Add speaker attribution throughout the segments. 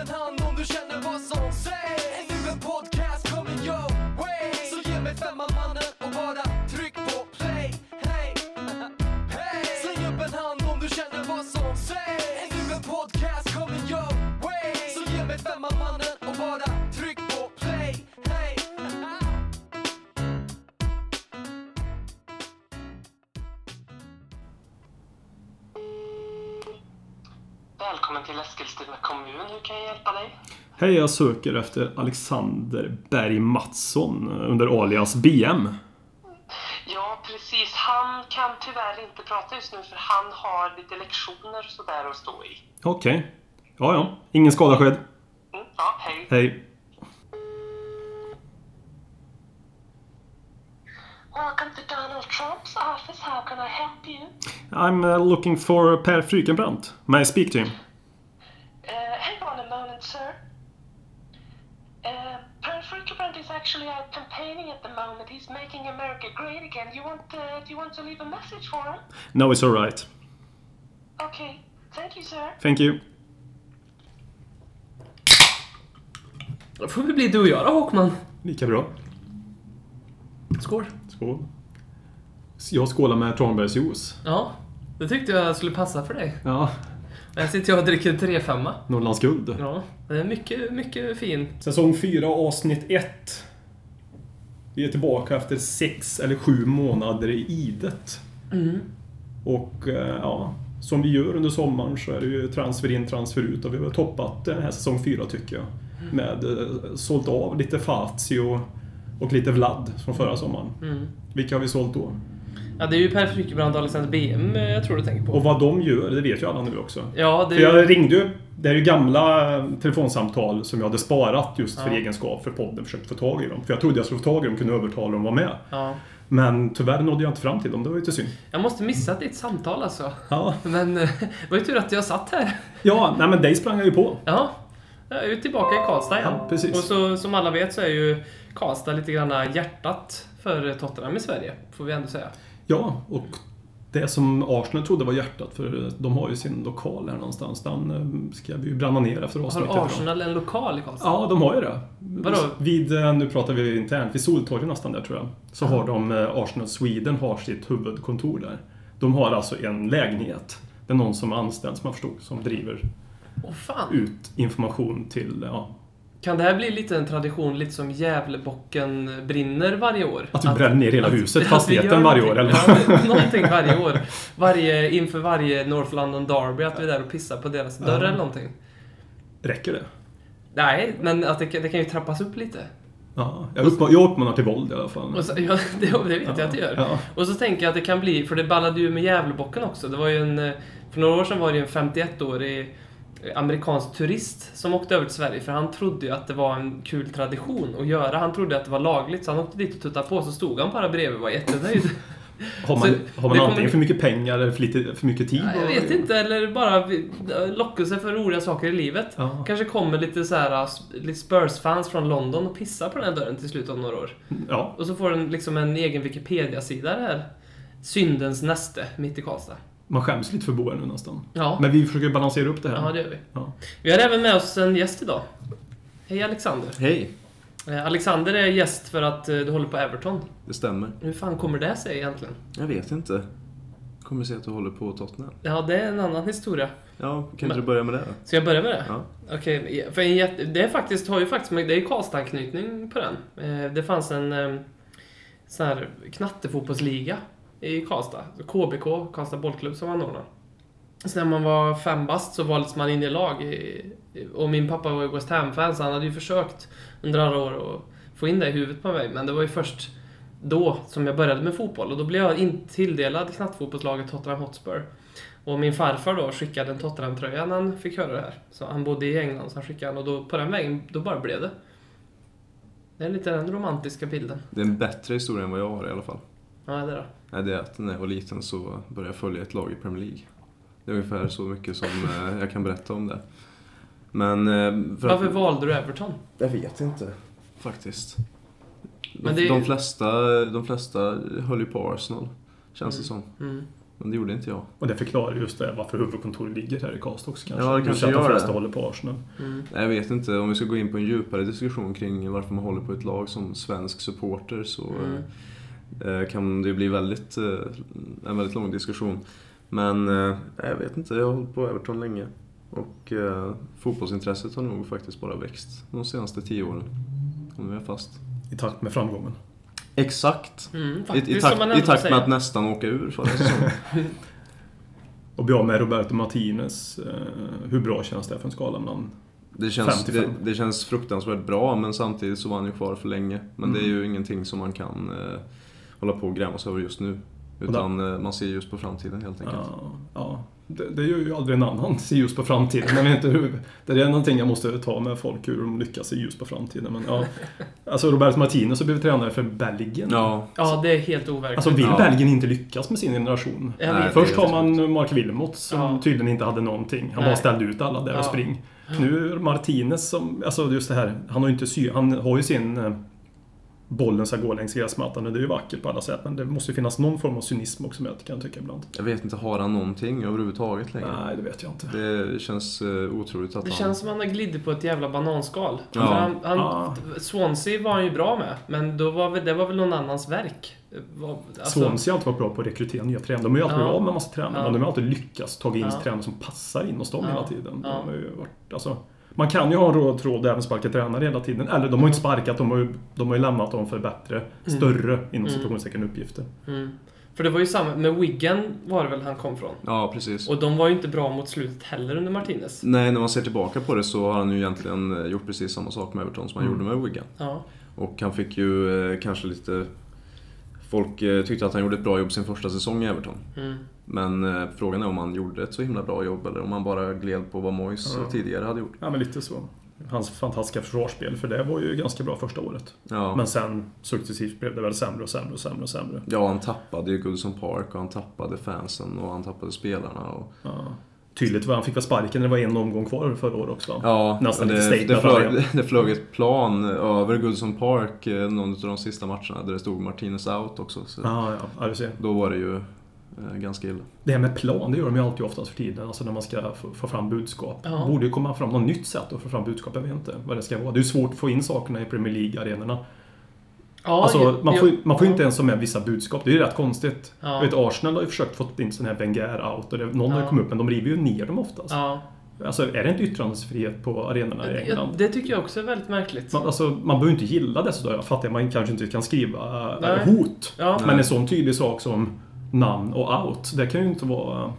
Speaker 1: en hand om du känner vad som sägs Ännu en podcast coming your way Så ge mig femman mannen och bara tryck på play Hey, hey Släng upp en hand om du känner vad som sägs Ännu en podcast coming your way Så ge mig femman mannen och bara tryck på play Hey
Speaker 2: Välkommen till Eskilstuna kommun. Hur kan jag hjälpa dig?
Speaker 3: Hej, jag söker efter Alexander Berg Mattsson under alias BM.
Speaker 2: Ja, precis. Han kan tyvärr inte prata just nu för han har lite lektioner och sådär att stå i.
Speaker 3: Okej. Ja, ja. Ingen skada skedd.
Speaker 2: Mm, ja, hej.
Speaker 3: Hej.
Speaker 2: Welcome to Donald Trump's office. How can I help you?
Speaker 3: I'm uh, looking for Per Frykenbrant. May I speak to him?
Speaker 2: Uh, hang on a moment, sir. Uh, Per Fruckerbrand is actually out campaigning at the moment. He's making America great again. You want, uh, do you want to leave a message for him?
Speaker 3: No, it's alright.
Speaker 2: Okay. Thank you, sir.
Speaker 3: Thank you.
Speaker 4: Då får vi bli du och jag då, Håkman.
Speaker 3: Lika bra.
Speaker 4: Skål.
Speaker 3: Skål. Jag skålar med tranbärsjuice.
Speaker 4: Ja, det tyckte jag skulle passa för dig.
Speaker 3: Ja,
Speaker 4: Här sitter jag och dricker 3
Speaker 3: Norrlands guld.
Speaker 4: Ja, det är mycket, mycket fin.
Speaker 3: Säsong 4, avsnitt 1. Vi är tillbaka efter sex eller sju månader i idet. Och eh, ja, som vi gör under sommaren så är det ju transfer in, transfer ut och vi har toppat den här säsong 4 tycker jag. Med eh, sålt av lite Fazio och lite Vlad från förra sommaren. Vilka har vi sålt då?
Speaker 4: Ja, det är ju Per Frykebrand och Alexander BM eh, jag tror du tänker på.
Speaker 3: Och vad de gör, det vet ju alla nu också.
Speaker 4: Ja, det
Speaker 3: För
Speaker 4: är
Speaker 3: jag
Speaker 4: ju...
Speaker 3: ringde ju. Det är ju gamla eh, telefonsamtal som jag hade sparat just för
Speaker 4: Ja.
Speaker 3: egenskap för podden. Försökte få tag i dem. För jag trodde jag skulle få tag i dem och kunde övertala dem att vara med.
Speaker 4: Ja.
Speaker 3: Men tyvärr nådde jag inte fram till dem. Det var ju lite synd.
Speaker 4: Jag måste missa ditt samtal alltså.
Speaker 3: Ja,
Speaker 4: Men eh, det var ju tur att jag satt här.
Speaker 3: ja nej men dig sprang jag ju på.
Speaker 4: Ja, jag är ju tillbaka i Karlstad igen.
Speaker 3: Ja, precis.
Speaker 4: Och så, som alla vet så är ju Karlstad lite grann hjärtat för Tottenham i Sverige. Får vi ändå säga.
Speaker 3: Ja, och det som Arsenal trodde var hjärtat, för de har ju sin lokal här någonstans. Den eh, ska vi ju bränna ner efter avsnittet.
Speaker 4: Har
Speaker 3: idag.
Speaker 4: Arsenal en lokal i Karlstad?
Speaker 3: Ja, de har ju det.
Speaker 4: Vadå?
Speaker 3: Vid, eh, nu pratar vi internt, vid Soltorget nästan där tror jag. Så har de, eh, Arsenal Sweden har sitt huvudkontor där. De har alltså en lägenhet. Det är någon som är anställd, som jag förstod, som driver
Speaker 4: Åh fan!
Speaker 3: ut information till, eh, ja,
Speaker 4: Kan det här bli lite en tradition, lite som Gävlebocken brinner varje år?
Speaker 3: att vi bränner ner hela huset,
Speaker 4: att vi gör
Speaker 3: fastigheten varje år eller
Speaker 4: någonting. Ja, men någonting varje år. Varje, inför varje North London Derby, att vi är där och pissar på deras dörr eller någonting.
Speaker 3: Räcker det?
Speaker 4: Nej, men att det, kan- det kan ju trappas upp lite.
Speaker 3: Ja, jag, uppma- jag uppmanar till våld i alla fall.
Speaker 4: Och så, ja, det, det vet jag att det gör.
Speaker 3: Ja.
Speaker 4: Och så tänker jag att det kan bli, för det ballade ju med Gävlebocken också. Det var ju en, eh, för några år sedan var det ju en 51-årig amerikansk turist som åkte över till Sverige för han trodde ju att det var en kul tradition att göra. Han trodde att det var lagligt så han åkte dit och tuttade på så stod han bara bredvid och var jättenöjd.
Speaker 3: Har man,
Speaker 4: så
Speaker 3: har
Speaker 4: det
Speaker 3: man
Speaker 4: kommer-
Speaker 3: antingen för mycket pengar eller för, lite, för mycket tid?
Speaker 4: Ja, Jag vet inte, eller bara vi- lockelse för roliga saker i livet.
Speaker 3: Ja.
Speaker 4: Kanske kommer lite så här sp- lite Spurs-fans från London och pissar på den här dörren till slut om några år.
Speaker 3: Ja,
Speaker 4: Och så får den liksom en egen Wikipedia-sida det här. Syndens näste, mitt i Karlstad.
Speaker 3: man skäms lite för Boa nu nästan.
Speaker 4: Ja.
Speaker 3: Men vi försöker balansera upp det här.
Speaker 4: Ja, det gör vi.
Speaker 3: Ja.
Speaker 4: Vi har även med oss en gäst idag. Hej Alexander.
Speaker 5: Hej!
Speaker 4: Eh, Alexander är gäst för att eh, du håller på Everton.
Speaker 5: Det stämmer.
Speaker 4: Hur fan kommer det sig egentligen?
Speaker 5: Jag vet inte. Kommer se att du håller på Tottenham.
Speaker 4: Ja, det är en annan historia.
Speaker 5: Ja, kan
Speaker 4: Men-
Speaker 5: inte du börja med det då?
Speaker 4: Ska jag börja med det?
Speaker 5: Ja.
Speaker 4: Okej, för en jätte, det är faktiskt, har ju faktiskt med- det är Karlstad-anknytning på den. Eh, Det fanns en eh, sån här knattefotbollsliga i Karlstad. KBK, Karlstad bollklubb, som anordnade. Så när man var fem bast så valdes man in i lag. i- Och min pappa var ju West Ham-fan så han hade ju försökt under alla år att få in det i huvudet på mig. Men det var ju först då som jag började med fotboll och då blev jag in- tilldelad knattefotbollslaget Tottenham Hotspur. Och min farfar då skickade en Tottenham-tröja när han fick höra det här. Så han bodde i England så han skickade den och då, på den vägen, då bara blev det. Det är lite den romantiska bilden.
Speaker 5: Det är en bättre historia än vad jag har i alla fall.
Speaker 4: Ja, det då.
Speaker 5: Nej, det är att när jag var liten så började jag följa ett lag i Premier League. Det är ungefär så mycket som eh, jag kan berätta om det. Men... eh, För
Speaker 4: Varför valde du Everton?
Speaker 5: Jag vet inte. Faktiskt. De,
Speaker 4: Men det är-
Speaker 5: de, flesta, de flesta höll ju på Arsenal, känns det som.
Speaker 4: Mm.
Speaker 5: Men det gjorde inte jag.
Speaker 3: Och det förklarar just det, varför huvudkontoret ligger här i Karlstad också kanske.
Speaker 5: Ja, det kanske
Speaker 3: Just att
Speaker 5: gör
Speaker 3: de flesta
Speaker 5: det.
Speaker 3: håller på Arsenal.
Speaker 4: Mm.
Speaker 5: Nej, Jag vet inte, om vi ska gå in på en djupare diskussion kring varför man håller på ett lag som svensk supporter så
Speaker 4: Mm.
Speaker 5: eh, kan det bli väldigt, eh, en väldigt lång diskussion. Men eh, jag vet inte, jag har hållit på Everton länge. Och eh, fotbollsintresset har nog faktiskt bara växt de senaste tio åren. Och nu är jag fast.
Speaker 3: I takt med framgången.
Speaker 5: Exakt!
Speaker 4: Mm,
Speaker 5: I,
Speaker 4: faktiskt,
Speaker 5: i,
Speaker 4: som man
Speaker 5: takt, I
Speaker 4: ändå
Speaker 5: takt med
Speaker 4: säger.
Speaker 5: att nästan åka ur förra säsongen.
Speaker 3: Och bli av med Roberto Martinez. Eh, hur bra känns det för en skala mellan...
Speaker 5: Det känns, det,
Speaker 3: 55.
Speaker 5: det känns fruktansvärt bra men samtidigt så var han ju kvar för länge. Men det är
Speaker 3: Mm.
Speaker 5: ju ingenting som man kan eh, hålla på och grämas över just nu. Utan eh, man ser just på framtiden helt enkelt.
Speaker 3: Ja, ja. Det, det gör ju aldrig en annan se ljus på framtiden. Jag vet inte hur, det är någonting jag måste ta med folk, hur de lyckas se ljus på framtiden. Men, ja. Alltså Roberto Martinez har blivit tränare för Belgien.
Speaker 5: Ja,
Speaker 4: Ja, det är helt overkligt.
Speaker 3: Alltså vill
Speaker 5: Ja.
Speaker 3: Belgien inte lyckas med sin generation?
Speaker 4: jag
Speaker 5: Nej,
Speaker 4: vet.
Speaker 5: det-
Speaker 3: Först har man Mark Wilmot som
Speaker 4: Ja.
Speaker 3: tydligen inte hade någonting. Han
Speaker 4: Nej.
Speaker 3: bara ställde ut alla där
Speaker 4: Ja.
Speaker 3: och spring. Nu är det Martinez som, alltså just det här, han har ju inte sy, han har ju sin eh, bollen ska gå längs gräsmattan och det är ju vackert på alla sätt. Men det måste ju finnas någon form av cynism också med det kan jag tycka ibland.
Speaker 5: jag vet inte, har han någonting överhuvudtaget längre?
Speaker 3: Nej, det vet jag inte.
Speaker 5: Det känns eh, otroligt att
Speaker 4: Det
Speaker 5: han...
Speaker 4: känns som att han har glidit på ett jävla bananskal.
Speaker 5: Ja.
Speaker 4: För Han, han,
Speaker 3: Ja.
Speaker 4: Swansea var han ju bra med, men då var väl, det var väl någon annans verk? Var- alltså-
Speaker 3: Swansea har alltid varit bra på att rekrytera nya tränare. De har ju
Speaker 4: Ja.
Speaker 3: alltid blivit av med en massa tränare,
Speaker 4: Ja.
Speaker 3: men de har alltid lyckats ta in
Speaker 4: Ja.
Speaker 3: tränare som passar in hos dem
Speaker 4: Ja.
Speaker 3: hela tiden.
Speaker 4: Ja.
Speaker 3: De har ju varit, alltså, man kan ju ha en röd tråd där även sparka tränare hela tiden. Eller de har ju inte sparkat, de har ju, de har ju lämnat dem för bättre, större, inom situationstecken uppgifter.
Speaker 4: Mm. För det var ju samma, med Wigan var det väl han kom från?
Speaker 5: Ja, precis.
Speaker 4: Och de var ju inte bra mot slutet heller under Martinez.
Speaker 5: Nej, när man ser tillbaka på det så har han ju egentligen eh, gjort precis samma sak med Everton som
Speaker 3: Mm.
Speaker 5: han gjorde med Wigan.
Speaker 4: Ja.
Speaker 5: Och han fick ju eh, kanske lite... Folk eh, tyckte att han gjorde ett bra jobb sin första säsong i Everton.
Speaker 4: Mm.
Speaker 5: Men eh, frågan är om han gjorde ett så himla bra jobb eller om han bara gled på vad Moyes eh,
Speaker 3: Ja.
Speaker 5: tidigare hade gjort.
Speaker 3: Ja, men lite så. Hans fantastiska försvarsspel, för det var ju ganska bra första året.
Speaker 5: Ja.
Speaker 3: Men sen successivt blev det väl sämre och sämre och sämre och sämre.
Speaker 5: ja, han tappade ju Goodson Park och han tappade fansen och han tappade spelarna. Och...
Speaker 3: Ja. Tydligt var han fick väl sparken när det var en omgång kvar förra året också. va?
Speaker 5: Ja,
Speaker 3: Nästan
Speaker 5: och
Speaker 3: lite
Speaker 5: det,
Speaker 3: statement
Speaker 5: det,
Speaker 3: av
Speaker 5: flög,
Speaker 3: det.
Speaker 5: det flög ett plan över Goodson Park eh, någon av de sista matcherna där det stod Martinez out också. Så
Speaker 3: Ja, ja. ja, du ser.
Speaker 5: Då var det ju eh, ganska illa.
Speaker 3: Det här med plan, det gör de ju alltid oftast för tiden, alltså när man ska få, få fram budskap.
Speaker 4: Ja.
Speaker 3: Borde ju komma fram något nytt sätt att få fram budskap, jag vet inte vad det ska vara. Det är ju svårt att få in sakerna i Premier League-arenorna.
Speaker 4: Ja,
Speaker 3: alltså,
Speaker 4: ju-
Speaker 3: man
Speaker 4: ju-
Speaker 3: får, ju- man får ju inte ens ha med vissa budskap, det är ju rätt konstigt.
Speaker 4: Ja.
Speaker 3: Jag vet, Arsenal har ju försökt få in sån här Wenger out, och det, någon har
Speaker 4: Ja.
Speaker 3: ju kommit upp, men de river ju ner dem oftast.
Speaker 4: Ja.
Speaker 3: Alltså, är det inte yttrandefrihet på arenorna i
Speaker 4: Ja,
Speaker 3: England?
Speaker 4: det tycker jag också är väldigt märkligt.
Speaker 3: Man, alltså, man behöver ju inte gilla det sådär. Jag fattar att man kanske inte kan skriva äh,
Speaker 4: Nej.
Speaker 3: hot.
Speaker 4: Ja.
Speaker 3: Men en sån tydlig sak som namn och out, det kan ju inte vara...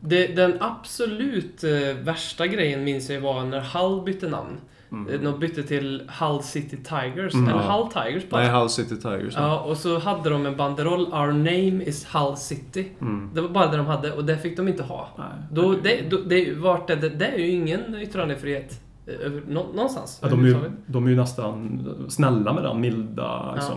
Speaker 4: Det, den absolut eh, värsta grejen minns jag ju var när Hull bytte namn. Mm. De bytte till Hull City Tigers,
Speaker 3: Mm.
Speaker 4: eller
Speaker 5: Ja.
Speaker 4: Hull Tigers bara.
Speaker 5: Nej, Hull City Tigers.
Speaker 4: Ja, och så hade de en banderoll, Our name is Hull City. Det var bara det de hade och det fick de inte ha.
Speaker 3: Mm. Nej.
Speaker 4: Då, det, då, det, vart det, det, det är ju ingen yttrandefrihet eh, över, nå, någonstans.
Speaker 3: Ja, de, är ju,
Speaker 4: överhuvudtaget.
Speaker 3: de är ju nästan snälla med den milda liksom,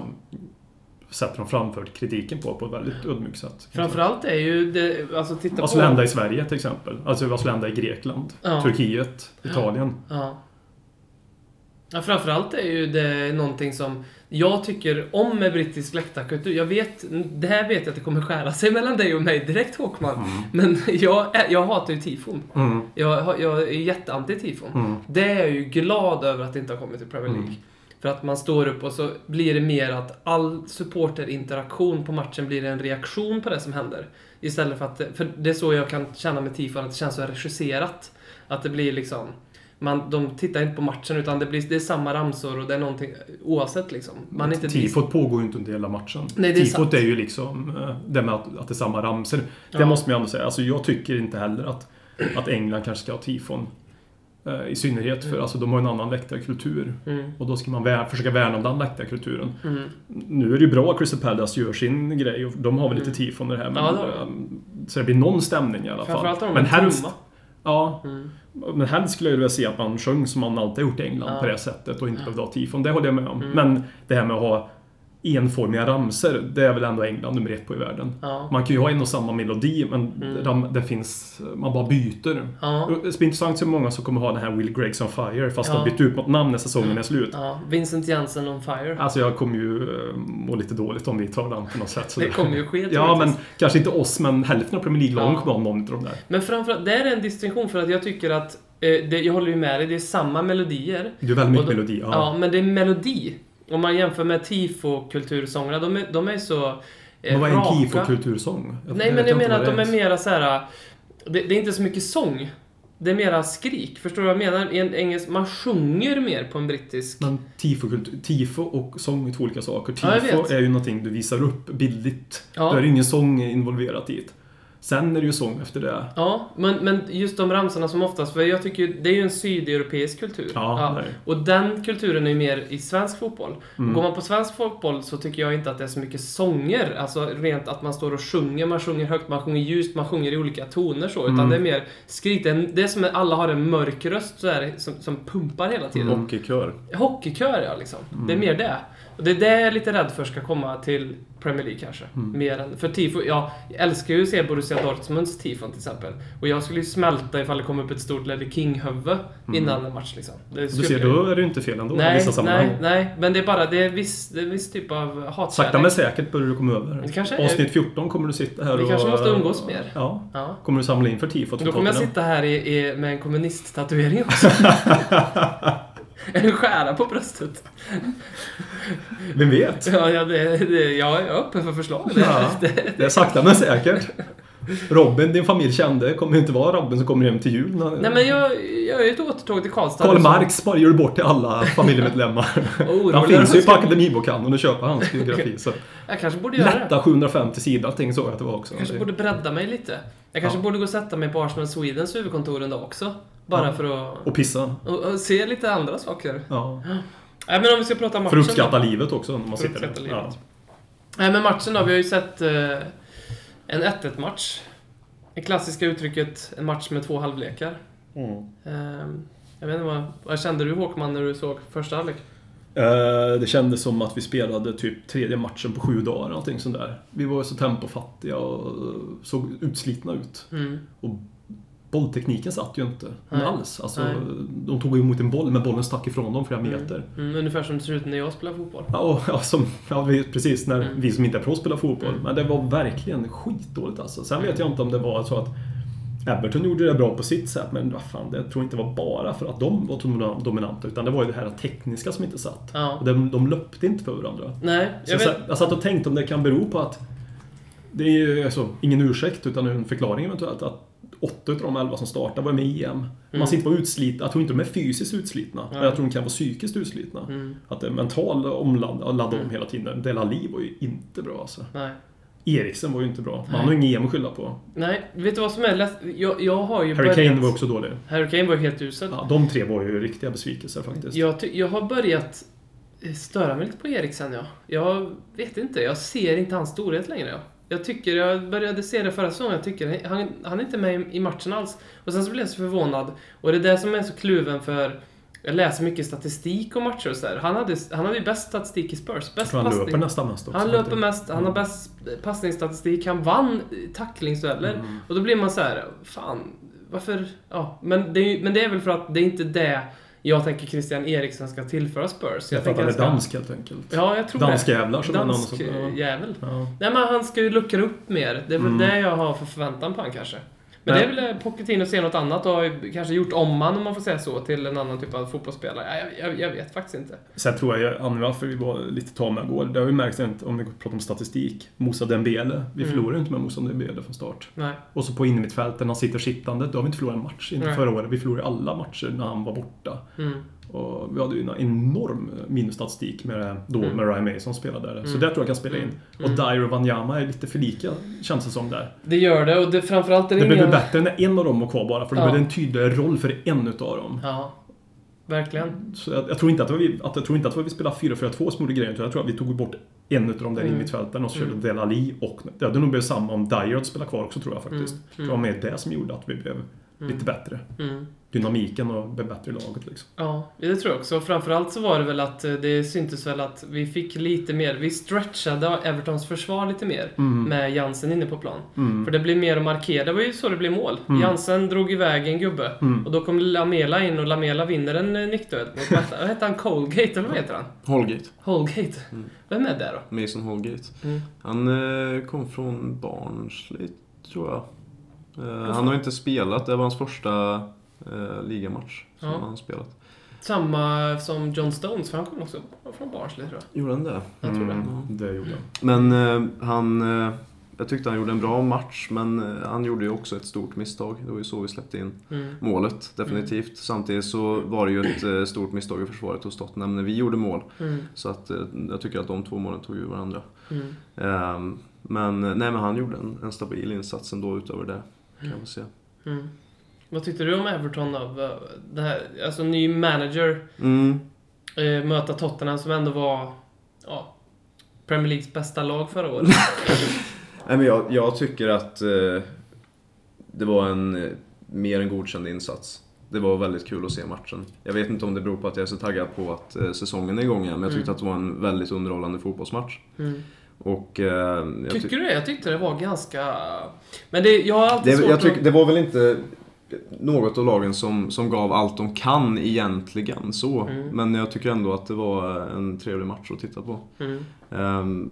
Speaker 3: sätt de framför kritiken på, på ett väldigt ödmjukt sätt.
Speaker 4: Framförallt är ju det, alltså titta
Speaker 3: Vad
Speaker 4: på...
Speaker 3: skulle hända i Sverige till exempel? Alltså vad skulle hända i Grekland,
Speaker 4: Ja.
Speaker 3: Turkiet, Italien?
Speaker 4: Ja. ja. Framförallt är ju det någonting som jag tycker om med brittisk läktarkultur. Jag vet, det här vet jag att det kommer skära sig mellan dig och mig direkt Håkman. Men jag, är- jag hatar ju tifon.
Speaker 3: Mm.
Speaker 4: Jag, har- jag är jätteanti tifon.
Speaker 3: Mm.
Speaker 4: Det är jag ju glad över att det inte har kommit till Premier League. För att man står upp och så blir det mer att all supporterinteraktion på matchen blir en reaktion på det som händer. Istället för att, för det är så jag kan känna med tifon, att det känns så regisserat. Att det blir liksom, man, de tittar inte på matchen utan det, blir, det är samma ramsor och det är någonting, oavsett liksom. Man är inte
Speaker 3: Tifot pågår ju inte under hela matchen.
Speaker 4: Nej, det är sant.
Speaker 3: Tifot är ju liksom eh, det med att, att det är samma ramsor.
Speaker 4: Ja.
Speaker 3: Det måste man ju ändå säga. Alltså, jag tycker inte heller att, att England kanske ska ha tifon. eh, I synnerhet för alltså, de har en annan läktarkultur.
Speaker 4: Mm.
Speaker 3: Och då ska man vär, försöka värna om den läktarkulturen.
Speaker 4: Mm.
Speaker 3: Nu är det ju bra att Crystal Palace gör sin grej. och De har väl lite tifon i det här. Men,
Speaker 4: Mm. Ja, det har de.
Speaker 3: ehm, så det blir någon stämning i alla fall.
Speaker 4: Framförallt har de
Speaker 3: men
Speaker 4: en
Speaker 3: helst,
Speaker 4: trumma.
Speaker 3: Ja.
Speaker 4: Mm.
Speaker 3: Men helst skulle jag vilja se att man sjöng som man alltid har gjort i England
Speaker 4: Ja. Mm.
Speaker 3: på det sättet och inte behövde ha tifon. Det håller jag med om. Men det här med att ha enformiga ramser, det är väl ändå England nummer ett på i världen.
Speaker 4: Ja. Mm.
Speaker 3: Man kan ju ha en och samma melodi, men ram, det finns, man bara byter.
Speaker 4: Ja.
Speaker 3: Och Det är intressant hur många som kommer ha den här Will Greggs on Fire, fast
Speaker 4: Ja.
Speaker 3: de har bytt ut mot namn när säsongen är slut.
Speaker 4: Ja, Vincent Jensen on fire.
Speaker 3: Alltså jag kommer ju eh, må lite dåligt om vi tar den på något sätt. så
Speaker 4: Det kommer ju ske,
Speaker 3: Ja, men
Speaker 4: troligtvis.
Speaker 3: kanske inte oss, men hälften av Premier League-lagen
Speaker 4: Ja.
Speaker 3: kommer ha någon av de där.
Speaker 4: Men framförallt, det är en distinktion för att jag tycker att, eh, det, jag håller ju med dig, det är samma melodier.
Speaker 3: Det är väldigt mycket
Speaker 4: Och de-
Speaker 3: melodi. Ja.
Speaker 4: Ja, men det är melodi. Om man jämför med tifo-kultursångerna, de är, de är så eh,
Speaker 3: men vad är en
Speaker 4: raka.
Speaker 3: KIFO-kultursång?
Speaker 4: Nej, men
Speaker 3: vet
Speaker 4: jag
Speaker 3: inte
Speaker 4: menar
Speaker 3: vad
Speaker 4: att
Speaker 3: det
Speaker 4: de är mera så här. Det, det är inte så mycket sång. Det är mera skrik. Förstår du vad jag menar? I en engelsk, man sjunger mer på en brittisk...
Speaker 3: Men tifo, tifo och sång är två olika saker.
Speaker 4: Ja, jag
Speaker 3: Tifo
Speaker 4: vet.
Speaker 3: är ju någonting du visar upp bildligt.
Speaker 4: Ja.
Speaker 3: Då är det ingen sång involverat i det. Sen är det ju sång efter det.
Speaker 4: Ja, men, men just de ramsorna som oftast, för jag tycker ju- det är ju en sydeuropeisk kultur.
Speaker 3: Ja, nej.
Speaker 4: Och den kulturen är ju mer i svensk fotboll. Går man på svensk fotboll så tycker jag inte att det är så mycket sånger. Alltså rent att man står och sjunger, man sjunger högt, man sjunger ljust, man sjunger i olika toner så. Utan det är mer skrik. Det är, en- det är som att alla har en mörk röst så här, som, som pumpar hela tiden.
Speaker 3: Mm.
Speaker 5: Hockeykör.
Speaker 4: Hockeykör ja, liksom. Det är mer det. Och det är det jag är lite rädd för ska komma till Premier League kanske.
Speaker 3: Mm.
Speaker 4: Mer än, för tifo, ja, jag älskar ju att se Borussia Dortmunds tifon till exempel. Och jag skulle ju smälta ifall det kom upp ett stort Ledder King-huvud innan en match liksom. Det
Speaker 3: Mm. Du ser, då är det ju inte fel ändå i
Speaker 4: nej,
Speaker 3: vissa sammanhang.
Speaker 4: nej, nej. Men det är bara, det är viss, det är viss typ av hatkärlek.
Speaker 3: Sakta men säkert börjar du komma över.
Speaker 4: Det kanske är-
Speaker 3: Avsnitt 14 kommer du sitta här
Speaker 4: Vi
Speaker 3: och...
Speaker 4: kanske måste umgås mer.
Speaker 3: Ja.
Speaker 4: Ja.
Speaker 3: Kommer du samla in för tifot? för
Speaker 4: Då kommer jag
Speaker 3: Tottenham?
Speaker 4: sitta här i, i, med en kommunisttatuering också. en stjärna på bröstet.
Speaker 3: Vem vet?
Speaker 4: Ja, ja, det, det, jag är öppen för förslag. Det,
Speaker 3: Ja, det är sakta men säkert. Robin, din familj kände, kommer ju inte vara Robin som kommer hem till jul. När...
Speaker 4: Nej men jag, jag är ju ett återtåg till Karlstad. liksom.
Speaker 3: Karl
Speaker 4: Så-
Speaker 3: Marx bara gör bort till alla familjemedlemmar.
Speaker 4: orolig.
Speaker 3: han finns ju på Akademibokhandeln och köper hans biografi. Så.
Speaker 4: Jag kanske borde göra det.
Speaker 3: Lätta 750 sidor ting såg jag att det var också.
Speaker 4: Jag kanske
Speaker 3: Det-
Speaker 4: borde bredda mig lite. Jag kanske
Speaker 3: Ja.
Speaker 4: borde gå och sätta mig på Arsenal Swedens huvudkontor en dag också. Bara för att
Speaker 3: Och pissa.
Speaker 4: och, och se lite andra saker.
Speaker 3: Ja.
Speaker 4: Nej men om vi ska prata matchen.
Speaker 3: För att uppskatta
Speaker 4: då.
Speaker 3: livet också när man
Speaker 4: För att
Speaker 3: sitter där.
Speaker 4: uppskatta
Speaker 3: Ja.
Speaker 4: livet. Nej men matchen då. Vi har ju sett eh, en 1-1 match. Det klassiska uttrycket en match med två halvlekar.
Speaker 3: Mm.
Speaker 4: Ehm, jag vet inte vad, vad kände du Håkman när du såg första halvlek?
Speaker 3: Eh, Det kändes som att vi spelade typ tredje matchen på sju dagar, någonting sånt där. Vi var så tempofattiga och eh, såg utslitna ut. Och bolltekniken satt ju inte
Speaker 4: Nej.
Speaker 3: alls. Alltså,
Speaker 4: Nej.
Speaker 3: de tog emot en boll, men bollen stack ifrån dem flera meter.
Speaker 4: Mm, ungefär som det ser ut när jag spelar fotboll.
Speaker 3: Ja, och, ja, som, ja vi, precis. När
Speaker 4: Mm.
Speaker 3: vi som inte är proffs spelar fotboll. Men det var verkligen skitdåligt alltså. Sen
Speaker 4: Mm.
Speaker 3: vet jag inte om det var så att Everton gjorde det bra på sitt sätt, men vad fan, det tror jag inte var bara för att de var dominan- dominanta. Utan det var ju det här tekniska som inte satt.
Speaker 4: Ja.
Speaker 3: Och de, de löpte inte för varandra.
Speaker 4: Nej,
Speaker 3: Så
Speaker 4: jag
Speaker 3: jag,
Speaker 4: vet.
Speaker 3: sa- jag satt och tänkte om det kan bero på att det är ju alltså, ingen ursäkt utan en förklaring eventuellt att åtta av de elva som startade var med i EM.
Speaker 4: Mm.
Speaker 3: Man sitter på utslitna. Jag tror inte de är fysiskt utslitna. Men jag tror de kan vara psykiskt utslitna.
Speaker 4: Mm,
Speaker 3: Att det är mental omladd, att ladda om hela tiden. Dela Li var ju inte bra alltså.
Speaker 4: Nej.
Speaker 3: Eriksen var ju inte bra. Man har ju ingen EM att skylla på.
Speaker 4: Nej, vet du vad som är lätt? Jag, jag har ju
Speaker 3: Harry Kane
Speaker 4: börjat...
Speaker 3: var också dålig.
Speaker 4: Harry Kane var helt usel.
Speaker 3: Ja, de tre var ju riktiga besvikelser faktiskt.
Speaker 4: jag, ty- jag har börjat eh, störa mig lite på Eriksen, ja. Jag vet inte, jag ser inte hans storhet längre. Ja. Jag tycker, jag började se det förra säsongen, jag tycker han, han är inte med i- i matchen alls. Och sen så blev jag så förvånad. Och det är det som är så kluven för... Jag läser mycket statistik om matcher och sådär. Han hade, han hade ju bäst statistik i Spurs.
Speaker 3: Jag
Speaker 4: Bäst
Speaker 3: tror han
Speaker 4: passning.
Speaker 3: löper nästan mest också.
Speaker 4: Han löper
Speaker 3: faktiskt.
Speaker 4: mest, han har bäst passningsstatistik, han vann eh, tacklingsdueller.
Speaker 3: Mm.
Speaker 4: Och då blir man så här, fan, varför? Ja, men det, är, ju- men det är väl för att det är inte det jag tänker Christian Eriksen ska tillföra Spurs.
Speaker 3: Jag tror att
Speaker 4: tänker
Speaker 3: han är
Speaker 4: ska-
Speaker 3: dansk helt enkelt.
Speaker 4: Ja, jag tror
Speaker 3: Danskjävlar, som
Speaker 4: det.
Speaker 3: en annan
Speaker 4: Dansk
Speaker 3: som- ja. Mm.
Speaker 4: eh, jävel.
Speaker 3: Ja.
Speaker 4: Nej, men han ska ju luckra upp mer. Det är väl det jag har för förväntan på han kanske. Men
Speaker 3: Nej.
Speaker 4: det är väl eh, Pochettino ser något annat och har ju kanske gjort om han, om man får säga så, till en annan typ av fotbollsspelare. Ja, Jag, jag, jag vet faktiskt inte.
Speaker 3: Sen tror jag, anledningen varför vi var lite tama igår, det har vi märkt inte om vi pratar om statistik. Moussa Dembele, vi
Speaker 4: Mm.
Speaker 3: förlorade ju inte med Moussa Dembele från start.
Speaker 4: Nej.
Speaker 3: Och så på innermittfältet, när han sitter sittande, då har vi inte förlorat en match. Inte
Speaker 4: Nej.
Speaker 3: förra året, vi förlorade alla matcher när han var borta.
Speaker 4: Mm.
Speaker 3: Och vi hade ju en enorm eh, minusstatistik med, då
Speaker 4: Mm.
Speaker 3: med Ryan Mason som spelade där. Så det tror jag kan spela in. Och Dyer och Wanyama är lite för lika, känns det som där.
Speaker 4: Det gör det, och det, framförallt är det,
Speaker 3: Det blev
Speaker 4: ingen-
Speaker 3: ju bättre när en av dem var kvar bara, för det
Speaker 4: Ja.
Speaker 3: blev en tydligare roll för en utav dem.
Speaker 4: Ja, verkligen.
Speaker 3: Så jag, jag, tror inte att det var vi, att, jag tror inte att det var vi spelade 4-4-2 som gjorde grejen, utan jag tror att vi tog bort en utav de där mm. innermittfältarna och så körde Delali och... Det hade nog blivit samma om Dyer hade spelat kvar också tror jag faktiskt. Det var mer det som gjorde att vi blev lite bättre.
Speaker 4: Mm.
Speaker 3: Dynamiken och blev bättre i laget liksom.
Speaker 4: Ja, det tror jag också. Och Framförallt så var det väl att eh, det syntes väl att vi fick lite mer, vi stretchade Evertons försvar lite mer med Jansen inne på plan. För det blev mer att markera, det var ju så det blev mål. Jansen drog iväg en gubbe och då kom Lamela in och Lamela vinner en eh, nickduell. mot- Vad hette han? Colgate, eller vad heter han?
Speaker 5: Holgate.
Speaker 4: Holgate? Vem är det då?
Speaker 5: Mason Holgate.
Speaker 4: Mm.
Speaker 5: Han eh, kom från Barnsley, tror jag. Eh, han har inte spelat. Det var hans första eh, ligamatch som
Speaker 4: Ja.
Speaker 5: han spelat.
Speaker 4: Samma som John Stones, för han kom också från Barnsley tror jag.
Speaker 5: Gjorde han det?
Speaker 4: Jag tror det.
Speaker 3: Mm, Det gjorde han.
Speaker 5: Men eh, han... Eh, jag tyckte han gjorde en bra match, men eh, han gjorde ju också ett stort misstag. Det var ju så vi släppte in
Speaker 4: Mm.
Speaker 5: målet, definitivt. Samtidigt så var det ju ett eh, stort misstag i försvaret hos Tottenham när vi gjorde mål.
Speaker 4: Mm.
Speaker 5: Så att, eh, jag tycker att de två målen tog ju varandra.
Speaker 4: Mm.
Speaker 5: Ehm, men, eh, nej, men han gjorde en, en stabil insats ändå utöver det. Kan man säga.
Speaker 4: Mm. Vad tyckte du om Everton då? Det här, alltså ny manager,
Speaker 5: Mm,
Speaker 4: eh, möta Tottenham som ändå var ja, Premier Leagues bästa lag förra året.
Speaker 5: Nej, men jag, jag tycker att eh, det var en eh, mer än godkänd insats. Det var väldigt kul att se matchen. Jag vet inte om det beror på att jag är så taggad på att eh, säsongen är igång igen, men jag tyckte att det var en väldigt underhållande fotbollsmatch.
Speaker 4: Mm.
Speaker 5: Och, eh, jag ty-
Speaker 4: Tycker du det? Jag tyckte det var ganska... Men det, jag har alltid
Speaker 5: det,
Speaker 4: svårt
Speaker 5: jag tycker,
Speaker 4: att...
Speaker 5: det var väl inte något av lagen som, som gav allt de kan egentligen så.
Speaker 4: Mm.
Speaker 5: Men jag tycker ändå att det var en trevlig match att titta på.
Speaker 4: Mm.
Speaker 5: Ehm,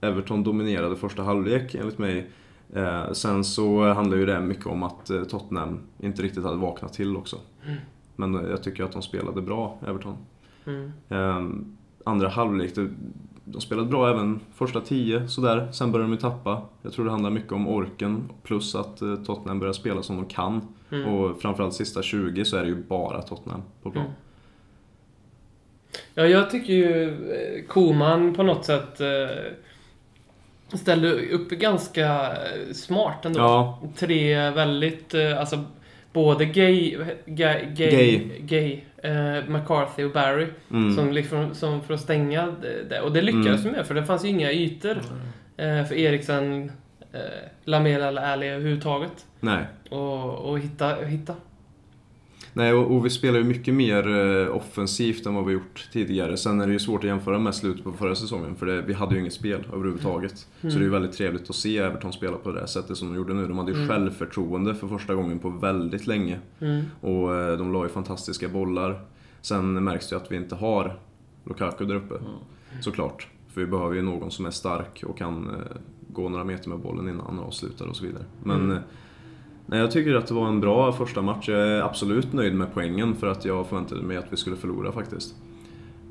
Speaker 5: Everton dominerade första halvlek enligt mig. Eh, sen så handlar ju det mycket om att eh, Tottenham inte riktigt hade vaknat till också. Men eh, jag tycker att de spelade bra, Everton.
Speaker 4: Mm.
Speaker 5: Ehm, andra halvlek, det, de spelade bra även första tio sådär. Sen började de ju tappa. Jag tror det handlar mycket om orken plus att eh, Tottenham börjar spela som de kan.
Speaker 4: Mm.
Speaker 5: Och framförallt sista 20 så är det ju bara Tottenham på plan.
Speaker 4: Mm. Ja, jag tycker ju eh, Koman på något sätt eh, ställde upp ganska eh, smart ändå.
Speaker 5: Ja,
Speaker 4: Tre väldigt, eh, alltså både gay, gay, gay,
Speaker 5: Gay.
Speaker 4: gay, eh, McCarthy och Barry
Speaker 5: mm.
Speaker 4: som, liksom, som för att stänga det. det- Och det lyckades de med för det fanns ju inga ytor eh, för Eriksen, eh, Lamela eller Ali överhuvudtaget.
Speaker 5: nej.
Speaker 4: Och, och hitta, hitta.
Speaker 5: Nej, och, och vi spelar ju mycket mer eh, offensivt än vad vi gjort tidigare. Sen är det ju svårt att jämföra med slutet på förra säsongen, för det, vi hade ju inget spel överhuvudtaget. Så det är ju väldigt trevligt att se Everton spela på det där sättet som de gjorde nu. De hade ju självförtroende för första gången på väldigt länge.
Speaker 4: Mm.
Speaker 5: Och eh, de la ju fantastiska bollar. Sen märks det ju att vi inte har Lukaku där uppe,
Speaker 4: Mm.
Speaker 5: såklart. För vi behöver ju någon som är stark och kan eh, gå några meter med bollen innan han avslutar och så vidare. Men...
Speaker 4: Mm.
Speaker 5: eh, Nej, jag tycker att det var en bra första match. Jag är absolut nöjd med poängen för att jag förväntade mig att vi skulle förlora faktiskt.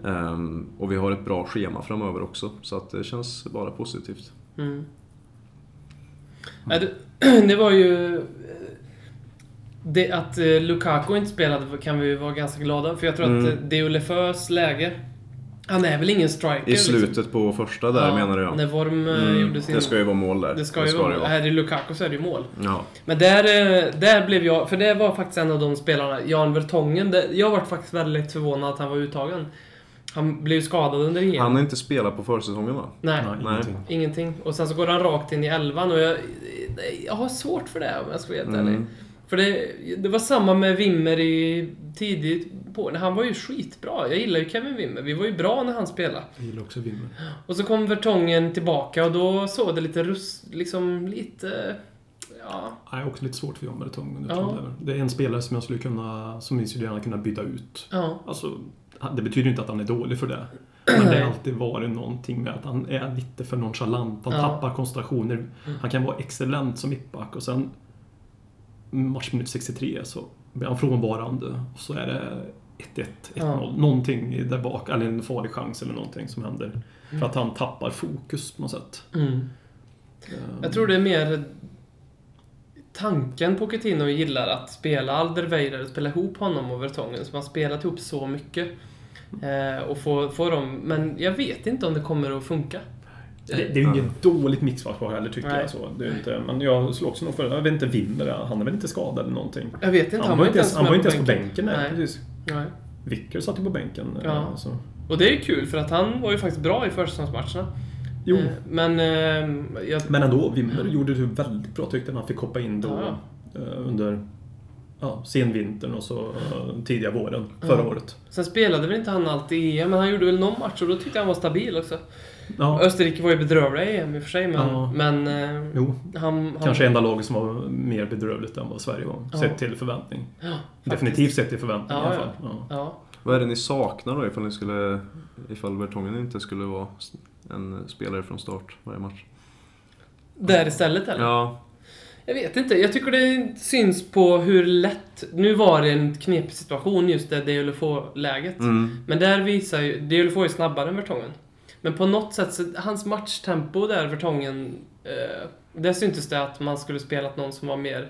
Speaker 5: Ehm, och vi har ett bra schema framöver också, så att det känns bara positivt.
Speaker 4: Mm.
Speaker 5: Mm.
Speaker 4: Ja, det, det var ju... eh, Det att eh, Lukaku inte spelade kan vi ju vara ganska glada för. Jag tror
Speaker 5: Mm.
Speaker 4: att eh, Deulefeus läge... Han är väl ingen striker? liksom.
Speaker 5: I slutet på första där
Speaker 4: Ja,
Speaker 5: menar jag.
Speaker 4: När Worm eh,
Speaker 5: Mm,
Speaker 4: gjorde sin...
Speaker 5: Det ska ju vara mål där.
Speaker 4: det ska ju vara... Här är Lukaku så är det ju mål.
Speaker 5: Ja.
Speaker 4: Men där, eh, där blev jag... För det var faktiskt en av de spelarna, Jan Vertongen. Där, jag var faktiskt väldigt förvånad att han var uttagen. Han blev ju skadad under EM.
Speaker 5: Han har inte spelat på försäsongen va?
Speaker 4: Nej.
Speaker 3: Nej,
Speaker 5: Nej.
Speaker 3: ingenting.
Speaker 4: Ingenting. Och sen så går han rakt in i elvan och jag, jag har svårt för det om jag ska vara helt
Speaker 5: Mm.
Speaker 4: ärlig. För det, det var samma med Wimmer i, tidigt på... Han var ju skitbra. Jag gillar ju Kevin Wimmer. Vi var ju bra när han spelade.
Speaker 3: Jag gillar också Wimmer.
Speaker 4: Och så kom Vertongen tillbaka och då såg det lite rus... Liksom lite... Ja.
Speaker 3: Nej, också lite svårt för John Bertong.
Speaker 4: Ja.
Speaker 3: Ja. Det är en spelare som jag skulle kunna, som vi skulle gärna kunna byta ut.
Speaker 4: Ja.
Speaker 3: Alltså, han- det betyder inte att han är dålig för det. Men det har alltid varit någonting med att han är lite för nonchalant. Han
Speaker 4: Ja. Mm.
Speaker 3: tappar koncentrationer. Han kan vara excellent som mittback och sen matchminut 63 så blir han frånvarande. Och så är det 1-1, 1-0. Någonting där bak, eller en farlig chans eller någonting som händer. För att han tappar fokus på något sätt.
Speaker 4: Mm. Jag tror det är mer tanken Pochettino gillar att spela Alderweireld, och spela ihop honom och Vertongen som har spelat ihop så mycket. Eh, och få, få dem, men jag vet inte om det kommer att funka.
Speaker 3: Det, det är ju inget dåligt mixförsvar heller tycker
Speaker 4: Nej.
Speaker 3: jag. Så. Det är ju inte, men jag slogs nog för Jag vet inte, Wimmer, han är väl inte skadad eller någonting?
Speaker 4: Jag vet inte,
Speaker 3: Han, var inte ens, han
Speaker 4: med
Speaker 3: var inte ens på bänken. Nej.
Speaker 4: Nej.
Speaker 3: Precis.
Speaker 4: Nej.
Speaker 3: Vicker satt ju på bänken.
Speaker 4: Ja.
Speaker 3: eh, Så.
Speaker 4: Och det är ju kul för att han var ju faktiskt bra i försäsongsmatcherna.
Speaker 3: Jo,
Speaker 4: Eh, men eh, jag,
Speaker 3: men ändå. Wimmer gjorde det väldigt bra tyckte jag när han fick hoppa in då.
Speaker 4: Ja,
Speaker 3: eh, Under ja, senvintern och så eh, tidiga våren förra
Speaker 4: Ja.
Speaker 3: året.
Speaker 4: Sen spelade väl inte han alltid i EM, men han gjorde väl någon match och då tyckte jag han var stabil också.
Speaker 3: Ja,
Speaker 4: Österrike var ju bedrövliga i EM i och för sig, men...
Speaker 3: Ja.
Speaker 4: men eh,
Speaker 3: jo.
Speaker 4: han, han,
Speaker 3: Kanske enda laget som var mer bedrövligt än vad Sverige var.
Speaker 4: Ja.
Speaker 3: Sett till förväntning.
Speaker 4: Ja,
Speaker 3: Definitivt sett till förväntning i
Speaker 4: Ja,
Speaker 3: alla
Speaker 4: ja.
Speaker 3: fall. Ja.
Speaker 4: Ja.
Speaker 5: Vad är det ni saknar då ifall, ni skulle, ifall Vertongen inte skulle vara en spelare från start varje match?
Speaker 4: Där istället eller?
Speaker 5: Ja,
Speaker 4: Jag vet inte. Jag tycker det syns på hur lätt... Nu var det en knepig situation just det Deulofeu-läget.
Speaker 5: mm.
Speaker 4: Men där visar ju... Deulofeu är snabbare än Vertongen. Men på något sätt, så, hans matchtempo där, Vertongen... Eh, där syntes det att man skulle spelat någon som var mer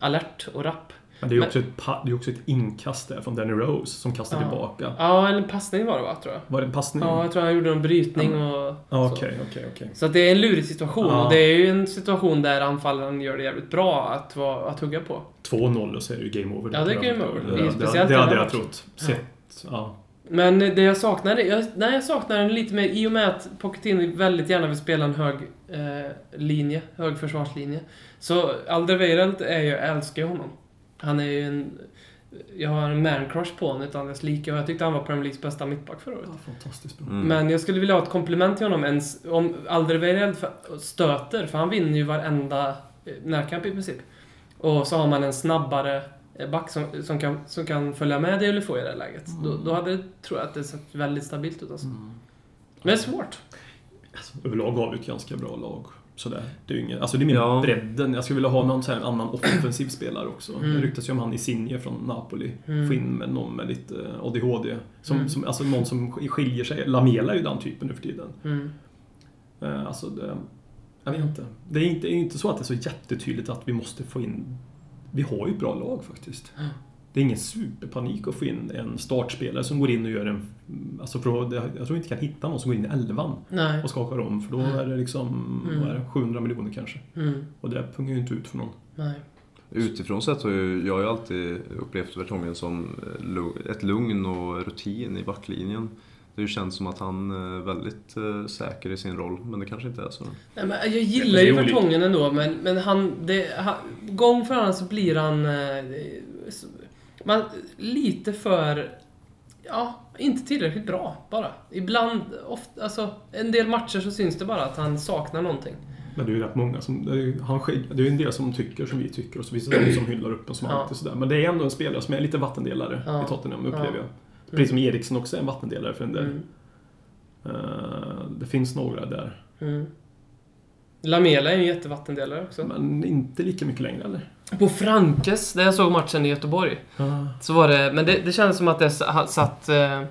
Speaker 4: alert och rapp.
Speaker 3: Men det är ju också, ett, pa- det är också ett inkast där från Danny Rose som kastar
Speaker 4: Ja.
Speaker 3: tillbaka.
Speaker 4: Ja, eller en passning var det va, tror jag.
Speaker 3: Var det en passning?
Speaker 4: Ja, jag tror han gjorde en brytning och...
Speaker 3: Ja,
Speaker 4: så.
Speaker 3: Okej, okej, okej.
Speaker 4: Så att det är en lurig situation
Speaker 3: Ja.
Speaker 4: och det är ju en situation där anfallaren gör det jävligt bra att, vara- att hugga på.
Speaker 3: 2-0 och så är det ju game over.
Speaker 4: Ja, det är game over. Det är speciellt
Speaker 3: det,
Speaker 4: den
Speaker 3: hade
Speaker 4: här
Speaker 3: jag trott. Sett. Ja.
Speaker 4: Men det jag saknar, är- jag, nej jag saknar den lite mer i och med att Pochettino väldigt gärna vill spela en hög eh, linje, hög försvarslinje. Så Alderweireld är ju, jag älskar ju honom. Han är ju en, jag har en man-crush på honom utan dess like och jag tyckte han var Premier Leagues bästa mittback förra året.
Speaker 3: fantastiskt bra.
Speaker 5: Mm.
Speaker 4: Men jag skulle vilja ha ett komplement till honom ens om Alderweireld f- stöter, för han vinner ju varenda eh, närkamp i princip. Och så har man en snabbare eh, back som, som, kan, som kan följa med Deulofeu i det här läget. Då, då hade det, tror jag att det sett väldigt stabilt ut alltså. Men det är svårt.
Speaker 3: Alltså, Överlag har vi ett ganska bra lag. Sådär. Det är ju ingen, alltså det är mer
Speaker 5: Ja.
Speaker 3: bredden. Jag skulle vilja ha någon så här annan offensiv spelare också.
Speaker 4: Mm.
Speaker 3: Det ryktas ju om han Isinje från Napoli.
Speaker 4: Mm.
Speaker 3: Få in med någon med lite ADHD. Som,
Speaker 4: Mm.
Speaker 3: som, alltså någon som skiljer sig. Lamela är ju den typen nu för tiden.
Speaker 4: Mm.
Speaker 3: Eh, Alltså det, jag vet inte. Det är inte, det är inte så att det är så jättetydligt att vi måste få in... Vi har ju ett bra lag faktiskt. Det är ingen superpanik att få in en startspelare som går in och gör en... Alltså för då, jag tror vi inte kan hitta någon som går in i elvan
Speaker 4: Nej.
Speaker 3: och skakar om för då är det liksom
Speaker 4: Mm.
Speaker 3: vad är det, 700 miljoner kanske.
Speaker 4: Mm.
Speaker 3: Och det pungar ju inte ut för någon.
Speaker 4: Nej.
Speaker 5: Utifrån sett har ju, jag har ju alltid upplevt Vertongen som eh, lu- ett lugn och rutin i backlinjen. Det känns som att han är väldigt eh, säker i sin roll, men det kanske inte är så.
Speaker 4: Nej, men jag
Speaker 3: Men
Speaker 4: gillar
Speaker 3: det är
Speaker 4: ju
Speaker 3: olika.
Speaker 4: Vertongen ändå, men, men han, det, han... Gång för annan så blir han... eh, så- Man, lite för... Ja, inte tillräckligt bra bara. Ibland, ofta, alltså, en del matcher så syns det bara att han saknar någonting.
Speaker 3: Men det är ju rätt många som... Det är ju han skick- det är ju en del som tycker som vi tycker och så finns det de som hyllar upp en som
Speaker 4: Ja.
Speaker 3: alltid sådär. Men det är ändå en spelare som är lite vattendelare
Speaker 4: Ja.
Speaker 3: i Tottenham upplever
Speaker 4: Ja.
Speaker 3: jag. Precis som Eriksen också är en vattendelare för en del.
Speaker 4: Mm.
Speaker 3: Eh, det finns några där.
Speaker 4: Mm. Lamela är ju en jättevattendelare också.
Speaker 3: Men inte lika mycket längre eller?
Speaker 4: På Frankes, där jag såg matchen i Göteborg, så var det... Men det, det kändes som att det s- ha- satt eh,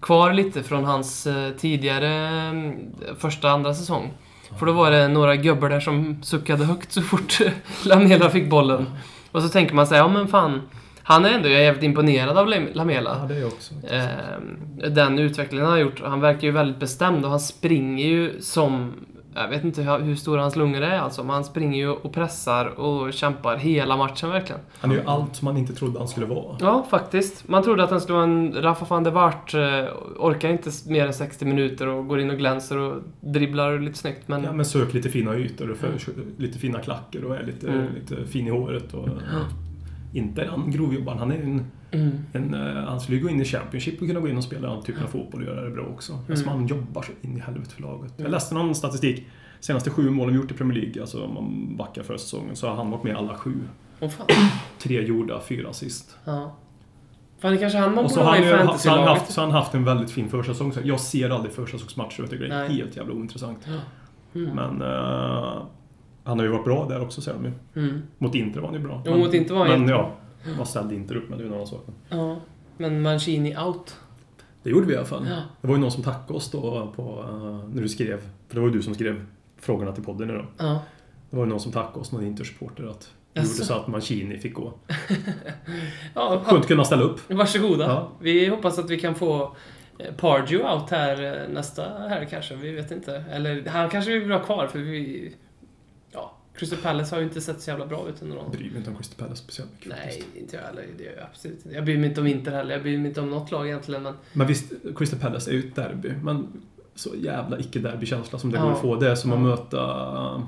Speaker 4: kvar lite från hans eh, tidigare eh, första, andra säsong. För då var det några gubbar där som suckade högt så fort Lamela fick bollen. Och så tänker man sig, ja men fan. Han är ändå, jag är jävligt imponerad av Lam- Lamela.
Speaker 3: det är jag också.
Speaker 4: Eh, den utvecklingen han har gjort. Han verkar ju väldigt bestämd och han springer ju som... Jag vet inte hur, hur stora hans lungor är alltså, men han springer ju och pressar och kämpar hela matchen verkligen.
Speaker 3: Han är ju allt som man inte trodde han skulle vara.
Speaker 4: Ja, faktiskt. Man trodde att han skulle vara en Rafa van der Waart. Eh, orkar inte s- mer än 60 minuter och går in och glänser och dribblar lite snyggt, men...
Speaker 3: Ja, men sök lite fina ytor och för, lite fina klackor och är lite,
Speaker 4: Mm.
Speaker 3: lite fin i håret. Och, Inte är han grovjobbaren. Han är ju en,
Speaker 4: Mm.
Speaker 3: en, eh, han skulle ju gå in i Championship och kunna gå in och spela den typen av fotboll och göra det bra också.
Speaker 4: Mm.
Speaker 3: Eftersom han jobbar så in i helvete för laget. Jag läste någon statistik. Senaste sju målen vi gjort i Premier League, alltså om man backar för säsongen, så har han varit med i alla sju.
Speaker 4: Åh fan.
Speaker 3: Tre gjorda, fyra assist.
Speaker 4: Ja. Fan, det kanske är han man
Speaker 3: Och så
Speaker 4: borde
Speaker 3: har
Speaker 4: ha
Speaker 3: han,
Speaker 4: i
Speaker 3: ju haft, så har han,
Speaker 4: fantasylaget.
Speaker 3: haft, så har han haft en väldigt fin försäsong. Så Jag ser aldrig försäsongsmatcher och jag tycker det är
Speaker 4: Nej.
Speaker 3: helt jävla ointressant.
Speaker 4: Mm.
Speaker 3: Men eh, han har ju varit bra där också säger de ju.
Speaker 4: Mm.
Speaker 3: Mot Inter var han ju bra.
Speaker 4: Jo, mot Inter var han
Speaker 3: Men
Speaker 4: jättebra.
Speaker 3: ja, man ställde Inter upp, men det är ju en annan sak.
Speaker 4: Ja. Men Mancini out.
Speaker 3: Det gjorde vi i alla fall.
Speaker 4: Ja.
Speaker 3: Det var ju någon som tackade oss då på, eh, när du skrev, för det var ju du som skrev frågorna till podden idag.
Speaker 4: Ja.
Speaker 3: Det var ju någon som tackade oss, någon Intersupporter, att det
Speaker 4: Jaså?
Speaker 3: gjorde så att Mancini fick gå.
Speaker 4: ja
Speaker 3: Skönt att kunna ställa upp.
Speaker 4: Varsågoda.
Speaker 3: Ja.
Speaker 4: Vi hoppas att vi kan få eh, Pardew out här eh, nästa här kanske. Vi vet inte. Eller han kanske vill vara kvar för vi... Ja, Crystal Palace har ju inte sett så jävla bra ut under
Speaker 3: Jag
Speaker 4: någon.
Speaker 3: bryr mig inte om Crystal Palace speciellt mycket
Speaker 4: Nej,
Speaker 3: faktiskt.
Speaker 4: inte jag heller. Det gör jag absolut inte. Jag bryr mig inte om Inter heller. Jag bryr mig inte om något lag egentligen. Men
Speaker 3: Men visst, Crystal Palace är ju ett derby, men så jävla icke-derbykänsla som det
Speaker 4: Ja.
Speaker 3: går att få. Det är som att
Speaker 4: Ja.
Speaker 3: möta...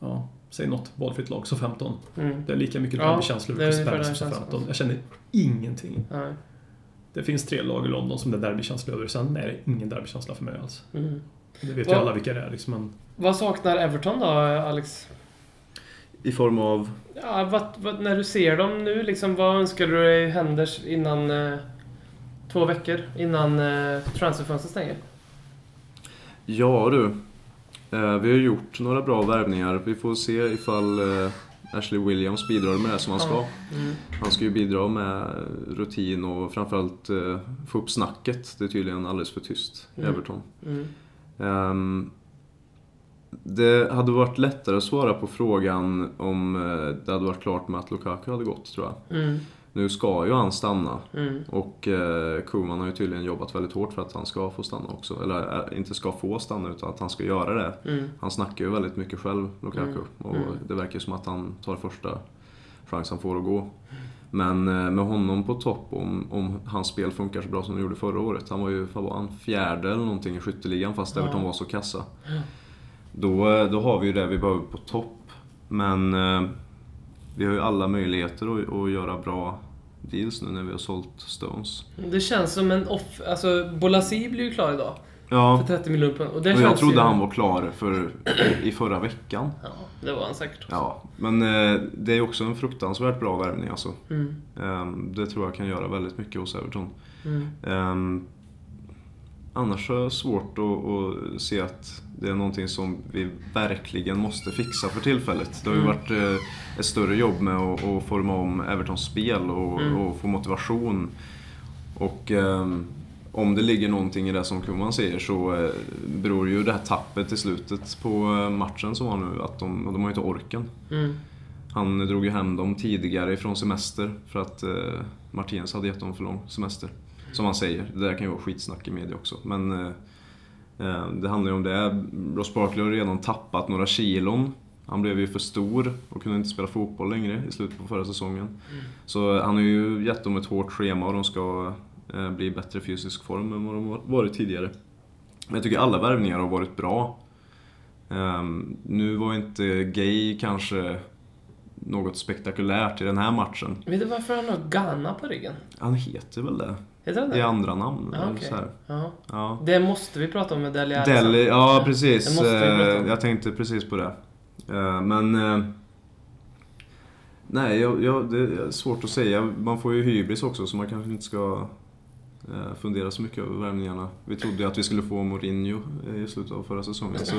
Speaker 3: Ja, Säg något valfritt lag, så 15.
Speaker 4: Mm.
Speaker 3: Det är lika mycket
Speaker 4: Ja,
Speaker 3: derbykänsla
Speaker 4: det är
Speaker 3: över
Speaker 4: ungefär
Speaker 3: Spurs
Speaker 4: den
Speaker 3: som
Speaker 4: känslan.
Speaker 3: 15. Jag känner ingenting.
Speaker 4: Nej.
Speaker 3: Det finns tre lag i London som det är derbykänsla över, sen är det ingen derbykänsla för mig alls.
Speaker 4: Mm.
Speaker 3: Det vet ju
Speaker 4: Vad-
Speaker 3: alla vilka det är liksom. Men
Speaker 4: Vad saknar Everton då, Alex?
Speaker 5: I form av...
Speaker 4: Ja, vad, vad, när du ser dem nu, liksom, vad önskar du dig händer innan... Eh, två veckor innan eh, transferfönstret stänger?
Speaker 5: Ja du. Eh, Vi har gjort några bra värvningar. Vi får se ifall eh, Ashley Williams bidrar med det som han ska.
Speaker 4: Mm.
Speaker 5: Han ska ju bidra med rutin och framförallt eh, få upp snacket. Det är tydligen alldeles för tyst i
Speaker 4: Mm.
Speaker 5: Everton.
Speaker 4: Mm.
Speaker 5: Ehm, det hade varit lättare att svara på frågan om eh, det hade varit klart med att Lukaku hade gått tror jag.
Speaker 4: Mm.
Speaker 5: Nu ska ju han stanna
Speaker 4: Mm.
Speaker 5: och eh, Koeman har ju tydligen jobbat väldigt hårt för att han ska få stanna också. Eller eh, inte ska få stanna utan att han ska göra det.
Speaker 4: Mm.
Speaker 5: Han snackar ju väldigt mycket själv, Lukaku.
Speaker 4: Mm.
Speaker 5: Och
Speaker 4: Mm.
Speaker 5: det verkar som att han tar första chans han får att gå. Men eh, med honom på topp, om, om hans spel funkar så bra som det gjorde förra året. Han var ju vad var han, fjärde eller någonting i skytteligan fast
Speaker 4: Ja.
Speaker 5: Everton var så kassa. Då, eh, då har vi ju det vi behöver på topp. Men eh, vi har ju alla möjligheter att, att göra bra deals nu när vi har sålt Stones.
Speaker 4: Det känns som en off... Alltså, Bolasi blir ju klar idag.
Speaker 5: Ja,
Speaker 4: För 30 miljoner pund. Och det
Speaker 5: och jag
Speaker 4: känns ju...
Speaker 5: trodde han var klar för, i förra veckan.
Speaker 4: Ja, det var han säkert.
Speaker 5: Ja, men eh, det är också en fruktansvärt bra värvning alltså.
Speaker 4: Mm.
Speaker 5: Ehm, det tror jag kan göra väldigt mycket hos Everton.
Speaker 4: Mm.
Speaker 5: Ehm, annars är det svårt att, att se att det är någonting som vi verkligen måste fixa för tillfället. Det har ju
Speaker 4: Mm.
Speaker 5: varit eh, ett större jobb med att, att forma om Evertons spel och,
Speaker 4: Mm.
Speaker 5: och få motivation. Och ehm, om det ligger någonting i det som Koman säger så eh, beror ju det här tappet i slutet på eh, matchen som var nu att de, de har ju inte orken.
Speaker 4: Mm.
Speaker 5: Han drog ju hem dem tidigare ifrån semester för att eh, Martinez hade gett dem för lång semester. Som han säger, det där kan ju vara skitsnack i media också. Men eh, eh, det handlar ju om det. Ross Barkley har redan tappat några kilon. Han blev ju för stor och kunde inte spela fotboll längre i slutet på förra säsongen. Så han har ju gett dem ett hårt schema och de ska eh, bli i bättre fysisk form än vad de har varit tidigare. Men jag tycker alla värvningar har varit bra. Ehm, nu var inte Gay kanske något spektakulärt i den här matchen.
Speaker 4: Vet du varför han har Ghana på ryggen?
Speaker 5: Han heter väl det?
Speaker 4: Heter han det?
Speaker 5: I andra namn?
Speaker 4: Ja,
Speaker 5: eller
Speaker 4: okej.
Speaker 5: så här.
Speaker 4: Ja.
Speaker 5: Ja.
Speaker 4: Det måste vi prata om med Deli Alli sen.
Speaker 5: Delhi, ja
Speaker 4: Det
Speaker 5: precis.
Speaker 4: måste vi
Speaker 5: Eh,
Speaker 4: prata om.
Speaker 5: Jag tänkte precis på det. Eh, Men... eh, Nej, jag, jag, det är svårt att säga. Man får ju hybris också så man kanske inte ska eh, fundera så mycket över värvningarna. Vi trodde ju att vi skulle få Mourinho eh, i slutet av förra säsongen. Så,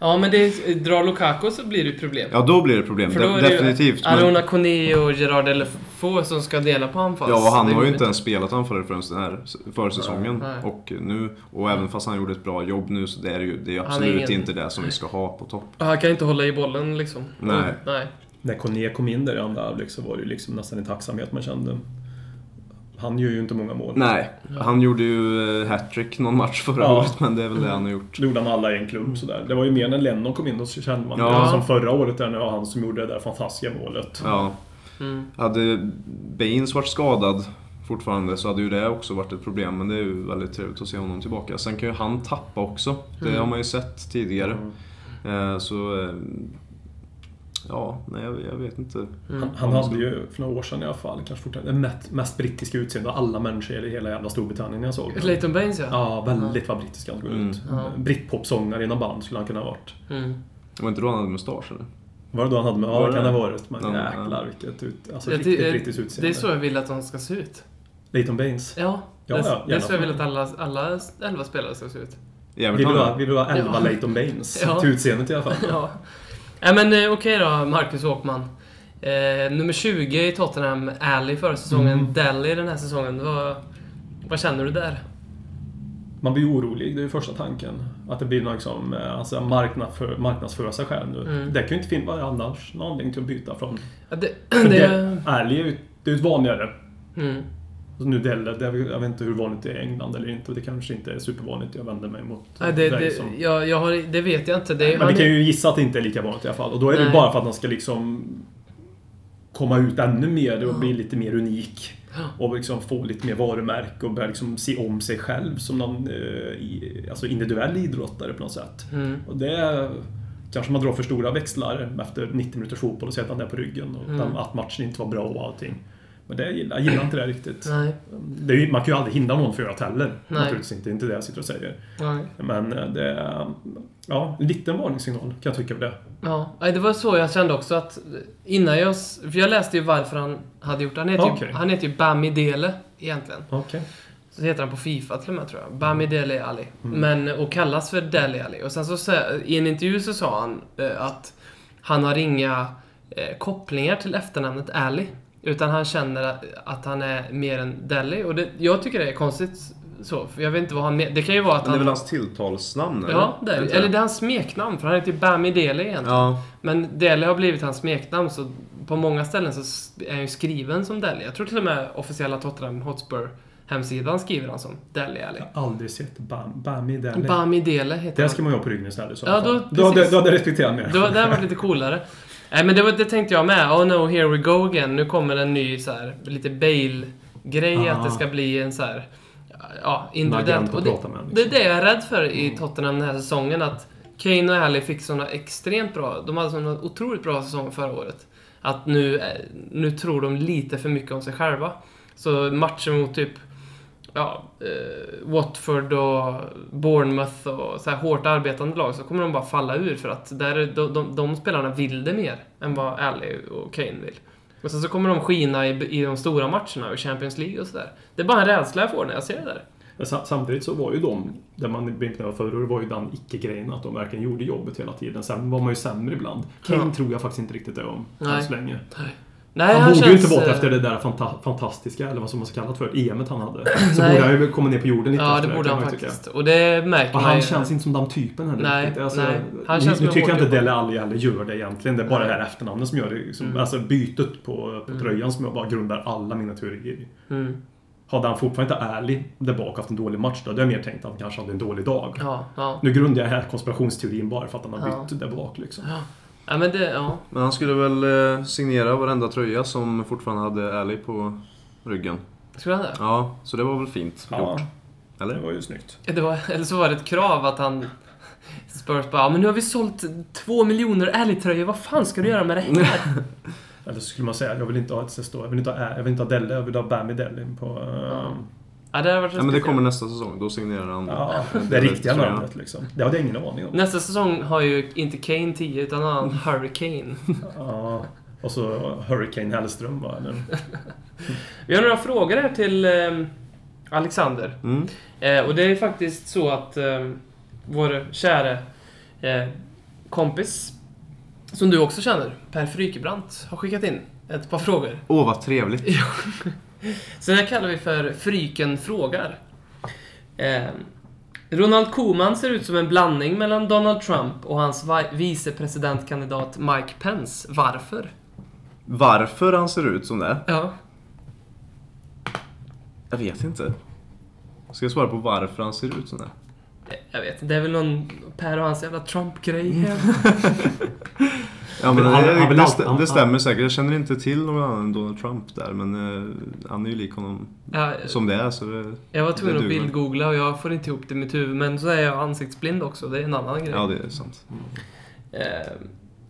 Speaker 4: Ja, men det, drar Lukaku så blir det ju problem.
Speaker 5: ja, då blir det problem.
Speaker 4: För då
Speaker 5: De,
Speaker 4: är det
Speaker 5: definitivt.
Speaker 4: ju Arona
Speaker 5: Men,
Speaker 4: Kone och Gerard Delefaux som ska dela på anfall.
Speaker 5: ja, och han
Speaker 4: Det
Speaker 5: har
Speaker 4: går
Speaker 5: ju inte ens spelat anfallare förrän den här s- försäsongen.
Speaker 4: Nej.
Speaker 5: Och, nu, och även fast han gjorde ett bra jobb nu så det är ju det är
Speaker 4: är
Speaker 5: absolut
Speaker 4: ingen-
Speaker 5: inte det som vi ska ha på topp.
Speaker 4: Han kan inte hålla i bollen liksom.
Speaker 5: Nej.
Speaker 4: Nej.
Speaker 3: när Kone kom in där i andra halvlek så var det ju liksom nästan en tacksamhet man kände. Han gör ju inte många mål.
Speaker 5: Nej, han gjorde ju eh, hattrick någon match förra
Speaker 3: Ja.
Speaker 5: året, men det är väl det han har gjort.
Speaker 3: Då gjorde han alla i en klump sådär. Det var ju mer när Lennon kom in, då så kände man
Speaker 5: Ja.
Speaker 3: det som förra året där när det var han som gjorde det där fantastiska målet.
Speaker 5: Ja.
Speaker 4: Mm.
Speaker 5: Hade Baines varit skadad fortfarande så hade ju det också varit ett problem, men det är ju väldigt trevligt att se honom tillbaka. Sen kan ju han tappa också, det
Speaker 4: Mm.
Speaker 5: har man ju sett tidigare. Eh, Så... eh, Ja, nej jag, jag vet inte.
Speaker 4: Mm.
Speaker 3: Han, han hade ju för några år sedan i alla fall, kanske fortfarande, det mest, mest brittiska utseendet av alla människor i hela jävla Storbritannien jag såg.
Speaker 4: Leighton Baines ja.
Speaker 3: Ja, väldigt vad brittisk han såg ut. Britpopsångare inom band skulle han kunna ha varit.
Speaker 4: Mm.
Speaker 5: Var inte då han hade mustasch eller?
Speaker 3: Var det då han hade med? Ja,
Speaker 5: Var
Speaker 3: det
Speaker 5: det
Speaker 3: kan det
Speaker 5: det?
Speaker 3: ha varit. Men
Speaker 5: Ja, ja.
Speaker 3: jäklar vilket ut, alltså,
Speaker 4: Jag
Speaker 3: riktigt
Speaker 4: ty- eh,
Speaker 3: brittiskt
Speaker 4: det är
Speaker 3: utseende.
Speaker 4: så jag vill att de ska se ut.
Speaker 3: Leighton Baines.
Speaker 4: Ja,
Speaker 3: Ja,
Speaker 4: det,
Speaker 3: ja,
Speaker 4: det är
Speaker 3: gärna.
Speaker 4: så jag vill att alla, alla elva spelare ska se ut.
Speaker 5: I
Speaker 3: Vi
Speaker 5: Everton?
Speaker 3: vill
Speaker 5: ja.
Speaker 3: ha, vi vill ha 11
Speaker 4: Ja.
Speaker 3: Leighton Baines.
Speaker 4: Ja.
Speaker 3: Till utseendet i alla fall.
Speaker 4: Ja. Nej men eh, okej då, Marcus Åkman. Eh, nummer 20 i Tottenham, Alley förra säsongen,
Speaker 3: Mm.
Speaker 4: Delhi den här säsongen. Vad, vad känner du där?
Speaker 3: Man blir ju orolig, det är ju första tanken. Att det blir någon liksom, eh, alltså marknadsför, marknadsföra sig själv nu.
Speaker 4: Mm.
Speaker 3: Det kan ju inte finnas annars någon anledning till att byta från.
Speaker 4: Ja, det,
Speaker 3: För
Speaker 4: det,
Speaker 3: det, ärlig är ju det är ju ett vanligare.
Speaker 4: mm,
Speaker 3: Så Nu Delle, det, är väl- jag vet inte hur vanligt det är i England eller inte. Det kanske inte är supervanligt. Jag vänder mig mot
Speaker 4: nej, det,
Speaker 3: dig
Speaker 4: det,
Speaker 3: som-
Speaker 4: jag, jag har, det vet jag inte. Det,
Speaker 3: Men vi
Speaker 4: han-
Speaker 3: kan ju gissa att det inte är lika vanligt i alla fall. Och då är det
Speaker 4: Nej.
Speaker 3: ju bara för att man ska liksom komma ut ännu mer och bli lite mer unik. Och liksom få lite mer varumärke och börja liksom se om sig själv som någon eh, i- alltså individuell idrottare på något sätt.
Speaker 4: Mm.
Speaker 3: Och det kanske man drar för stora växlar efter 90 minuters fotboll och säger att han är på ryggen och
Speaker 4: Mm.
Speaker 3: att matchen inte var bra och allting. Men det gillar, jag gillar inte det riktigt.
Speaker 4: Nej.
Speaker 3: Det är, ju- man kan ju aldrig hindra någon för att göra det heller.
Speaker 4: Nej.
Speaker 3: Naturligtvis inte, det är inte det jag sitter och säger.
Speaker 4: Nej.
Speaker 3: Men eh, det är ja, en liten varningssignal kan jag tycka för det.
Speaker 4: Ja, nej, det var så jag kände också att innan jag... s- För jag läste ju varför han hade gjort det. Han heter,
Speaker 3: Okej.
Speaker 4: ju, han heter ju Bami Dele egentligen.
Speaker 3: Okej.
Speaker 4: Så heter han på Fifa till och med tror jag. Bami
Speaker 5: Mm.
Speaker 4: Dele Ali. Men, och kallas för Dele Ali. Och sen så sä- i en intervju så sa han eh, att han har inga eh, kopplingar till efternamnet Ali. Utan han känner att, att han är mer än Deli. Och det, jag tycker det är konstigt så. För jag vet inte vad han men- Det kan ju vara att
Speaker 5: Men det är
Speaker 4: han...
Speaker 5: väl hans tilltalsnamn? eller?
Speaker 4: Ja,
Speaker 5: Är
Speaker 4: Dele.
Speaker 5: inte
Speaker 4: Eller det är hans smeknamn. För han heter ju Bami Dele egentligen.
Speaker 5: Ja,
Speaker 4: Men Dele har blivit hans smeknamn, så på många ställen så s- är han ju skriven som Dele. Jag tror till och med officiella Tottenham Hotspur-hemsidan skriver han som Dele Alli.
Speaker 3: Jag har aldrig sett Bam, Bami där.
Speaker 4: Bami Dele heter
Speaker 3: Det
Speaker 4: han.
Speaker 3: ska man ju ha på ryggen istället. så.
Speaker 4: Ja, då-
Speaker 3: då, hade-
Speaker 4: precis.
Speaker 3: då hade jag respekterat mer.
Speaker 4: Det var, det här var lite coolare. Nej, men det, var, det tänkte jag med. Oh no, here we go again. Nu kommer en ny så här, lite Bale-grej.
Speaker 3: Ah.
Speaker 4: Att det ska bli en så här... Ja, individuellt.
Speaker 3: agent
Speaker 4: Och
Speaker 3: att
Speaker 4: det,
Speaker 3: prata med, liksom.
Speaker 4: det är det jag är rädd för i Tottenham den här säsongen. Att Kane och Alli fick såna extremt bra... De hade såna otroligt bra säsong förra året. Att nu, eh, nu tror de lite för mycket om sig själva. Så matcher mot typ ja, eh, Watford och Bournemouth och så här hårt arbetande lag så kommer de bara falla ur för att där, är- de, de, de spelarna vill det mer än vad Alley och Kane vill. Och sen så kommer de skina i, i de stora matcherna och Champions League och sådär. Det är bara en rädsla jag får när jag ser det där.
Speaker 3: Men sam- Samtidigt så var ju de, där man blinkade förr, var ju den icke-grejen att de verkligen gjorde jobbet hela tiden. Sen var man ju sämre ibland. Kane
Speaker 4: Ja.
Speaker 3: tror jag faktiskt inte riktigt det om,
Speaker 4: Nej.
Speaker 3: än så länge.
Speaker 4: Nej,
Speaker 3: Han borde ju
Speaker 4: känns,
Speaker 3: inte varit
Speaker 4: eh,
Speaker 3: efter det där fanta- fantastiska, eller vad som man ska kalla det för, EMet han hade. Så
Speaker 4: Nej.
Speaker 3: borde han ju komma ner på jorden lite
Speaker 4: Ja,
Speaker 3: efter
Speaker 4: det borde
Speaker 3: kan
Speaker 4: han
Speaker 3: man ju tycka.
Speaker 4: faktiskt. Och det märker
Speaker 3: Och
Speaker 4: man
Speaker 3: han
Speaker 4: ju.
Speaker 3: känns inte som den typen heller
Speaker 4: Nej,
Speaker 3: riktigt. Alltså,
Speaker 4: nej. Han
Speaker 3: nu-
Speaker 4: känns som
Speaker 3: nu
Speaker 4: en
Speaker 3: tycker jag inte
Speaker 4: hårdjobbare.
Speaker 3: Dele Alli heller gör det egentligen. Det är bara
Speaker 4: Nej. Mm.
Speaker 3: det här efternamnet som gör det. Liksom, Alltså bytet på, på tröjan som jag bara grundar alla mina teorier i.
Speaker 4: Mm.
Speaker 3: Hade han fortfarande inte ärlig där bak haft en dålig match då hade jag mer tänkt att han kanske hade en dålig dag.
Speaker 4: Ja, ja.
Speaker 3: Nu grundar jag den här konspirationsteorin bara för att han har
Speaker 4: Ja.
Speaker 3: bytt där bak liksom.
Speaker 4: Ja, men det, ja.
Speaker 5: men han skulle väl eh, signera varenda tröja som fortfarande hade Ally på ryggen.
Speaker 4: Skulle han det?
Speaker 5: Ja, så det var väl fint
Speaker 3: Ja,
Speaker 5: gjort.
Speaker 3: det
Speaker 5: Eller?
Speaker 3: var ju snyggt.
Speaker 4: Det var, eller så var det ett krav att han... Spurs bara, "Ja, men nu har vi sålt två miljoner Ally-tröjor, vad fan ska du göra med det här?
Speaker 3: Eller så skulle man säga, jag vill inte ha ett Sesto, jag vill inte ha, Ä- jag vill inte ha Delle, jag vill ha Bami Delle på... Ja.
Speaker 4: Ja, det hade varit
Speaker 5: Ja, men det
Speaker 4: speciellt.
Speaker 5: kommer nästa säsong, då signerar han.
Speaker 3: Ja, det
Speaker 5: Delle,
Speaker 3: riktiga
Speaker 5: tror jag.
Speaker 3: namnet liksom. Det hade jag ingen aning om.
Speaker 4: Nästa säsong har ju inte Kane 10, utan han Hurricane.
Speaker 3: Ja, och så Hurricane Hellström va? Eller?
Speaker 4: Vi har några frågor här till eh, Alexander.
Speaker 5: Mm.
Speaker 4: Eh, och det är faktiskt så att eh, vår käre eh, kompis, som du också känner, Per Frykebrant, har skickat in ett par frågor.
Speaker 5: Åh, vad trevligt.
Speaker 4: Så det här kallar vi för Fryken frågar. Eh, Ronald Koeman ser ut som en blandning mellan Donald Trump och hans vi- vicepresidentkandidat Mike Pence. Varför?
Speaker 5: Varför han ser ut som det? är?
Speaker 4: Ja.
Speaker 5: Jag vet inte. Ska jag svara på varför han ser ut som det? är?
Speaker 4: Eh, Jag vet det är väl någon Per och hans jävla Trump-grej.
Speaker 5: Ja, men
Speaker 3: Men han-
Speaker 5: det,
Speaker 3: han vill
Speaker 5: det,
Speaker 3: alltid-
Speaker 5: stä-
Speaker 3: han-
Speaker 5: det stämmer säkert. Jag känner inte till någon annan än Donald Trump där, men eh, han är ju lik honom
Speaker 4: Ja, eh,
Speaker 5: som det är. Så det,
Speaker 4: jag var tvungen
Speaker 5: det
Speaker 4: att
Speaker 5: duger.
Speaker 4: bildgoogla och jag får inte ihop det i mitt huvud. Men så är jag ansiktsblind också, det är en annan grej.
Speaker 5: Ja, det är sant.
Speaker 4: Eh,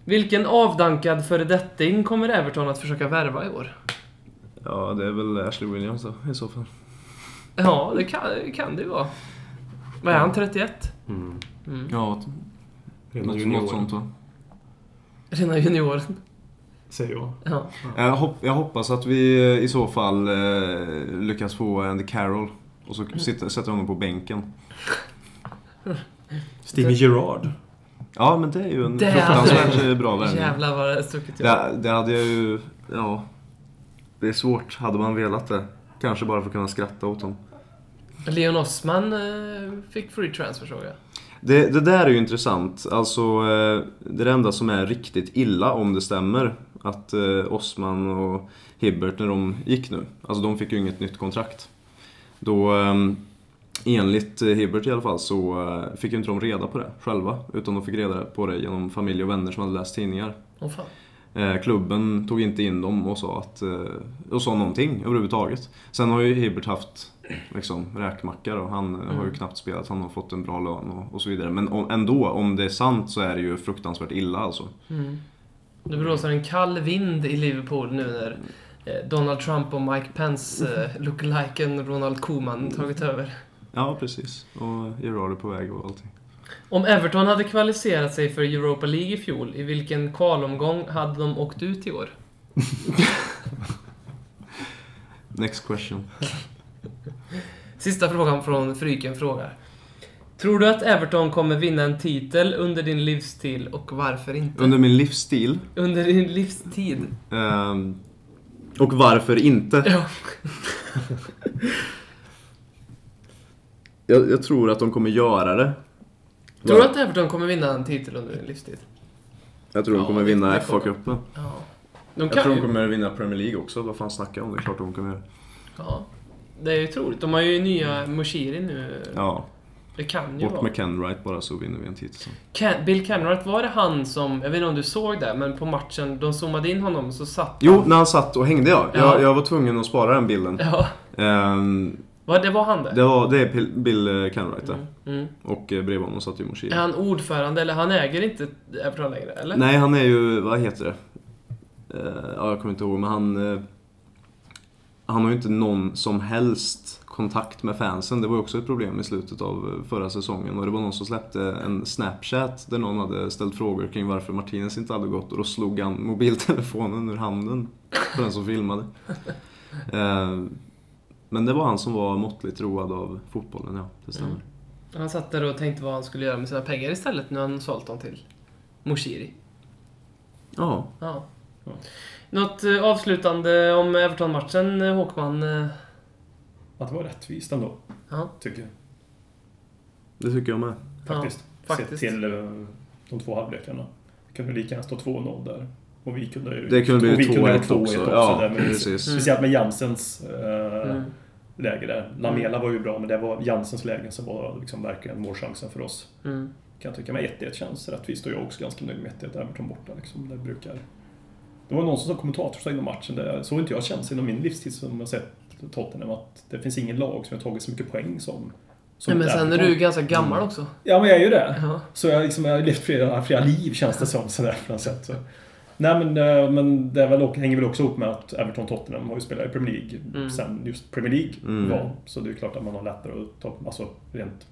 Speaker 4: vilken avdankad föredetting kommer Everton att försöka värva i år?
Speaker 5: Ja, det är väl Ashley Williams då, i så fall.
Speaker 4: Ja, det kan, det kan det ju vara. Vad är han, 31?
Speaker 5: Mm. Ja, något, något sånt då.
Speaker 4: Redan junioren.
Speaker 3: Säger jag.
Speaker 4: Ja.
Speaker 5: Jag, hopp, jag hoppas att vi eh, i så fall eh, lyckas få Andy Carroll och så sitta, sätta honom på bänken.
Speaker 3: Stevie Gerard.
Speaker 5: Ja, men det är ju en
Speaker 4: Det är-
Speaker 5: fruktansvärt eh, bra värvning.
Speaker 4: Jävlar vad det stuckit jag.
Speaker 5: Det, det hade jag ju... Ja. Det är svårt. Hade man velat det. Kanske bara för att kunna skratta åt dem.
Speaker 4: Leon Osman eh, fick free transfer såg jag.
Speaker 5: Det, det där är ju intressant. Alltså, eh, det är det enda som är riktigt illa om det stämmer. Att eh, Osman och Hibbert, när de gick nu, alltså de fick ju inget nytt kontrakt. Då, eh, enligt eh, Hibbert i alla fall, så eh, fick ju inte de reda på det själva. Utan de fick reda på det genom familj och vänner som hade läst tidningar.
Speaker 4: Åh fan.
Speaker 5: Eh, Klubben tog inte in dem och sa, att, eh, och sa någonting överhuvudtaget. Sen har ju Hibbert haft liksom, räkmacka då. Han eh,
Speaker 4: Mm.
Speaker 5: har ju knappt spelat, han har fått en bra lön och, och så vidare. Men om, ändå, om det är sant så är det ju fruktansvärt illa alltså.
Speaker 4: Mm. Det blåser en kall vind i Liverpool nu när eh, Donald Trump och Mike Pence, eh, lookaliken Ronald Koeman, tagit över.
Speaker 5: Ja, precis. Och Gerard är på väg och allting.
Speaker 4: Om Everton hade kvalificerat sig för Europa League i fjol, i vilken kvalomgång hade de åkt ut i år?
Speaker 5: Next question.
Speaker 4: Sista frågan från Fryken frågar. Tror du att Everton kommer vinna en titel under din livstid och varför inte?
Speaker 5: Under min livsstil,
Speaker 4: Under din livstid?
Speaker 5: ehm, och varför inte?
Speaker 4: Ja.
Speaker 5: Jag, jag tror att de kommer göra det.
Speaker 4: Tror du att Everton kommer vinna en titel under din livstid?
Speaker 5: Jag tror de
Speaker 4: Ja,
Speaker 5: kommer
Speaker 4: det-
Speaker 5: vinna
Speaker 4: det kommer.
Speaker 5: FA-cupen.
Speaker 4: Ja. De
Speaker 5: Jag
Speaker 4: kan
Speaker 5: tror
Speaker 4: ju.
Speaker 5: de kommer vinna Premier League också. Vad fan snackar jag om? Det är klart de kommer göra.
Speaker 4: Ja. Det är ju troligt. De har ju nya Moshiri nu.
Speaker 5: Ja,
Speaker 4: Det kan ju
Speaker 5: bort
Speaker 4: vara.
Speaker 5: med Ken Wright bara så vinner vi en titel sen.
Speaker 4: Ken, Bill Kenrath, var det han som... Jag vet inte om du såg det, men på matchen, de zoomade in honom så satt
Speaker 5: Jo, när han satt och hängde ja.
Speaker 4: Ja.
Speaker 5: Jag, jag var tvungen att spara den bilden.
Speaker 4: Ja.
Speaker 5: Ehm,
Speaker 4: Vad- Det var han det?
Speaker 5: det, var, det är Pil- Bill eh, Kenwright det.
Speaker 4: Mm.
Speaker 5: Och eh, bredvid honom satt ju Moshiri.
Speaker 4: Är han ordförande, eller han äger inte Everton längre, eller?
Speaker 5: Nej, han är ju, vad heter det? Eh, ja, jag kommer inte ihåg, men han... eh, han har ju inte någon som helst kontakt med fansen. Det var ju också ett problem i slutet av eh, förra säsongen. Och det var någon som släppte en Snapchat där någon hade ställt frågor kring varför Martinez inte hade gått. Och då slog han mobiltelefonen ur handen på den som filmade. Eh, men det var han som var måttligt road av fotbollen, ja. Det stämmer.
Speaker 4: Mm. Han satt där och tänkte vad han skulle göra med sina pengar istället när han sålt dem till Moshiri.
Speaker 5: Ja,
Speaker 4: Ja.
Speaker 3: Ja.
Speaker 4: Något eh, avslutande om Everton-matchen, eh, Håkman? eh?
Speaker 3: Att det var rättvist ändå,
Speaker 4: Ja,
Speaker 3: tycker jag.
Speaker 5: det tycker jag med.
Speaker 3: Faktiskt.
Speaker 4: faktiskt.
Speaker 3: Sett till eh, de två halvlekarna. Det kunde lika gärna stå 2-0 där. Och vi kunde ju...
Speaker 5: Det kunde
Speaker 3: och
Speaker 5: bli
Speaker 3: vi kunde ha
Speaker 5: 2-1
Speaker 3: 2-1
Speaker 5: också.
Speaker 3: också.
Speaker 5: Ja,
Speaker 3: där, men
Speaker 5: precis.
Speaker 3: Speciellt med Jansens eh,
Speaker 4: Mm.
Speaker 3: läge där. Lamela var ju bra, men det var Jansens lägen som var liksom verkligen målchansen för oss.
Speaker 4: Mm.
Speaker 3: Kan jag tycka. Men 1-1 känns rättvist och jag är också ganska nöjd med 1-1 Everton borta. Liksom. Det, brukar... det var någon som sa kommentator sa innan matchen, det så har inte jag känt inom min livstid som jag sett Tottenham, att det finns ingen lag som har tagit så mycket poäng som, som
Speaker 4: Nej, men
Speaker 3: ett Mm.
Speaker 4: sen är
Speaker 3: Everton.
Speaker 4: du ganska gammal också.
Speaker 3: Ja, men jag är ju det.
Speaker 4: Ja.
Speaker 3: Så jag, liksom, jag har levt flera, flera liv känns det som. Sådär, på något sätt. Så. Nej, men, eh, men det är väl, hänger väl också ihop med att Everton och Tottenham har ju spelat i Premier League sen just Premier League
Speaker 5: Mm.
Speaker 3: var. Så det är klart att man har lättare att ta, alltså rent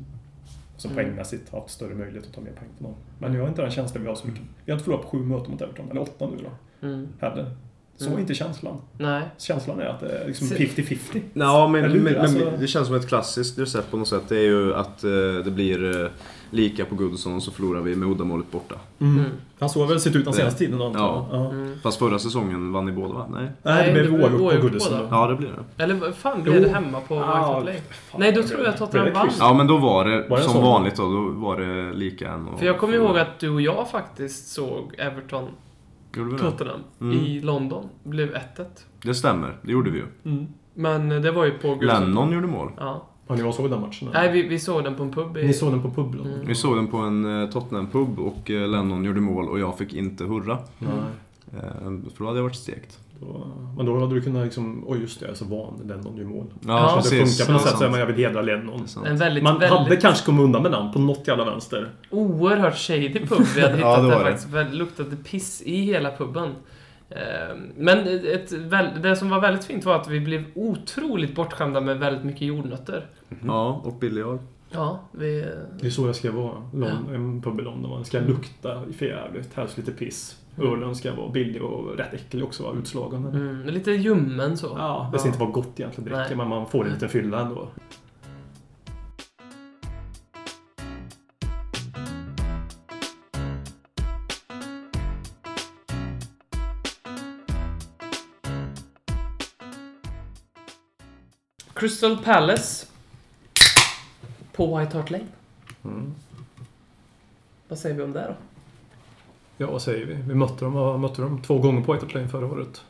Speaker 3: alltså, poängmässigt, haft större möjlighet att ta mer poäng på någon. Men jag har inte den känslan vi har så mycket. Vi har inte förlorat på sju möten mot Everton, eller åtta nu då,
Speaker 4: Mm.
Speaker 3: heller. Så är inte känslan.
Speaker 4: Nej.
Speaker 3: Känslan är att det är liksom
Speaker 4: Så-
Speaker 3: 50-50.
Speaker 5: Ja, men,
Speaker 3: Eller hur?
Speaker 5: men, men
Speaker 3: Alltså-
Speaker 5: det känns som ett klassiskt recept på något sätt. Det är ju att eh, det blir eh, lika på Goodson och så förlorar vi med uddamålet borta.
Speaker 3: Mm. Han så har väl sett ut den
Speaker 5: senaste
Speaker 3: senaste tiden antar
Speaker 5: antar jag.
Speaker 3: jag. Ja. Mm.
Speaker 4: Mm.
Speaker 5: Fast förra säsongen vann ni båda va? Nej?
Speaker 3: Nej, det
Speaker 4: Nej,
Speaker 3: blev
Speaker 4: det blev
Speaker 3: oavgjort
Speaker 4: oavgjort
Speaker 3: på
Speaker 4: båda.
Speaker 3: Goodison då.
Speaker 5: Ja, det blir det.
Speaker 4: Eller vad fan blev
Speaker 3: Jo.
Speaker 4: det hemma på
Speaker 3: Ah,
Speaker 4: White Hart Lane?
Speaker 3: fan.
Speaker 4: Nej, då tror jag att Tottenham
Speaker 3: Blev det
Speaker 4: vann.
Speaker 3: kryss?
Speaker 5: Ja, men då var det,
Speaker 3: Var det
Speaker 5: som
Speaker 3: så?
Speaker 5: vanligt då, då var det lika än. och-
Speaker 4: För jag kommer ihåg att du och jag faktiskt såg Everton
Speaker 5: Gjorde vi det?
Speaker 4: Tottenham i London. Blev 1-1.
Speaker 5: det stämmer, det gjorde vi ju.
Speaker 4: Men eh, det var ju på...
Speaker 5: Lennon gjorde mål.
Speaker 4: Ja.
Speaker 3: Har ni var såg den matchen? eller?
Speaker 4: Nej, vi, vi Mm. såg den på en pub i...
Speaker 3: Ni såg den på pub då?
Speaker 5: Vi såg den på en eh, Tottenham-pub och eh, Lennon gjorde mål och jag fick inte hurra.
Speaker 3: Nej.
Speaker 5: Eh, För då hade jag varit stekt.
Speaker 3: Då, men då hade du kunnat liksom, oj just det, jag är så van, Lennon gör mål.
Speaker 4: Ja,
Speaker 3: Alltså, det funkar på något
Speaker 5: Ja,
Speaker 3: sätt, så
Speaker 5: sant.
Speaker 3: här, men jag vill hedra Lennon.
Speaker 5: Sant.
Speaker 4: En väldigt,
Speaker 3: Man
Speaker 4: väldigt
Speaker 3: hade kanske kommit undan med namn på något jävla vänster.
Speaker 4: oerhört shady pub vi hade hittat
Speaker 5: Ja, det
Speaker 4: där
Speaker 5: var det.
Speaker 4: faktiskt. Det luktade piss i hela puben. Eh, Men ett, väl- det som var väldigt fint var att vi blev otroligt bortskämda med väldigt mycket jordnötter.
Speaker 5: Ja, och biljard.
Speaker 4: Ja, vi...
Speaker 3: Det är så jag ska vara. Lon- En pub i London. Man ska lukta för jävligt, helst lite piss. Ölen ska vara billig och rätt äcklig också, va? utslagande.
Speaker 4: Mm, lite ljummen så.
Speaker 3: Ja, det ska inte vara gott egentligen att dricka,
Speaker 4: Nej.
Speaker 3: men man får en liten fylla ändå.
Speaker 4: Crystal Palace. På White Hart Lane.
Speaker 3: Mm.
Speaker 4: Vad säger vi om det då?
Speaker 3: Ja, vad säger vi? Vi mötte dem, ja, mötte dem två gånger på White Hart Lane förra året.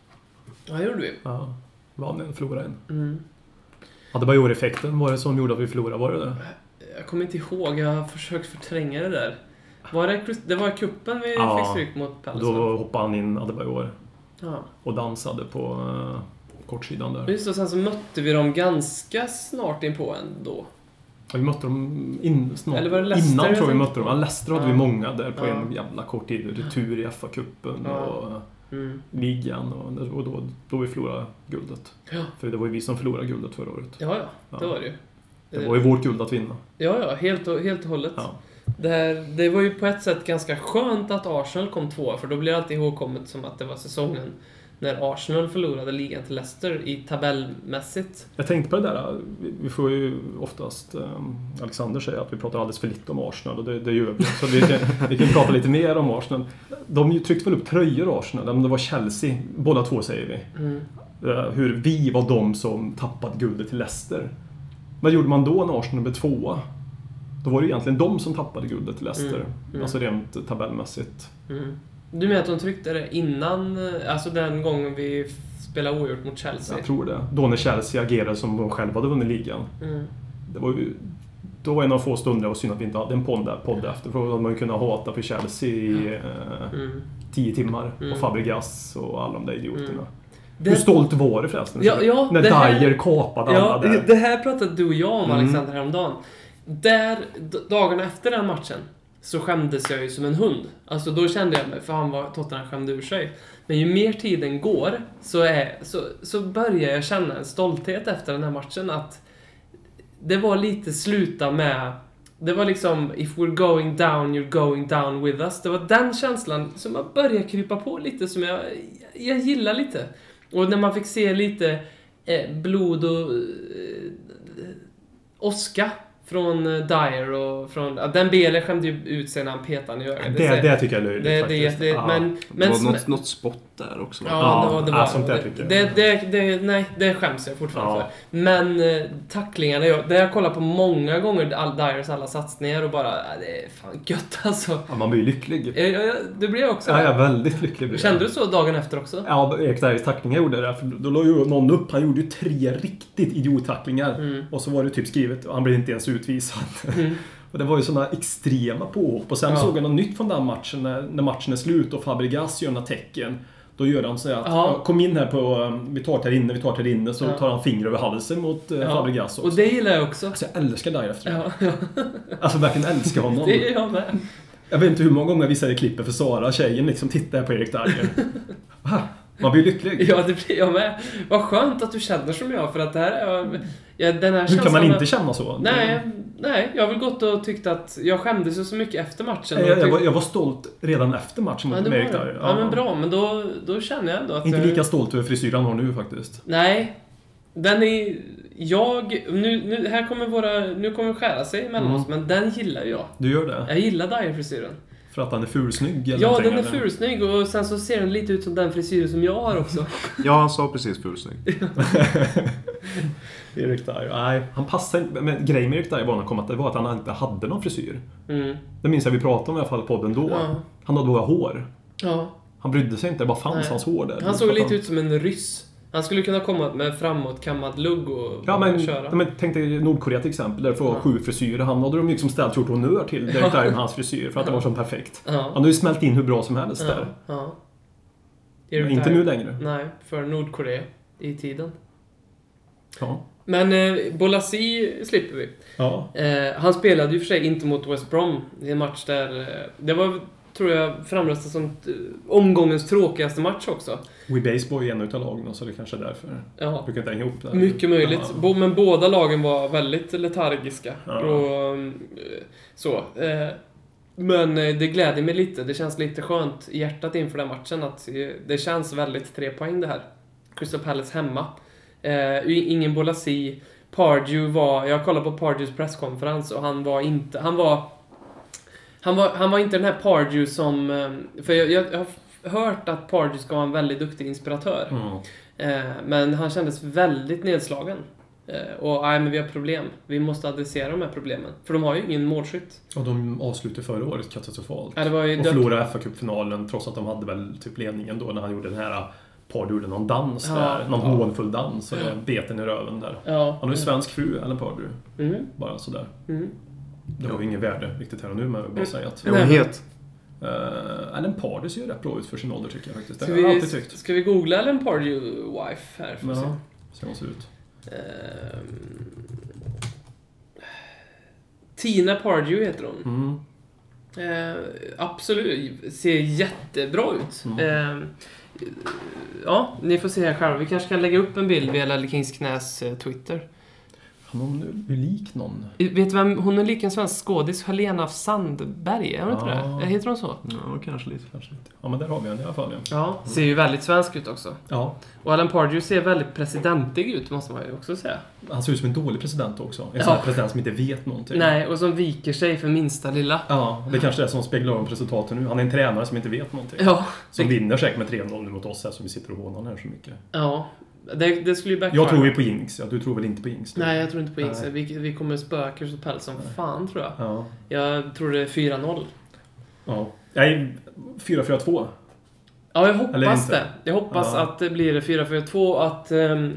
Speaker 4: Ja, det gjorde vi.
Speaker 3: Ja, vann en, förlorade en.
Speaker 4: Mm.
Speaker 3: Adebayor-effekten var det som gjorde att vi förlorade, var det det?
Speaker 4: Jag kommer inte ihåg, jag har försökt förtränga det där. Var det, Crys- det var kuppen vi
Speaker 3: Ja,
Speaker 4: fick stryk mot Palace va?
Speaker 3: Då hoppade han in Adebayor
Speaker 4: Ja.
Speaker 3: och dansade på eh, kortsidan där.
Speaker 4: Just det, och sen så mötte vi dem ganska snart inpå ändå.
Speaker 3: Ja, vi mötte dem in, snart,
Speaker 4: Eller var det Leicester
Speaker 3: innan
Speaker 4: jag
Speaker 3: tror jag vi
Speaker 4: tänkte
Speaker 3: mötte dem. Ja, Leicester hade
Speaker 4: Ja.
Speaker 3: vi många där på
Speaker 4: Ja.
Speaker 3: en jävla kort tid. Retur i FA-cupen
Speaker 4: Ja.
Speaker 3: och
Speaker 4: Mm.
Speaker 3: ligan och, och då, då vi förlorade guldet.
Speaker 4: Ja.
Speaker 3: För det var ju vi som förlorade guldet förra året.
Speaker 4: Ja, ja, det
Speaker 3: Ja.
Speaker 4: var det ju. Eh.
Speaker 3: Det var ju vårt guld att vinna.
Speaker 4: Ja, ja, helt och, helt och hållet.
Speaker 3: Ja.
Speaker 4: Det, här, det var ju på ett sätt ganska skönt att Arsenal kom tvåa, för då blir det alltid ihågkommet som att det var säsongen när Arsenal förlorade ligan till Leicester i tabellmässigt.
Speaker 3: Jag tänkte på det där, vi- vi får ju oftast, ehm, Alexander säger att vi pratar alldeles för lite om Arsenal och det, det gör vi. Så vi kan, vi kan prata lite mer om Arsenal. De ju tryckte väl upp tröjor Arsenal, men det var Chelsea, båda två säger vi. Eh, Hur vi var de som tappat guldet till Leicester. Vad gjorde man då när Arsenal blev tvåa? Då var det egentligen de som tappade guldet till Leicester, alltså rent tabellmässigt.
Speaker 4: Du menar att de tryckte det innan, eh, alltså den gången vi f- spelade oavgjort mot Chelsea?
Speaker 3: Jag tror det. Då när Chelsea agerade som de själva hade vunnit ligan.
Speaker 4: Mm.
Speaker 3: Det var ju, då var en av få stunder det var synd att vi inte hade en podd, där, podd efter. För då hade man ju kunnat hata för Chelsea i eh,
Speaker 4: Mm.
Speaker 3: tio timmar.
Speaker 4: Mm.
Speaker 3: Och Fabregas och alla de där idioterna.
Speaker 4: Det-
Speaker 3: Hur stolt var du förresten?
Speaker 4: Ja, ja,
Speaker 3: när
Speaker 4: det här-
Speaker 3: Dyer kapade
Speaker 4: Ja,
Speaker 3: alla där. Mm.
Speaker 4: det här pratade du och jag om Alexander häromdagen. Där, d- dagarna efter den matchen, så skämdes jag ju som en hund. Alltså då kände jag mig, fan vad Tottenham skämde ur sig. Men ju mer tiden går, så, är, så, så börjar jag känna en stolthet efter den här matchen att det var lite sluta med det var liksom if we're going down you're going down with us. Det var den känslan som jag började krypa på lite som jag, jag gillar lite. Och när man fick se lite eh, blod och eh, oska från eh, Dyer och från... Ja, den Bele skämde ju ut sig när han petade i ögat.
Speaker 3: det,
Speaker 4: ser-
Speaker 3: det tycker jag är löjligt
Speaker 4: det, det,
Speaker 3: faktiskt.
Speaker 4: det,
Speaker 3: Ja.
Speaker 4: men,
Speaker 5: Det
Speaker 4: men
Speaker 5: var
Speaker 4: som-
Speaker 5: något, något spott där också. va?
Speaker 4: Ja,
Speaker 3: Ja,
Speaker 4: det var det.
Speaker 3: ja,
Speaker 4: Var,
Speaker 3: sånt där tycker jag.
Speaker 4: det, det, det, nej, det skäms jag fortfarande
Speaker 3: Ja.
Speaker 4: för. Men eh, tacklingarna, jag, det har jag kollat på många gånger, all Dyers alla satsningar och bara, "Ah, det är fan gött alltså.
Speaker 3: Ja, man blir ju lycklig.
Speaker 4: Jag, jag, jag- det blir jag också.
Speaker 3: Ja, jag är väldigt lycklig. blir jag.
Speaker 4: Kände du så dagen efter också?
Speaker 3: Ja, Erik Dyers tacklingar gjorde det. För då la ju någon upp. Han gjorde ju tre riktigt idiottacklingar.
Speaker 4: Mm.
Speaker 3: Och så var det typ skrivet han blev inte ens utvisad. Och det var ju sådana extrema påhopp. Och sen
Speaker 4: Ja.
Speaker 3: såg jag något nytt från den matchen när, när matchen är slut och Fabregas gör några tecken. Då gör han så här att
Speaker 4: Ja.
Speaker 3: "Ja, kom in här på, eh, vi tar det här inne, vi tar det här inne. Så
Speaker 4: Ja.
Speaker 3: tar han finger över halsen mot eh,
Speaker 4: Ja.
Speaker 3: Fabregas också.
Speaker 4: Och det gillar jag också.
Speaker 3: Alltså jag älskar Dyer efter det.
Speaker 4: Ja, ja,
Speaker 3: Alltså verkligen älskar honom.
Speaker 4: det gör jag med.
Speaker 3: Jag vet inte hur många gånger vi säger klippet för Sara, tjejen liksom, titta här på Erik Dyer. Va? Man blir lycklig.
Speaker 4: Ja, det blir jag med. Vad skönt att du känner som jag, för att det här är... Ja, den här
Speaker 3: Hur kan
Speaker 4: känslan
Speaker 3: man
Speaker 4: av-
Speaker 3: inte känna så?
Speaker 4: Nej, nej, jag har väl gått och tyckt att jag skämdes ju så mycket efter matchen.
Speaker 3: Jag,
Speaker 4: och
Speaker 3: jag,
Speaker 4: tyck-
Speaker 3: var, jag var stolt redan efter matchen
Speaker 4: Ja,
Speaker 3: mot
Speaker 4: det var
Speaker 3: Erik
Speaker 4: det.
Speaker 3: där.
Speaker 4: Ja, men bra. Men då, då känner jag ändå att...
Speaker 3: Inte
Speaker 4: jag-
Speaker 3: lika stolt över frisyren har nu faktiskt.
Speaker 4: Nej. Den är... Jag... Nu, nu, här kommer våra... Nu kommer det skära sig mellan
Speaker 3: Mm.
Speaker 4: oss, men den gillar jag.
Speaker 3: Du gör det?
Speaker 4: Jag gillar Dyer-frisyren.
Speaker 3: För att han är fulsnygg eller
Speaker 4: Eh. Ja,
Speaker 3: någonting,
Speaker 4: den är
Speaker 3: eller?
Speaker 4: fulsnygg och sen så ser den lite ut som den frisyr som jag har också.
Speaker 5: Ja, han sa precis fulsnygg.
Speaker 3: Erik Dyer. Nej, han passar inte. Men grejen med Erik Dyer var, när han kom att det var att han inte hade någon frisyr.
Speaker 4: Mm.
Speaker 3: Det minns jag vi pratade om i alla fall i podden då.
Speaker 4: Ja.
Speaker 3: Han hade bara hår.
Speaker 4: Ja.
Speaker 3: Han brydde sig inte, det bara fanns
Speaker 4: Nej.
Speaker 3: hans hår där.
Speaker 4: Han såg
Speaker 3: Att
Speaker 4: lite ut som en ryss. Han skulle kunna komma med framåtkammad lugg och
Speaker 3: Ja men,
Speaker 4: köra.
Speaker 3: ja, men tänk dig Nordkorea till exempel, där du får
Speaker 4: Ja.
Speaker 3: sju frisyrer. Han hade de liksom ställt gjort honnör till Derek Dyer med hans frisyr för att det var så perfekt.
Speaker 4: Ja.
Speaker 3: Han hade ju smält in hur bra som helst
Speaker 4: ja.
Speaker 3: där.
Speaker 4: ja.
Speaker 3: Men inte nu längre.
Speaker 4: Nej, för Nordkorea i tiden.
Speaker 3: Ja.
Speaker 4: Men eh, Bolasi slipper vi.
Speaker 3: ja.
Speaker 4: Eh, han spelade ju för sig inte mot West Brom i en match där... Eh, det var, tror jag, framröstat som eh, omgångens tråkigaste match också.
Speaker 3: We Baseboy är en utav lagen så det kanske är därför. Jag
Speaker 4: Ja,
Speaker 3: brukar inte hänga ihop det.
Speaker 4: mycket möjligt.
Speaker 3: Ja.
Speaker 4: Bo, men båda lagen var väldigt letargiska.
Speaker 3: Ja.
Speaker 4: Och, eh, så. Eh, men eh, det gläder mig lite. Det känns lite skönt i hjärtat inför den matchen att eh, det känns väldigt tre poäng det här. Crystal Palace hemma. Eh, i- ingen Bolasi. Pardew var... Jag kollade på Pardews presskonferens och han var inte... Han var... Han var, han var inte den här Pardew som... eh, För jag, jag har f- hört att Pardew ska vara en väldigt duktig inspiratör.
Speaker 3: Mm.
Speaker 4: Eh, men han kändes väldigt nedslagen. Eh, och nej, men vi har problem. Vi måste adressera de här problemen. För de har ju ingen målskytt.
Speaker 3: Och de avslutade förra året katastrofalt.
Speaker 4: Ja, Äh, det var ju
Speaker 3: och
Speaker 4: dött.
Speaker 3: förlorade FA-cupfinalen trots att de hade väl typ ledningen då när han gjorde den här Pardew gjorde någon dans
Speaker 4: Ja.
Speaker 3: där. Någon hånfull dans. Och det bet en i röven där.
Speaker 4: Ja.
Speaker 3: Han har ju svensk fru, Ellen Pardew.
Speaker 4: Mm.
Speaker 3: Bara sådär.
Speaker 4: Mm.
Speaker 3: Det har ju inget värde riktigt här och nu, men jag vill bara säga att...
Speaker 5: Är hon het?
Speaker 3: Eh, Ellen Pardy ser ju rätt bra ut för sin ålder tycker jag faktiskt. Det
Speaker 4: Ska
Speaker 3: har jag
Speaker 4: vi,
Speaker 3: alltid tyckt.
Speaker 4: ska vi googla Ellen Pardew Wife här? För att se?
Speaker 3: Ja, ser hon ser ut.
Speaker 4: Ehm, Tina Pardew heter hon.
Speaker 3: Mm.
Speaker 4: Eh, absolut, ser jättebra ut.
Speaker 3: Mm.
Speaker 4: Eh, ja, ni får se här själva. Vi kanske kan lägga upp en bild via Lelle Kings knäs eh, Twitter.
Speaker 3: Han är nu lik någon.
Speaker 4: Eh, Vet du vem? Hon är lik en svensk skådis, Helena af Sandberg, är hon inte
Speaker 3: Ja.
Speaker 4: det? Eh, Heter hon så?
Speaker 5: Ja, kanske lite.
Speaker 3: Kanske inte. Ja men där har vi henne i alla fall. Ja.
Speaker 4: Ja. Mm. Ser ju väldigt svensk ut också.
Speaker 3: ja.
Speaker 4: Och Alan Pardew ser väldigt presidentig ut, måste man ju också säga.
Speaker 3: Han ser ut som en dålig president också. En
Speaker 4: Ja.
Speaker 3: sån här president som inte vet någonting.
Speaker 4: Nej, och som viker sig för minsta lilla.
Speaker 3: Ja, det kanske är det som speglar om resultaten nu. Han är en tränare som inte vet någonting.
Speaker 4: Ja.
Speaker 3: Som vinner säkert med 3-0 nu mot oss här som vi sitter och hånar här så mycket.
Speaker 4: Ja. Det, det skulle ju backfire.
Speaker 3: Jag tror ju på Jinx, ja. Du tror väl inte på Jinx? du?
Speaker 4: Nej, jag tror inte på
Speaker 3: Nej.
Speaker 4: Ingse. Vi, vi kommer spöa Crystal Palace som fan, tror jag.
Speaker 3: Ja.
Speaker 4: Jag tror det är 4-0.
Speaker 3: ja. Nej, 4-4-2.
Speaker 4: Ja, jag
Speaker 3: Eller
Speaker 4: hoppas
Speaker 3: inte.
Speaker 4: det. Jag hoppas
Speaker 3: Ja.
Speaker 4: att det blir 4-4-2. Att ehm,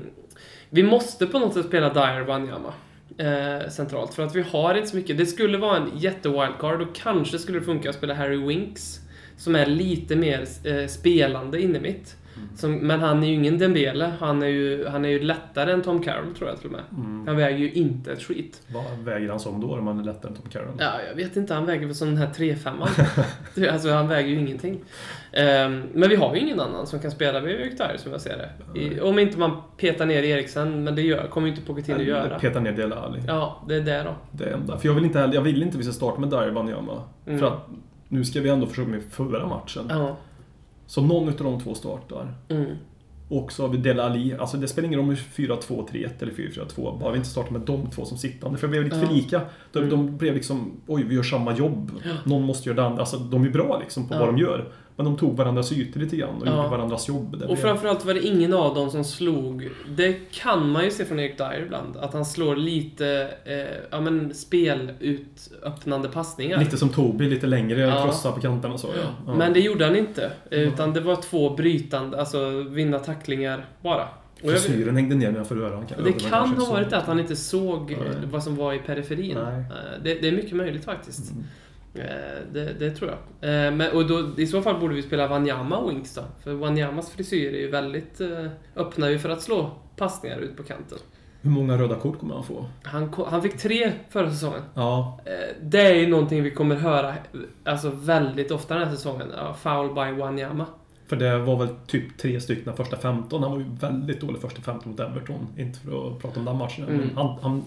Speaker 4: vi måste på något sätt spela Dyer Wanyama eh, centralt. För att vi har inte så mycket. Det skulle vara en jätte-wildcard och kanske skulle det funka att spela Harry Winks. Som är lite mer eh, spelande inne mitt.
Speaker 3: Mm.
Speaker 4: Som, men han är ju ingen Dembele. Han är ju, han är ju lättare än Tom Carroll tror jag till och med.
Speaker 3: Mm.
Speaker 4: Han väger ju inte ett skit.
Speaker 3: Vad väger han som då om han är lättare än Tom Carroll?
Speaker 4: Ja, jag vet inte. Han väger väl som den här 3-5an. Du, alltså, han väger ju ingenting. Ehm, men vi har ju ingen annan som kan spela. Vi har ju där som jag ser det. I, om inte man petar ner Eriksen, men det gör, kommer ju inte Pochettino göra.
Speaker 3: Peta ner Dele Alli.
Speaker 4: Ja, det är det då.
Speaker 3: Det enda. För jag vill inte heller, jag vill inte vi ska starta med Darja Wanyama.
Speaker 4: Mm.
Speaker 3: För att nu ska vi ändå försöka med förra matchen.
Speaker 4: Ja.
Speaker 3: Så någon utav de två startar.
Speaker 4: Mm.
Speaker 3: Och så har vi Dele Alli. Alltså det spelar ingen roll om vi är 4-2, 3-1 eller 4-4-2. Bara vi inte startar med de två som sittande. För vi är lite
Speaker 4: Ja. Mm.
Speaker 3: för lika. De, de blev liksom, oj vi gör samma jobb. Någon måste göra det andra. Alltså de är bra liksom på
Speaker 4: Ja.
Speaker 3: vad de gör. Men de tog varandras ytor lite grann och
Speaker 4: Ja.
Speaker 3: gjorde varandras jobb. Det blev-
Speaker 4: Och framförallt var det ingen av dem som slog. Det kan man ju se från Erik Dyer ibland. Att han slår lite eh, ja, men spelutöppnande passningar.
Speaker 3: Lite som Tobi, lite längre,
Speaker 4: Ja.
Speaker 3: krossar på kanterna och så. Ja. Ja. Mm.
Speaker 4: Men det gjorde han inte. Utan det var två brytande, alltså vinna tacklingar bara. Och jag,
Speaker 3: Frisyren hängde ner när jag förde öronen.
Speaker 4: det
Speaker 3: ögonen
Speaker 4: kan
Speaker 3: kanske,
Speaker 4: ha
Speaker 3: så-
Speaker 4: varit det att han inte såg eh,
Speaker 3: Nej.
Speaker 4: vad som var i periferin.
Speaker 3: Nej.
Speaker 4: Eh, Det, det är mycket möjligt faktiskt. Eh, Det, det tror jag. Eh, Men, och då, I så fall borde vi spela Wanyama Winks då. För Wanyamas frisyr är ju väldigt... eh, öppnar ju för att slå passningar ut på kanten.
Speaker 3: Hur många röda kort kommer han få?
Speaker 4: Han, ko- han fick tre förra säsongen.
Speaker 3: Ja,
Speaker 4: Eh, Det är ju någonting vi kommer höra eh, alltså, väldigt ofta den här säsongen. Ja, Foul by Wanyama.
Speaker 3: för det var väl typ tre stycken de första 15. Han var ju väldigt dålig första 15 mot Everton. Inte för att prata om den matchen.
Speaker 4: Mm.
Speaker 3: Men han, han,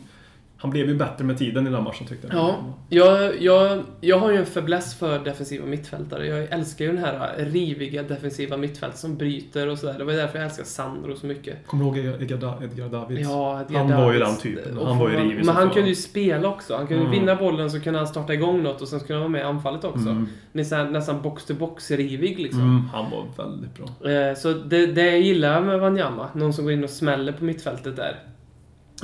Speaker 3: han blev ju bättre med tiden i den matchen tyckte jag.
Speaker 4: Ja, jag, jag, jag har ju en fäbless för defensiva mittfältare. Jag älskar ju den här riviga defensiva mittfältet som bryter och sådär. Det var ju därför jag älskar Sandro så mycket.
Speaker 3: Kommer du ihåg Edgar, Da- Edgar Davids?
Speaker 4: Ja, Edgar
Speaker 3: Han var ju
Speaker 4: Davids.
Speaker 3: den typen.
Speaker 4: Och
Speaker 3: Han var ju
Speaker 4: fan,
Speaker 3: rivig
Speaker 4: Men
Speaker 3: som
Speaker 4: han
Speaker 3: fan.
Speaker 4: kunde ju spela också. Han kunde
Speaker 3: Mm.
Speaker 4: vinna bollen så kunde han starta igång något och sen skulle han vara med i anfallet också.
Speaker 3: Mm.
Speaker 4: Nästan, nästan box-to-box-rivig liksom.
Speaker 3: Mm, han var väldigt bra.
Speaker 4: Eh, Så det, det jag gillar med Wanyama, någon som går in och smäller på mittfältet där.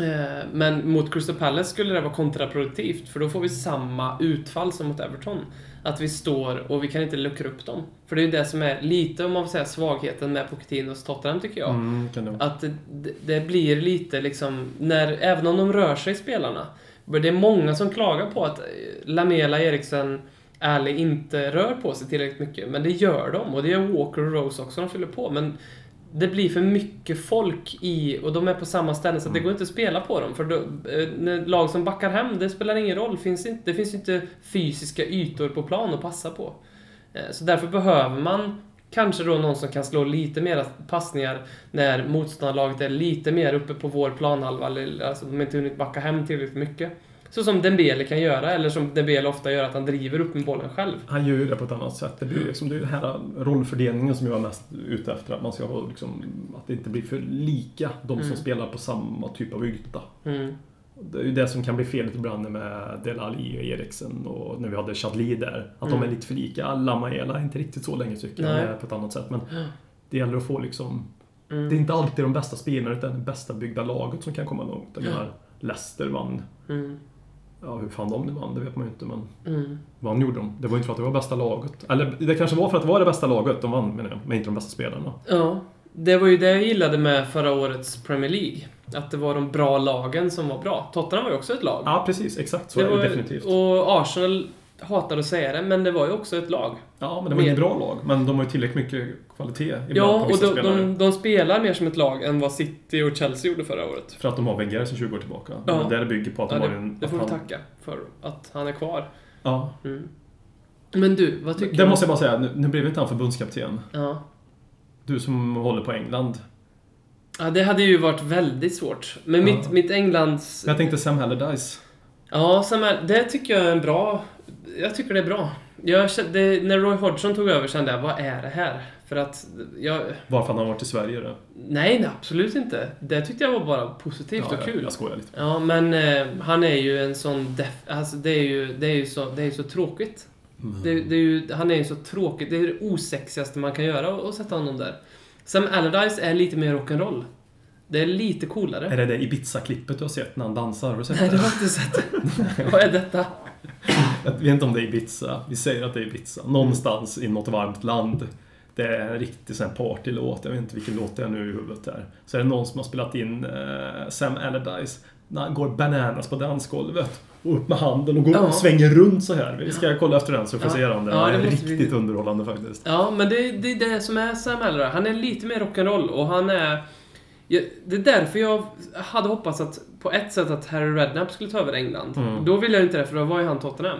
Speaker 4: Eh, Men mot Crystal Palace skulle det vara kontraproduktivt, för då får vi samma utfall som mot Everton. Att vi står och vi kan inte luckra upp dem. För det är ju det som är lite, om man får säga, svagheten med Pochettinos Tottenham tycker jag.
Speaker 3: Mm, kan det vara.
Speaker 4: Att det, det blir lite liksom, när, även om de rör sig spelarna. Men det är många som klagar på att eh, Lamela, Eriksen, Ali inte rör på sig tillräckligt mycket. Men det gör de och det gör Walker och Rose också, de fyller på. Men det blir för mycket folk i, och de är på samma ställe så att det går inte att spela på dem. För då, eh, när lag som backar hem, det spelar ingen roll. Finns inte, det finns ju inte fysiska ytor på plan att passa på. Eh, Så därför behöver man kanske då någon som kan slå lite mer passningar när motståndarlaget är lite mer uppe på vår planhalva, eller alltså de har inte hunnit backa hem tillräckligt mycket. Så som Dembele kan göra, eller som Dembele ofta gör, att han driver upp med bollen själv.
Speaker 3: Han gör ju det på ett annat sätt. Det blir ju liksom det är den här rollfördelningen som jag är mest ute efter. Att man ska vara liksom, att det inte blir för lika. De som spelar på samma typ av yta.
Speaker 4: Mm.
Speaker 3: Det är ju det som kan bli felet ibland med Delali och Eriksen och när vi hade Chadli där. Att de är lite för lika. Lamaela är inte riktigt så länge tycker jag.
Speaker 4: Mm. Nej.
Speaker 3: Han är på ett annat sätt. Men det gäller att få liksom...
Speaker 4: Mm.
Speaker 3: Det är inte alltid de bästa spelarna utan det bästa byggda laget som kan komma långt. Jag menar, Leicester vann.
Speaker 4: Mm.
Speaker 3: Ja, hur fan de nu vann, det vet man ju inte. Men
Speaker 4: Mm.
Speaker 3: vann gjorde de. Det var ju inte för att det var bästa laget. Eller det kanske var för att det var det bästa laget de vann menar jag. Men inte de bästa spelarna.
Speaker 4: Ja, det var ju det jag gillade med förra årets Premier League. Att det var de bra lagen som var bra. Tottenham var ju också ett lag.
Speaker 3: Ja, precis. Exakt. Så
Speaker 4: det
Speaker 3: är det
Speaker 4: var,
Speaker 3: definitivt.
Speaker 4: Och Arsenal hatar att säga det, men det var ju också ett lag.
Speaker 3: Ja, men det var inget bra lag. Men de har ju tillräckligt mycket kvalitet ibland
Speaker 4: Ja,
Speaker 3: på
Speaker 4: och
Speaker 3: vissa
Speaker 4: de,
Speaker 3: spelare.
Speaker 4: de, de spelar mer som ett lag än vad City och Chelsea gjorde förra året.
Speaker 3: För att de har väggar sedan 20 år tillbaka.
Speaker 4: Ja.
Speaker 3: Ja. Det där bygger på att
Speaker 4: Ja,
Speaker 3: de har
Speaker 4: det,
Speaker 3: en...
Speaker 4: det får
Speaker 3: att
Speaker 4: vi
Speaker 3: han-
Speaker 4: tacka för, att han är kvar.
Speaker 3: Ja.
Speaker 4: Mm. Men du, vad tycker
Speaker 3: Det
Speaker 4: du?
Speaker 3: måste jag bara säga, nu, nu blev inte han förbundskapten.
Speaker 4: Ja.
Speaker 3: Du som håller på England.
Speaker 4: ja, det hade ju varit väldigt svårt. Men
Speaker 3: Ja.
Speaker 4: mitt, mitt Englands...
Speaker 3: Jag tänkte Sam Allardyce.
Speaker 4: Ja, Sam Al- det tycker jag är en bra... Jag tycker det är bra. Jag kände, när Roy Hodgson tog över kände jag, vad är det här? För att jag...
Speaker 3: Bara för att han har varit i Sverige. Det.
Speaker 4: Nej, nej, absolut inte. Det tyckte jag var bara positivt och
Speaker 3: jag,
Speaker 4: kul.
Speaker 3: jag skojar lite.
Speaker 4: Ja, men eh, han är ju en sån def- alltså, det, är ju, det är ju så, det är ju så tråkigt.
Speaker 3: Mm.
Speaker 4: Det, det är ju, han är ju så tråkig. Det är det osexigaste man kan göra att- att sätta honom där. Sam Allardyce är lite mer rock'n'roll. Det är lite coolare.
Speaker 3: Är det det Ibiza-klippet du har sett när han dansar? Har du sett
Speaker 4: Nej, det
Speaker 3: det?
Speaker 4: har jag inte sett. Vad är detta?
Speaker 3: Jag vet inte om det är Ibiza. Vi säger att det är Ibiza.
Speaker 4: Mm.
Speaker 3: Någonstans i något varmt land. Det är en riktig sån här partylåt. Jag vet inte vilken låt det är nu i huvudet där. Så är det någon som har spelat in eh, Sam Allardyce när han går bananas på dansgolvet. Och upp med handen och går
Speaker 4: Ja.
Speaker 3: och svänger runt så här. Vi ska kolla efter den så får vi
Speaker 4: Ja.
Speaker 3: se om den
Speaker 4: Ja, det
Speaker 3: är
Speaker 4: måste vi-
Speaker 3: riktigt underhållande faktiskt.
Speaker 4: Ja, men det, det är det som är Sam Allardyce. Han är lite mer rock'n'roll och han är... Jag, det är därför jag hade hoppats att på ett sätt att Harry Redknapp skulle ta över England.
Speaker 3: Mm.
Speaker 4: Då ville jag inte det, för då var ju han Tottenham.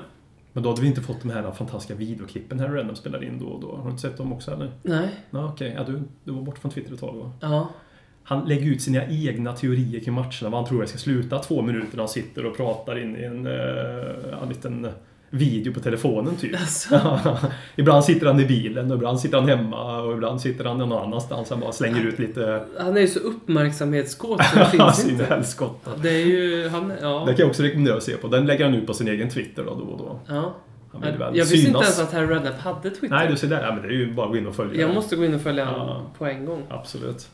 Speaker 3: Men då hade vi inte fått de här fantastiska videoklippen Harry Redknapp spelar in då och då. Har du inte sett dem också eller?
Speaker 4: Nej.
Speaker 3: Nej, okej. Ja, du, du var borta från Twitter ett tag va?
Speaker 4: Ja.
Speaker 3: Han lägger ut sina egna teorier kring matcherna, vad han tror det ska sluta två minuter när han sitter och pratar in i en, eh, en liten video på telefonen typ.
Speaker 4: Alltså.
Speaker 3: ibland sitter han i bilen, och ibland sitter han hemma och ibland sitter han någon annanstans. Han bara slänger ut lite
Speaker 4: Han är ju så uppmärksamhetskåt så det finns
Speaker 3: sina
Speaker 4: inte.
Speaker 3: helskott.
Speaker 4: Det är ju... Han, ja.
Speaker 3: Det kan jag också rekommendera att se på. Den lägger han ut på sin egen Twitter då, då och då.
Speaker 4: ja.
Speaker 3: Han vill
Speaker 4: Jag
Speaker 3: väl
Speaker 4: visste inte
Speaker 3: synas.
Speaker 4: ens att Harry Redknapp hade Twitter.
Speaker 3: Nej, du ser där. Ja, men det är ju bara att gå in och följa.
Speaker 4: Jag måste gå in och följa honom
Speaker 3: Ja.
Speaker 4: på en gång.
Speaker 3: Absolut.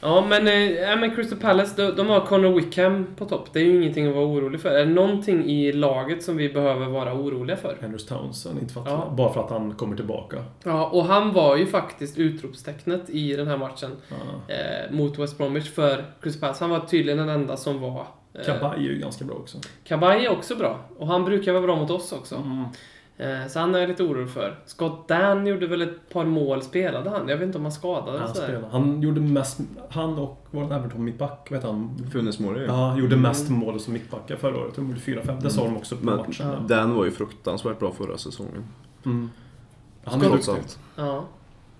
Speaker 4: Ja, men, eh, ja, men Crystal Palace, de, de har Connor Wickham på topp. Det är ju ingenting att vara orolig för. Är det någonting i laget som vi behöver vara oroliga för?
Speaker 3: Andrews Townsend, inte för att,
Speaker 4: Ja.
Speaker 3: bara för att han kommer tillbaka.
Speaker 4: Ja, och han var ju faktiskt utropstecknet i den här matchen
Speaker 3: Ja.
Speaker 4: eh, mot West Bromwich för Crystal Palace. Han var tydligen den enda som var... eh,
Speaker 3: Kabaj är ju ganska bra också.
Speaker 4: Kabaj är också bra. Och han brukar vara bra mot oss också. Eh, Så han är jag lite orolig för. Scott Dan gjorde väl ett par mål, spelade han? Jag vet inte om han skadade
Speaker 3: Han,
Speaker 4: eller sådär.
Speaker 3: spelade. han gjorde mest... Han och vår Everton mittback, vet han?
Speaker 5: Funes Mori.
Speaker 3: Ja, han
Speaker 4: Mm.
Speaker 3: gjorde mest mål som mittbackar förra året. De gjorde 4-5. Det sa de också på
Speaker 5: Mm. Men
Speaker 3: matchen.
Speaker 4: Ja.
Speaker 5: den var ju fruktansvärt bra förra säsongen.
Speaker 3: Mm. Han är
Speaker 5: Trots
Speaker 3: duktig.
Speaker 5: allt.
Speaker 4: Ja.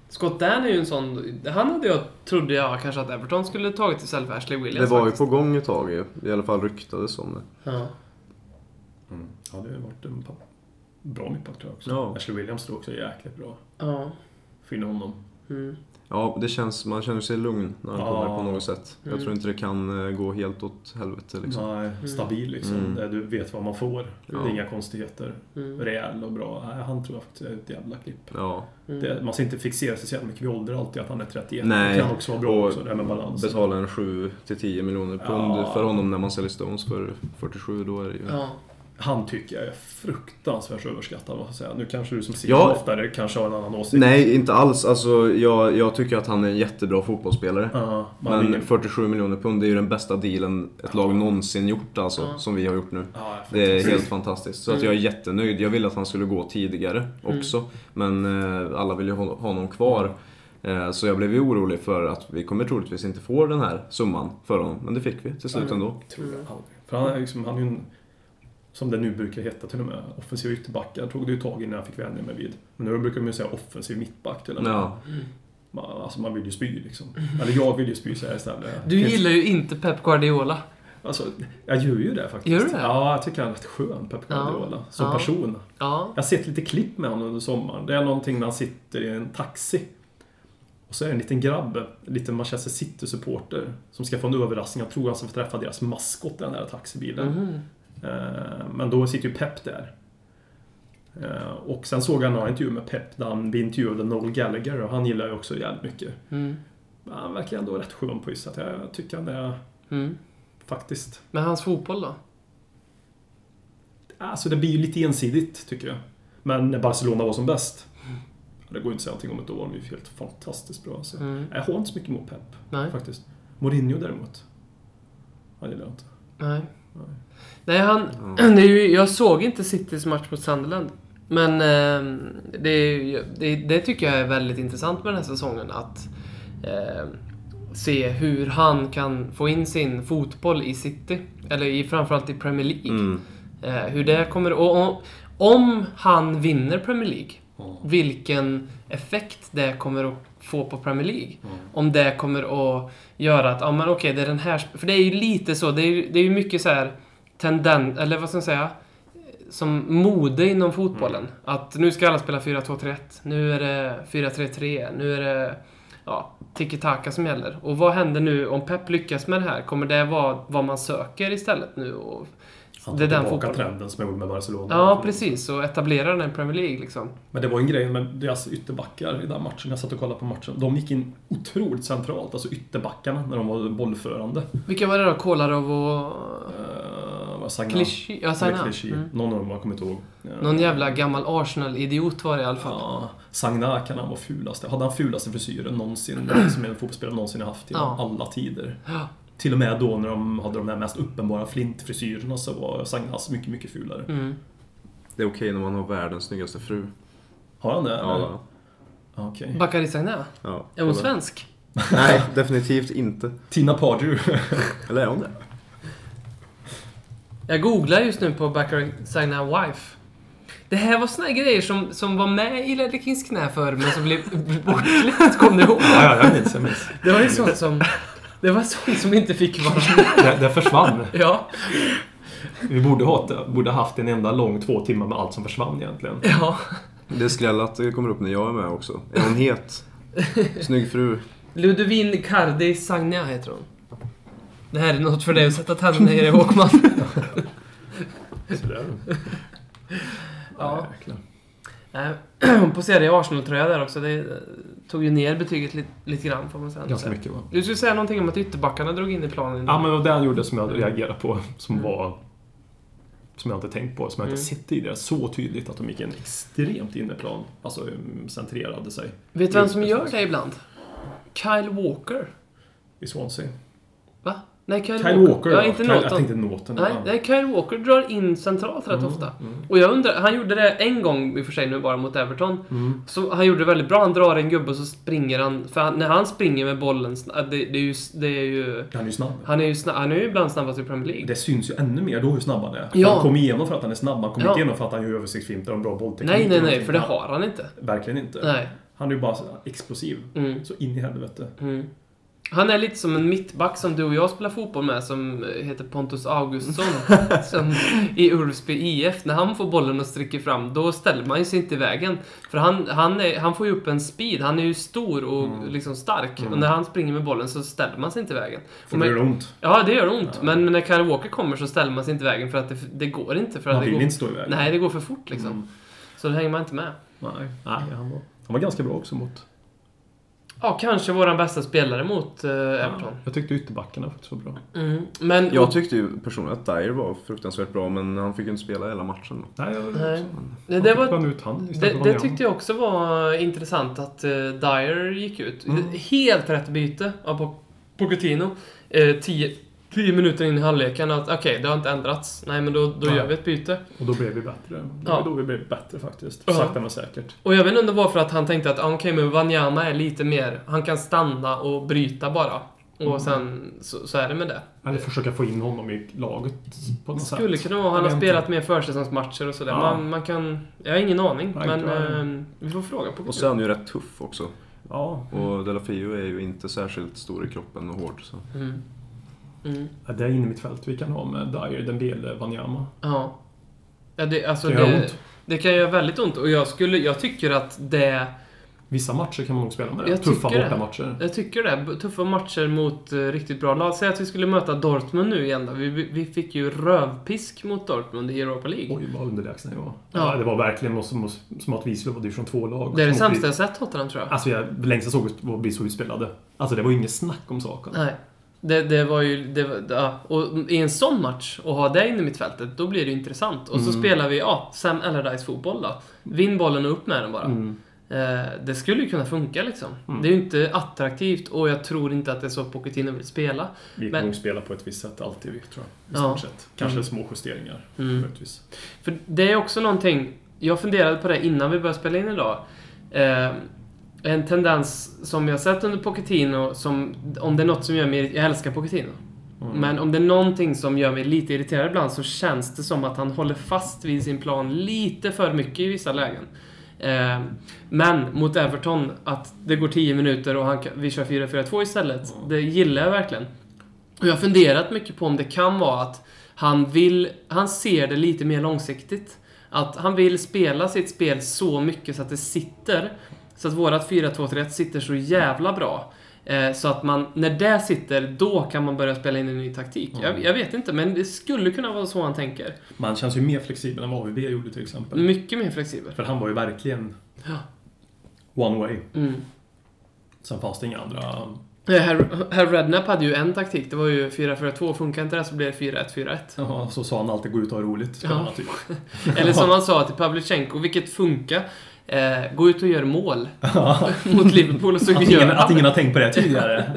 Speaker 4: Scott Dan är ju en sån... Han hade jag, trodde jag kanske att Everton skulle tagit istället för Ashley
Speaker 5: Det
Speaker 4: Williams
Speaker 5: var ju
Speaker 4: faktiskt.
Speaker 5: på gång ett tag ju. I alla fall ryktades om
Speaker 4: Ja.
Speaker 5: det.
Speaker 3: Mm. Ja, det har varit en pa- bra mittback tror jag också.
Speaker 5: Ja.
Speaker 3: Ashley Williams tror också jäkligt bra.
Speaker 4: Ja.
Speaker 3: Få in honom.
Speaker 4: Mm.
Speaker 5: Ja, det känns, man känner sig lugn när han
Speaker 3: Ja.
Speaker 5: kommer på något sätt.
Speaker 4: Mm.
Speaker 5: Jag tror inte det kan eh, gå helt åt helvete liksom.
Speaker 3: Nej, stabil liksom.
Speaker 5: Mm.
Speaker 3: Där Du vet vad man får. Det
Speaker 5: Ja.
Speaker 3: är inga konstigheter.
Speaker 4: Mm.
Speaker 3: Rejäl och bra. Nej, Han tror jag faktiskt är ett jävla klipp.
Speaker 5: Ja.
Speaker 4: Mm.
Speaker 3: Det, man ska inte fixera sig så jävla mycket vid ålder alltid, att han är 31.
Speaker 5: Nej.
Speaker 3: Det kan också vara bra
Speaker 5: Och
Speaker 3: också, det här med balans.
Speaker 5: Betala en 7-10 miljoner pund
Speaker 3: Ja.
Speaker 5: för honom när man säljer Stones för 47, då är det ju...
Speaker 4: Ja. Mm.
Speaker 3: Han tycker jag är fruktansvärt överskattad, måste jag säga. Nu kanske du som sitter
Speaker 5: Ja.
Speaker 3: oftare kanske har en annan åsikt.
Speaker 5: Nej, inte alls. Alltså, jag, jag tycker att han är en jättebra fotbollsspelare.
Speaker 3: Ja, man
Speaker 5: Men
Speaker 3: vinner.
Speaker 5: 47 miljoner pund, det är ju den bästa dealen ett lag någonsin gjort alltså,
Speaker 4: Ja.
Speaker 5: som vi har gjort nu.
Speaker 3: Ja,
Speaker 5: Det är helt fantastiskt. Så att jag är jättenöjd. Jag ville att han skulle gå tidigare också. Men eh, alla vill ju ha ha honom kvar. Eh, så jag blev ju orolig för att vi kommer troligtvis inte få den här summan för honom. Men det fick vi till slut ändå.
Speaker 3: tror jag aldrig. För han är, liksom, han är ju en, som det nu brukar heta till och med, offensiv ytterback. Jag tog det ju tag innan jag fick vänja mig vid. Men nu brukar man ju säga offensiv mittback till och med.
Speaker 5: Ja.
Speaker 3: Man, alltså man vill ju spy liksom. Eller jag vill ju spy säger jag istället.
Speaker 4: Du gillar ju inte Pep Guardiola.
Speaker 3: Alltså, jag gör ju det faktiskt.
Speaker 4: Gör du det?
Speaker 3: Ja, jag tycker han är rätt skön, Pep Guardiola. Som
Speaker 4: Ja.
Speaker 3: person.
Speaker 4: Ja.
Speaker 3: Jag har sett lite klipp med honom under sommaren. Det är någonting när han sitter i en taxi. Och så är det en liten grabb, en liten Manchester City-supporter, som ska få en överraskning. Jag tror han ska få träffa deras maskot i den där taxibilen. Eh, Men då sitter ju Pep där. Eh, Och sen såg jag en annan intervju med Pep där han blir intervjuad av Noel Gallagher och han gillar ju också jävligt mycket.
Speaker 4: Mm.
Speaker 3: Men Han verkar ändå rätt skön på att Jag tycker han är
Speaker 4: Mm.
Speaker 3: faktiskt...
Speaker 4: Men hans fotboll då?
Speaker 3: Alltså det blir ju lite ensidigt tycker jag. Men när Barcelona var som bäst.
Speaker 4: Mm.
Speaker 3: Det går ju inte att säga någonting om ett år, de är ju helt fantastiskt bra. Alltså.
Speaker 4: Mm.
Speaker 3: Jag har inte så mycket mot Pep,
Speaker 4: Nej.
Speaker 3: faktiskt. Mourinho däremot. Han gillar jag inte.
Speaker 4: Nej. Nej, han, det är ju, jag såg inte Citys match mot Sunderland. Men eh, det, är ju- det, det tycker jag är väldigt intressant med den här säsongen. Att eh, se hur han kan få in sin fotboll i City. Eller i, framförallt i Premier League.
Speaker 5: Mm.
Speaker 4: Eh, hur det kommer... Och, och, om han vinner Premier League, vilken effekt det kommer att få på Premier League. Om det kommer att göra att, ja men okej, det är den här... sp- För det är ju lite så, det är ju, det är ju mycket så här tendens, eller vad ska man säga? Som mode inom fotbollen. Att nu ska alla spela 4-2-3-1, nu är det 4-3-3, nu är det ja, tiki-taka som gäller. Och vad händer nu om Pep lyckas med det här? Kommer det vara vad man söker istället nu? Och
Speaker 3: Han
Speaker 4: det
Speaker 3: tar
Speaker 4: är den
Speaker 3: tillbaka
Speaker 4: fotbollen.
Speaker 3: trenden som jag gjorde med Barcelona.
Speaker 4: Ja, precis. Och etablera den i Premier League liksom.
Speaker 3: Men det var en grej med deras ytterbackar i den matchen. Jag satt och kollade på matchen. De gick in otroligt centralt, alltså ytterbackarna, när de var bollförande.
Speaker 4: Vilka var det då? Kolarov och...
Speaker 3: Uh, vad Sagna?
Speaker 4: Clichy? Ja,
Speaker 3: Eller
Speaker 4: Sagna.
Speaker 3: Clichy.
Speaker 4: Mm.
Speaker 3: Någon av dem, jag kommer inte ihåg. Eh,
Speaker 4: Någon jävla gammal Arsenal-idiot var det i alla fall.
Speaker 3: Ja, Sagna kan han vara fulaste. Hade han fulaste frisyren någonsin som en fotbollsspelare någonsin har haft i
Speaker 4: Ja.
Speaker 3: alla tider.
Speaker 4: Ja.
Speaker 3: Till och med då när de hade de där mest uppenbara flintfrisyrerna så var Sagnas mycket, mycket fulare.
Speaker 4: Mm.
Speaker 5: Det är okej när man har världens snyggaste fru.
Speaker 3: Har han det? eller?
Speaker 5: Ja,
Speaker 3: Ja, Okej.
Speaker 4: Bakary Sagna?
Speaker 5: ja.
Speaker 4: Är hon svensk?
Speaker 5: Nej, definitivt inte.
Speaker 3: Tina Pardew.
Speaker 5: Eller är hon det?
Speaker 4: Jag googlar just nu på Bakary Sagna wife. Det här var såna här grejer som, som var med i Ledley Kings knä förr, men som blev bortklippt. Kom du ihåg?
Speaker 3: ja, ja, jag minns. Jag minns.
Speaker 4: Det var ju sånt som... Det var sånt som inte fick vara med.
Speaker 3: Det, det försvann.
Speaker 4: Ja,
Speaker 3: Vi borde ha borde haft en enda lång två timmar med allt som försvann egentligen.
Speaker 4: ja.
Speaker 5: Det är skräll att det kommer upp när jag är med också. Är hon het? Snygg fru.
Speaker 4: Ludovin Cardi Sagna heter hon. Det här är något för dig att sätta tänderna i dig, Håkman.
Speaker 3: Sådär.
Speaker 4: Ja.
Speaker 3: Jäklar.
Speaker 4: Nej, Hon poserade i Arsenal-tröja där också. Det eh, tog ju ner betyget lite, lite grann får man säga.
Speaker 3: Ganska mycket va?
Speaker 4: Du skulle säga någonting om att ytterbackarna drog in i planen.
Speaker 3: Ja, men det var det han gjorde som jag reagerade på, som var... Som jag inte tänkt på, som jag inte
Speaker 4: Mm.
Speaker 3: sett tidigare. Så tydligt att de gick en extremt innerplan. Alltså mm, centrerade sig
Speaker 4: Vet du vem som gör det ibland? Kyle Walker.
Speaker 3: i Swansea.
Speaker 4: Va? Nej, Kyle,
Speaker 3: Kyle Walker,
Speaker 4: ja, inte
Speaker 3: Kyle, jag
Speaker 4: Norton.
Speaker 3: tänkte Mm, Norton.
Speaker 4: Nej,
Speaker 3: ja.
Speaker 4: nej, Kyle Walker drar in centralt rätt ofta. Och jag undrar, han gjorde det en gång i och för sig nu bara mot Everton.
Speaker 3: Mm.
Speaker 4: Så han gjorde det väldigt bra. Han drar en gubbe och så springer han. För han, när han springer med bollen, sna- det, det, är ju, s- det är ju...
Speaker 3: Han är ju snabb.
Speaker 4: Han är ju, sna, han är ju ibland snabbast i Premier League.
Speaker 3: Det syns ju ännu mer då hur snabb han är.
Speaker 4: Ja.
Speaker 3: Han kommer igenom för att han är snabb. Han kommer
Speaker 4: Ja.
Speaker 3: inte igenom för att han gör översiktsfinter och en bra bollteknik.
Speaker 4: nej, nej, nej,
Speaker 3: eller någonting.
Speaker 4: för det har han inte.
Speaker 3: Verkligen inte.
Speaker 4: Nej.
Speaker 3: Han är ju bara så explosiv.
Speaker 4: Mm.
Speaker 3: Så in i helvete.
Speaker 4: Mm. Han är lite som en mittback som du och jag spelar fotboll med som eh, heter Pontus Augustsson som i Ulfsby IF. När han får bollen och sträcker fram, då ställer man ju sig inte i vägen. För han, han, är, han får ju upp en speed. Han är ju stor och
Speaker 3: Mm.
Speaker 4: liksom stark. Och när han springer med bollen så ställer man sig inte i vägen.
Speaker 3: För
Speaker 4: Och
Speaker 3: det
Speaker 4: men-
Speaker 3: gör ont.
Speaker 4: Ja, det gör ont. Men när Kyle Walker kommer så ställer man sig inte i vägen för att det, det går inte. För att
Speaker 3: Han
Speaker 4: det
Speaker 3: vill
Speaker 4: går,
Speaker 3: inte stå i vägen.
Speaker 4: Nej, det går för fort liksom.
Speaker 3: Mm.
Speaker 4: Så då hänger man inte med.
Speaker 3: Nej. nej han, var, han var ganska bra också mot...
Speaker 4: Ja, kanske våran bästa spelare mot eh, Everton.
Speaker 3: Jag tyckte ytterbackarna faktiskt var bra.
Speaker 4: Mm. Men,
Speaker 5: Jag tyckte ju personligen att Dyer var fruktansvärt bra, men han fick ju inte spela hela matchen. Då.
Speaker 3: Nej, jag,
Speaker 4: Nej. det,
Speaker 3: Han
Speaker 4: det
Speaker 3: fick
Speaker 4: var
Speaker 3: man ut han istället
Speaker 4: Det,
Speaker 3: för
Speaker 4: det
Speaker 3: att
Speaker 4: tyckte jag också var intressant att eh, Dyer gick ut.
Speaker 3: Mm.
Speaker 4: Helt rätt byte av Po- Pochettino. Eh, tio, tio minuter in i halvleken. att Okej, det har inte ändrats. Nej, men då, då
Speaker 3: Nej.
Speaker 4: gör vi ett byte.
Speaker 3: Och då blev vi bättre. Det
Speaker 4: Ja.
Speaker 3: var då vi blev bättre faktiskt.
Speaker 4: Ja.
Speaker 3: Sakta men säkert.
Speaker 4: Och jag vet inte om det var för att han tänkte att ah, okej, men Wanyama är lite mer... Han kan stanna och bryta bara. Och
Speaker 3: Mm.
Speaker 4: sen så, så är det med det.
Speaker 3: Eller försöka få in honom i laget på något
Speaker 4: Skulle
Speaker 3: sätt.
Speaker 4: kunna vara. Han
Speaker 3: Jag
Speaker 4: har
Speaker 3: vet inte.
Speaker 4: spelat mer försäsongsmatcher och sådär.
Speaker 3: Ja.
Speaker 4: Man, man kan... Jag har ingen aning.
Speaker 3: Nej,
Speaker 4: men
Speaker 3: inte jag.
Speaker 4: eh, vi får fråga
Speaker 5: Och så är
Speaker 4: Pochettino.
Speaker 5: han ju rätt tuff också.
Speaker 3: Ja,
Speaker 5: Och Delafio är ju inte särskilt stor i kroppen och hård. Så.
Speaker 4: Mm. Mm.
Speaker 3: det är inne mitt fält vi kan ha med Dyer, Dembele, Wanyama.
Speaker 4: Ja. ja det, alltså
Speaker 3: Det gör
Speaker 4: det,
Speaker 3: ont.
Speaker 4: det kan göra väldigt ont och jag, skulle, jag tycker att det...
Speaker 3: Vissa matcher kan man nog spela med det.
Speaker 4: Jag
Speaker 3: Tuffa
Speaker 4: tycker det.
Speaker 3: bortamatcher.
Speaker 4: Jag tycker det. B- Tuffa matcher mot eh, riktigt bra lag. Säg att vi skulle möta Dortmund nu igen då. Vi, vi vi fick ju rövpisk mot Dortmund i Europa League.
Speaker 3: Oj, vad underlägsna vi var.
Speaker 4: Ja.
Speaker 3: Ja. Det var verkligen som, som att vi skulle vara från två lag.
Speaker 4: det är det
Speaker 3: Som att vi-
Speaker 4: sämsta jag sett Tottenham tror jag.
Speaker 3: Alltså, jag, längst jag såg var vi så utspelade. Alltså, det var ju inget snack om saken.
Speaker 4: Nej. Det, det var ju... Det, var- ja. Och i en sån match, och ha det inne i mittfältet, då blir det ju intressant. Och så spelar vi, ja, Sam Allardyce-fotboll då. Vinn bollen och upp med den bara. Eh, det skulle ju kunna funka liksom. Det är ju inte attraktivt och jag tror inte att det är så Pochettino vill spela.
Speaker 3: Vi
Speaker 4: Men-
Speaker 3: kommer nog spela på ett visst sätt alltid, vi, tror jag. I
Speaker 4: Ja.
Speaker 3: stort sett. Kanske små justeringar,
Speaker 4: Mm.
Speaker 3: möjligtvis.
Speaker 4: För det är också någonting, jag funderade på det innan vi började spela in idag. Eh, en tendens som jag sett under Pochettino, som, om det är något som gör mig... Jag älskar Pochettino.
Speaker 3: Mm.
Speaker 4: Men om det är någonting som gör mig lite irriterad ibland så känns det som att han håller fast vid sin plan lite för mycket i vissa lägen. Eh, men mot Everton, att det går 10 minuter och han, kan- vi kör 4-4-2 istället. Det gillar jag verkligen. Och jag har funderat mycket på om det kan vara att han vill, han ser det lite mer långsiktigt. Att han vill spela sitt spel så mycket så att det sitter. Så att vårat 4-2-3-1 sitter så jävla bra. Eh, så att man, när det sitter, då kan man börja spela in en ny taktik.
Speaker 3: Mm.
Speaker 4: Jag, jag vet inte, men det skulle kunna vara så han tänker.
Speaker 3: Man känns ju mer flexibel än vad AVB gjorde till exempel.
Speaker 4: Mycket mer flexibel.
Speaker 3: För han var ju verkligen
Speaker 4: Mm. Ja.
Speaker 3: one way.
Speaker 4: Mm.
Speaker 3: Sen fanns det inga andra...
Speaker 4: Eh, Herr, Herr Redknapp hade ju en taktik, det var ju 4-4-2. Funkar inte det så blir det 4-1-4-1.
Speaker 3: Ja, så sa han alltid gå ut och ha roligt. spelarna, Typ.
Speaker 4: Eller som han sa till Pavlychenko, vilket funkar. Eh, gå ut och gör mål mot Liverpool och så
Speaker 3: Att,
Speaker 4: gör
Speaker 3: ingen,
Speaker 4: han
Speaker 3: att
Speaker 4: det.
Speaker 3: ingen har tänkt på det tidigare.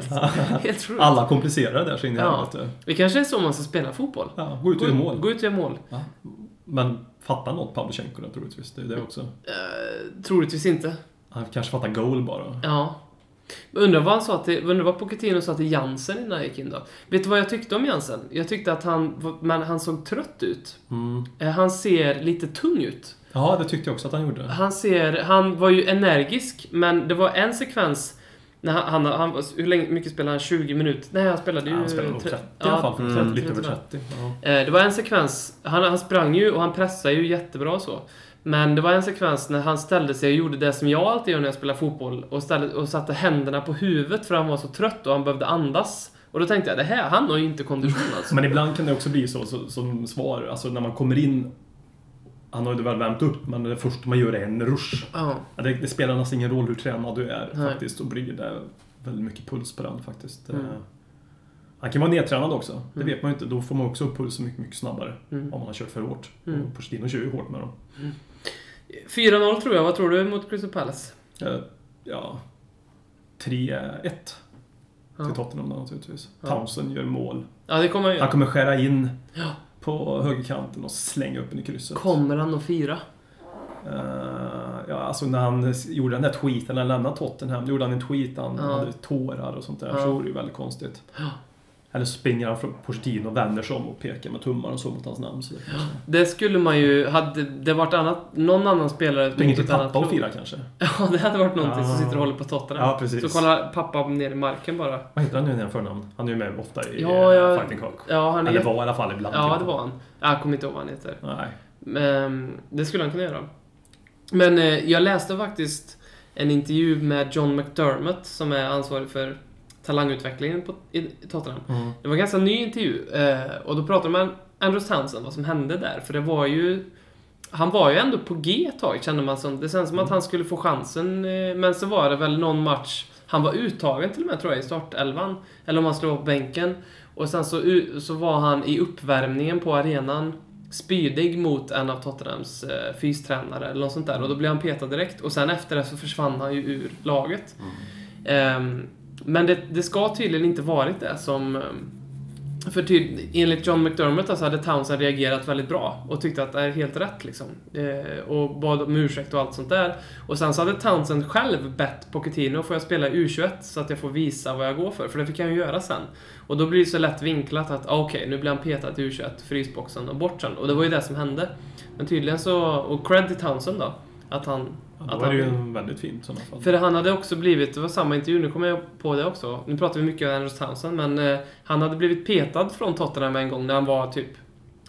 Speaker 4: Helt sjukt.
Speaker 3: Alla komplicerar där så in i
Speaker 4: Ja.
Speaker 3: helvete.
Speaker 4: Det kanske är så man ska spela fotboll.
Speaker 3: Ja, gå ut och
Speaker 4: Gå,
Speaker 3: göra mål.
Speaker 4: gå ut och gör mål.
Speaker 3: Ja. Men fattar något Pavlychenko det troligtvis? Det är det också.
Speaker 4: Eh, troligtvis inte.
Speaker 3: Han kanske fattar goal bara.
Speaker 4: Ja. Men Undrar vad han sa till, undrar vad Pochettino sa till Jansen innan jag gick in då. Vet du vad jag tyckte om Jansen? Jag tyckte att han, var- men han såg trött ut. Eh, Han ser lite tung ut.
Speaker 3: Ja, Mm. det tyckte jag också att han gjorde.
Speaker 4: Han ser, han var ju energisk, men det var en sekvens när han, han, han var- hur länge, mycket spelade han? 20 minuter? Nej, han spelade ju...
Speaker 3: Han spelade nog 30 i
Speaker 4: ja,
Speaker 3: alla fall.
Speaker 5: mm,
Speaker 3: 30, lite över
Speaker 4: 30.
Speaker 3: 30. Ja.
Speaker 4: Eh, Det var en sekvens, han, han sprang ju och han pressade ju jättebra och så. Men det var en sekvens när han ställde sig och gjorde det som jag alltid gör när jag spelar fotboll och, ställde, och satte händerna på huvudet för han var så trött och han behövde andas. Och då tänkte jag, det här, han har ju inte kondition alltså.
Speaker 3: Men ibland kan det också bli så, så som svar, alltså när man kommer in han har ju väl värmt upp, men det första man gör är en rush.
Speaker 4: Ja.
Speaker 3: Ja, Det, det spelar nästan ingen roll hur tränad du är
Speaker 4: Nej. Mm.
Speaker 3: faktiskt. Och blir det väldigt mycket puls på den faktiskt. Eh, Han kan vara nedtränad också. Det vet man ju inte. Då får man också upp pulsen mycket, mycket snabbare. Om man har kört för hårt. Mm. Pochettino kör ju hårt med dem.
Speaker 4: 4-0 tror jag, vad tror du mot Crystal Palace?
Speaker 3: Eh, Ja, 3-1 till Tottenham då naturligtvis. Townsend gör mål.
Speaker 4: Ja, det kommer han
Speaker 3: Han
Speaker 4: göra.
Speaker 3: kommer skära in
Speaker 4: Ja.
Speaker 3: på högerkanten och slänga upp den i krysset.
Speaker 4: Kommer han att fira?
Speaker 3: Eh, ja, alltså när han s- gjorde den där tweeten, när han lämnade Tottenham, då gjorde han en tweet, han
Speaker 4: Ja.
Speaker 3: hade tårar och sånt där.
Speaker 4: Ja.
Speaker 3: Så vore det ju väldigt konstigt. Eller så springer han från Pochettino och vänder sig om och pekar med tummar och så mot hans namn. Så det kanske...
Speaker 4: Det skulle man ju, hade det varit annat, någon annan spelare...
Speaker 3: Springer
Speaker 4: mot
Speaker 3: till
Speaker 4: ett annat
Speaker 3: pappa och
Speaker 4: lag-
Speaker 3: firar kanske.
Speaker 4: Ja, det hade varit någonting som
Speaker 3: Ah.
Speaker 4: sitter och håller på Tottenham.
Speaker 3: Ja, precis.
Speaker 4: Så kollar pappa ner i marken bara.
Speaker 3: Vad heter han nu i förnamn? Han är ju med ofta i
Speaker 4: Ja,
Speaker 3: eh,
Speaker 4: jag-
Speaker 3: Fighting Cock.
Speaker 4: Ja, han är...
Speaker 3: Eller var i alla fall ibland.
Speaker 4: Ja, det var han. Jag kommer inte ihåg vad han heter.
Speaker 3: Nej.
Speaker 4: Men det skulle han kunna göra. Men eh, jag läste faktiskt en intervju med John McDermott som är ansvarig för talangutvecklingen på, i, i Tottenham. Det var en ganska ny intervju eh, och då pratade man Andrews Townsend vad som hände där. För det var ju... Han var ju ändå på G ett tag kände man som. Det känns som att han skulle få chansen eh, men så var det väl någon match han var uttagen till och med tror jag i startelvan. Eller om han skulle vara på bänken. Och sen så, u- så var han i uppvärmningen på arenan spydig mot en av Tottenhams eh, fystränare eller något sånt där. Och då blev han petad direkt. Och sen efter det så försvann han ju ur laget. Ehm, men det, det ska tydligen inte varit det som... ehm, För ty, enligt John McDermott alltså hade Townsend reagerat väldigt bra och tyckte att det är helt rätt liksom. Eh, och bad om ursäkt och allt sånt där. Och sen så hade Townsend själv bett Pochettino, får jag spela i U21 så att jag får visa vad jag går för? För det fick han ju göra sen. Och då blir det så lätt vinklat att ah, okej, nu blir han petad i U21, frysboxen och bort sen. Och det var ju det som hände. Men tydligen så... Och cred till Townsend då. Att han...
Speaker 3: Ja,
Speaker 4: att
Speaker 3: då är det ju en väldigt fin i sådana fall.
Speaker 4: för han hade också blivit, det var samma intervju, nu kommer jag på det också. Nu pratar vi mycket om Anders Townsend, men eh, han hade blivit petad från Tottenham en gång när han var typ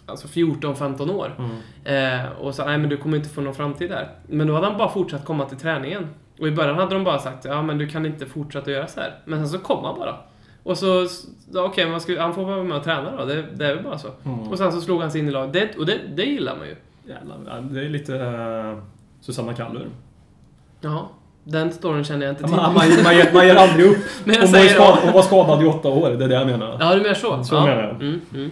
Speaker 4: alltså 14-15 år.
Speaker 3: Mm.
Speaker 4: Eh, och sa nej men du kommer inte få någon framtid där. Men då hade han bara fortsatt komma till träningen. Och i början hade de bara sagt ja men du kan inte fortsätta göra så här. Men sen så kom han bara. Och så, s- ja, okej, men vad ska vi- han får vara med och träna då. Det, det är väl bara så. Och sen så slog han sig in i laget. Det, och det, det gillar man ju.
Speaker 3: Mm. Jävlar, ja, det är lite eh, Susanna Kallur.
Speaker 4: Ja, den storyn känner jag inte
Speaker 3: Man,
Speaker 4: till.
Speaker 3: man, man, ger- man ger aldrig upp.
Speaker 4: Men jag
Speaker 3: Hon var, ju
Speaker 4: säger-
Speaker 3: skadad, hon var skadad i åtta år, det är det jag menar.
Speaker 4: Ja, du menar så?
Speaker 3: Så
Speaker 4: ja.
Speaker 3: menar jag.
Speaker 4: Mm, mm.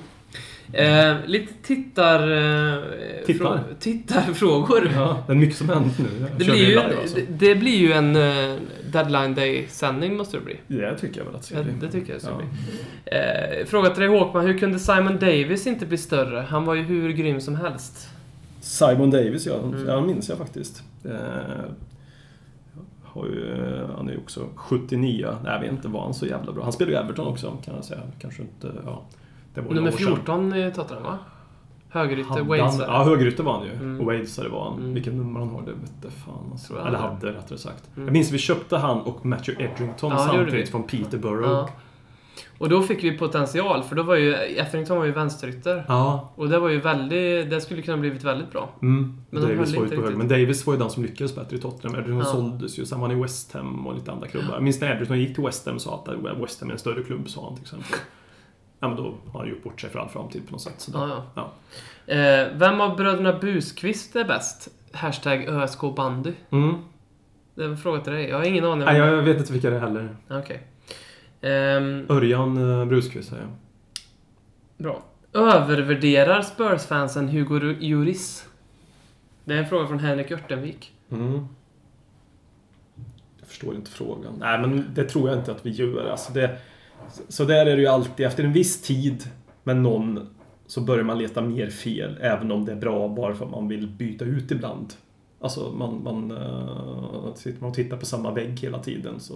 Speaker 4: Eh, lite tittar... Eh,
Speaker 3: Tittar?
Speaker 4: frå- tittarfrågor.
Speaker 3: Ja, det är mycket som har hänt nu.
Speaker 4: Det
Speaker 3: Kör
Speaker 4: blir, ju,
Speaker 3: vi live, alltså.
Speaker 4: det, det blir ju en eh, deadline day-sändning måste det bli.
Speaker 3: Det tycker jag väl att det
Speaker 4: Ja,
Speaker 3: ska bli.
Speaker 4: det tycker jag det ska
Speaker 3: Ja.
Speaker 4: bli. Eh, fråga till dig Håkman, hur kunde Simon Davis inte bli större? Han var ju hur grym som helst.
Speaker 3: Simon Davis, ja.
Speaker 4: Mm.
Speaker 3: ja han minns jag faktiskt. Eh, har ju, eh, han är ju också 79. Nej, jag vet inte, var han så jävla bra? Han spelade ju Everton också, kan jag säga. Kanske inte... Ja, det var ju
Speaker 4: Nummer
Speaker 3: några år sedan.
Speaker 4: 14 i Tottenham va? Högerytter,
Speaker 3: Hade
Speaker 4: Wales.
Speaker 3: han- Ja, högerytter var han ju. Och Wadesare var han. Vilket nummer han har, det vette fan. Alltså.
Speaker 4: Mm. Tror jag
Speaker 3: Eller
Speaker 4: han
Speaker 3: hade, rättare sagt. Jag minns vi köpte han och Matthew Edrington
Speaker 4: Ja, det gjorde
Speaker 3: samtidigt
Speaker 4: vi.
Speaker 3: från Peterborough.
Speaker 4: Ja.
Speaker 3: Ja.
Speaker 4: Och då fick vi potential, för då var ju... Effrington var ju vänsterytter. Och det var ju väldigt... Det skulle kunna blivit väldigt bra.
Speaker 3: Mm.
Speaker 4: Men
Speaker 3: Men
Speaker 4: de
Speaker 3: Davis
Speaker 4: höll
Speaker 3: var ju
Speaker 4: inte
Speaker 3: på höger. Men
Speaker 4: riktigt.
Speaker 3: Davis var ju den som lyckades bättre i Tottenham. Edrington
Speaker 4: Ja.
Speaker 3: såldes ju. Sen var han i West Ham och lite andra klubbar. Jag minns när Edrington gick till West Ham och sa att äh, West Ham är en större klubb, sa han till exempel. Ja, men då har han gjort bort sig för all framtid på något sätt. Så då,
Speaker 4: Ja, ja.
Speaker 3: ja.
Speaker 4: Eh, vem av bröderna Buskvist är bäst? Hashtag ÖSKbandy.
Speaker 3: Mm.
Speaker 4: Det är en fråga till dig. Jag har ingen aning.
Speaker 3: Nej, jag vet inte vilka det är heller.
Speaker 4: Okej. Ehm,
Speaker 3: Örjan eh, Bruskvist säger jag.
Speaker 4: bra. Övervärderar Spurs-fansen Hugo Ru- Lloris? Det är en fråga från Henrik Örtenvik.
Speaker 3: Mm. Jag förstår inte frågan. Nej, men det tror jag inte att vi gör. Alltså det, så där är det ju alltid. Efter en viss tid med någon så börjar man leta mer fel, även om det är bra, bara för att man vill byta ut ibland. Alltså, man, man, eh, sitter man och tittar på samma vägg hela tiden så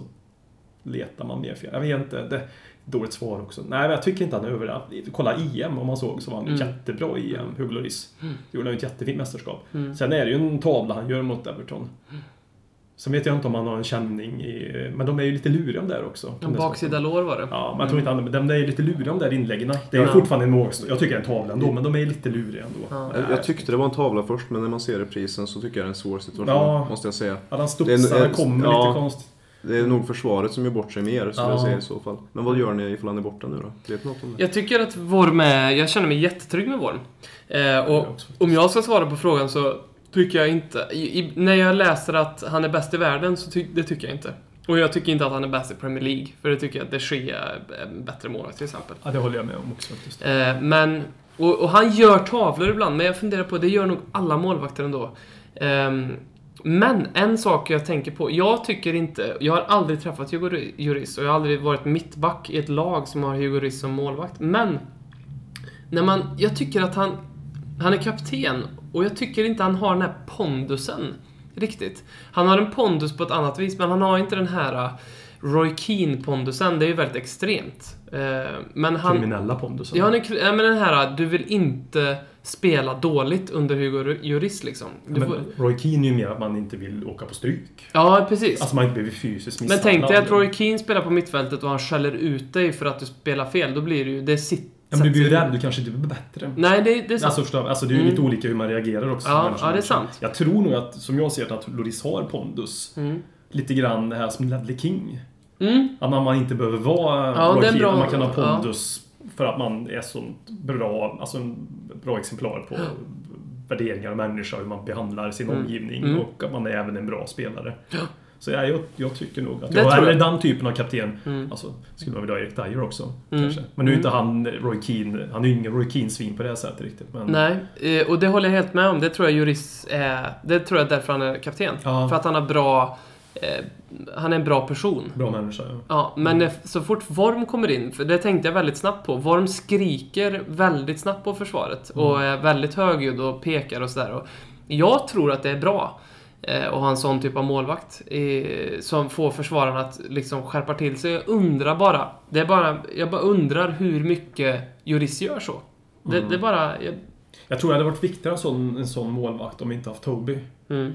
Speaker 3: letar man mer fel. Jag vet inte, det är ett dåligt svar också. Nej, men jag tycker inte han är över Kolla EM, om man såg, så var han ju
Speaker 4: Mm. Mm.
Speaker 3: jättebra i EM, Hugo Lloris. Gjorde han ju ett jättefint mästerskap. Sen är det ju en tavla han gör mot Everton. Sen vet jag inte om han har en känning i... Men de är ju lite luriga där också.
Speaker 4: En baksida lår var det.
Speaker 3: Ja, men jag tror inte han... men De är ju lite luriga de där inläggen. Det är ju
Speaker 4: Ja.
Speaker 3: fortfarande en målgest. Jag tycker det är en tavla ändå, men de är ju lite luriga ändå.
Speaker 4: Ja.
Speaker 5: Jag, jag tyckte det var en tavla först, men när man ser reprisen så tycker jag det är en svår situation,
Speaker 3: Ja.
Speaker 5: måste jag säga.
Speaker 3: Att han
Speaker 5: Det
Speaker 3: studsar,
Speaker 5: är en-
Speaker 3: han kommer
Speaker 5: ja.
Speaker 3: lite konstigt.
Speaker 5: Det är nog försvaret som gör bort sig mer, skulle jag
Speaker 3: Ja.
Speaker 5: säga i så fall. Men vad gör ni ifall han är borta nu då? Vet ni något om det?
Speaker 4: Jag tycker att Worm är... Jag känner mig jättetrygg med Worm. Eh, och
Speaker 3: Jag också.
Speaker 4: om jag ska svara på frågan så tycker jag inte... I, i, när jag läser att han är bäst i världen så ty, det tycker jag inte. Och jag tycker inte att han är bäst i Premier League. För det tycker jag att De Gea är en bättre målvakt till exempel.
Speaker 3: Ja, det håller jag med om också faktiskt.
Speaker 4: Eh, men, och, och han gör tavlor ibland, men jag funderar på, det gör nog alla målvakter ändå. Ehm, men en sak jag tänker på, jag tycker inte, jag har aldrig träffat Hugo Ru- Lloris och jag har aldrig varit mittback i ett lag som har Hugo Lloris som målvakt. Men, när man, jag tycker att han, han är kapten och jag tycker inte han har den här pondusen riktigt. Han har en pondus på ett annat vis, men han har inte den här eh, Roy Keane-pondusen, det är ju väldigt extremt. Eh, men han,
Speaker 3: Kriminella pondusen.
Speaker 4: Ja, han är, kr- ja, men den här, du vill inte spela dåligt under Hugo Ru- Lloris liksom. Du får,
Speaker 3: men Roy Keane är ju mer att man inte vill åka på stryk.
Speaker 4: ja, precis.
Speaker 3: Alltså man inte blir fysiskt
Speaker 4: men
Speaker 3: misshandlad.
Speaker 4: tänk dig att Roy Keane spelar på mittfältet och han skäller ut dig för att du spelar fel. Då blir det ju... Det sitt,
Speaker 3: Ja, men du blir ju
Speaker 4: sätter-
Speaker 3: rädd, du kanske inte blir bättre.
Speaker 4: Nej, det, det är sant.
Speaker 3: Alltså, förstå, alltså det är ju
Speaker 4: Mm.
Speaker 3: lite olika hur man reagerar också.
Speaker 4: Ja,
Speaker 3: människor.
Speaker 4: ja, det är sant.
Speaker 3: Jag tror nog att, som jag ser det, att Loris har pondus.
Speaker 4: Mm.
Speaker 3: Lite grann det här som Ledley King.
Speaker 4: Mm.
Speaker 3: Att man, man inte behöver vara
Speaker 4: Ja, det är en
Speaker 3: Roy Keane,
Speaker 4: bra-
Speaker 3: men man kan ha
Speaker 4: ja.
Speaker 3: pondus för att man är sånt bra, alltså en bra exemplar på värderingar och människa, hur man behandlar sin omgivning
Speaker 4: Mm.
Speaker 3: och att man är även en bra spelare. Så jag, jag, jag tycker nog att
Speaker 4: Det
Speaker 3: jag,
Speaker 4: tror jag. Mm.
Speaker 3: eller den typen av kapten, alltså skulle man vilja ha Erik Dyer också kanske. Men nu är inte han Roy Keane, han är ju ingen Roy Keane-svin på det här sättet riktigt. Men...
Speaker 4: Nej, eh, och det håller jag helt med om. Det tror jag Lloris är... Det tror jag därför han är kapten.
Speaker 3: Ja.
Speaker 4: För att han har bra... Eh, han är en bra person.
Speaker 3: Bra människa, ja.
Speaker 4: Ja, men när- så fort Worm kommer in, för det tänkte jag väldigt snabbt på, Worm skriker väldigt snabbt på försvaret och är väldigt högljudd och pekar och sådär. Och Jag tror att det är bra eh, att ha en sån typ av målvakt eh, som får försvararna att liksom skärpa till sig. Jag undrar bara, det är bara, jag bara undrar hur mycket Juris gör så. Det, det är bara... Jag,
Speaker 3: Jag tror det hade varit viktigare en sån, en sån målvakt om vi inte haft Toby.
Speaker 4: mm,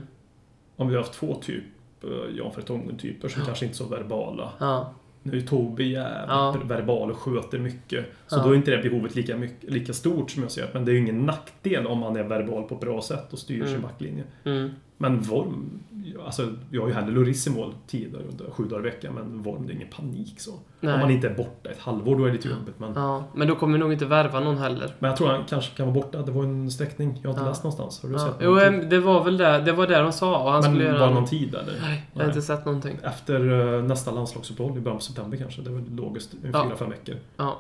Speaker 3: Om vi haft två typ eh, Jan Fretongen-typer som kanske inte är så verbala.
Speaker 4: ja.
Speaker 3: Nu är Toby jävligt
Speaker 4: Ja.
Speaker 3: verbal och sköter mycket. Så
Speaker 4: Ja.
Speaker 3: då är inte det behovet lika, mycket, lika stort som jag ser det. Men det är ju ingen nackdel om han är verbal på ett bra sätt och styr sin backlinje.
Speaker 4: Mm.
Speaker 3: Men Worm, alltså jag har ju hellre Lloris i mål tio dagar, under- sju dagar i veckan. Men Worm, det är ingen panik så.
Speaker 4: Nej.
Speaker 3: Om man inte är borta ett halvår, då är det lite jobbigt. Men,
Speaker 4: ja. Men då kommer vi nog inte värva någon heller.
Speaker 3: men jag tror han kanske kan vara borta. Det var en sträckning jag har inte
Speaker 4: Ja.
Speaker 3: läst någonstans. Har du
Speaker 4: Ja.
Speaker 3: sett
Speaker 4: Jo,
Speaker 3: någonting?
Speaker 4: eh, det var väl det, det var det de sa. Och han skulle
Speaker 3: Men var
Speaker 4: göra...
Speaker 3: det någon tid eller?
Speaker 4: Nej, jag har inte sett någonting.
Speaker 3: Efter eh, nästa landslagsuppehåll i början på september kanske. Det är väl logiskt.
Speaker 4: Ja.
Speaker 3: Fyra, fem veckor.
Speaker 4: Ja.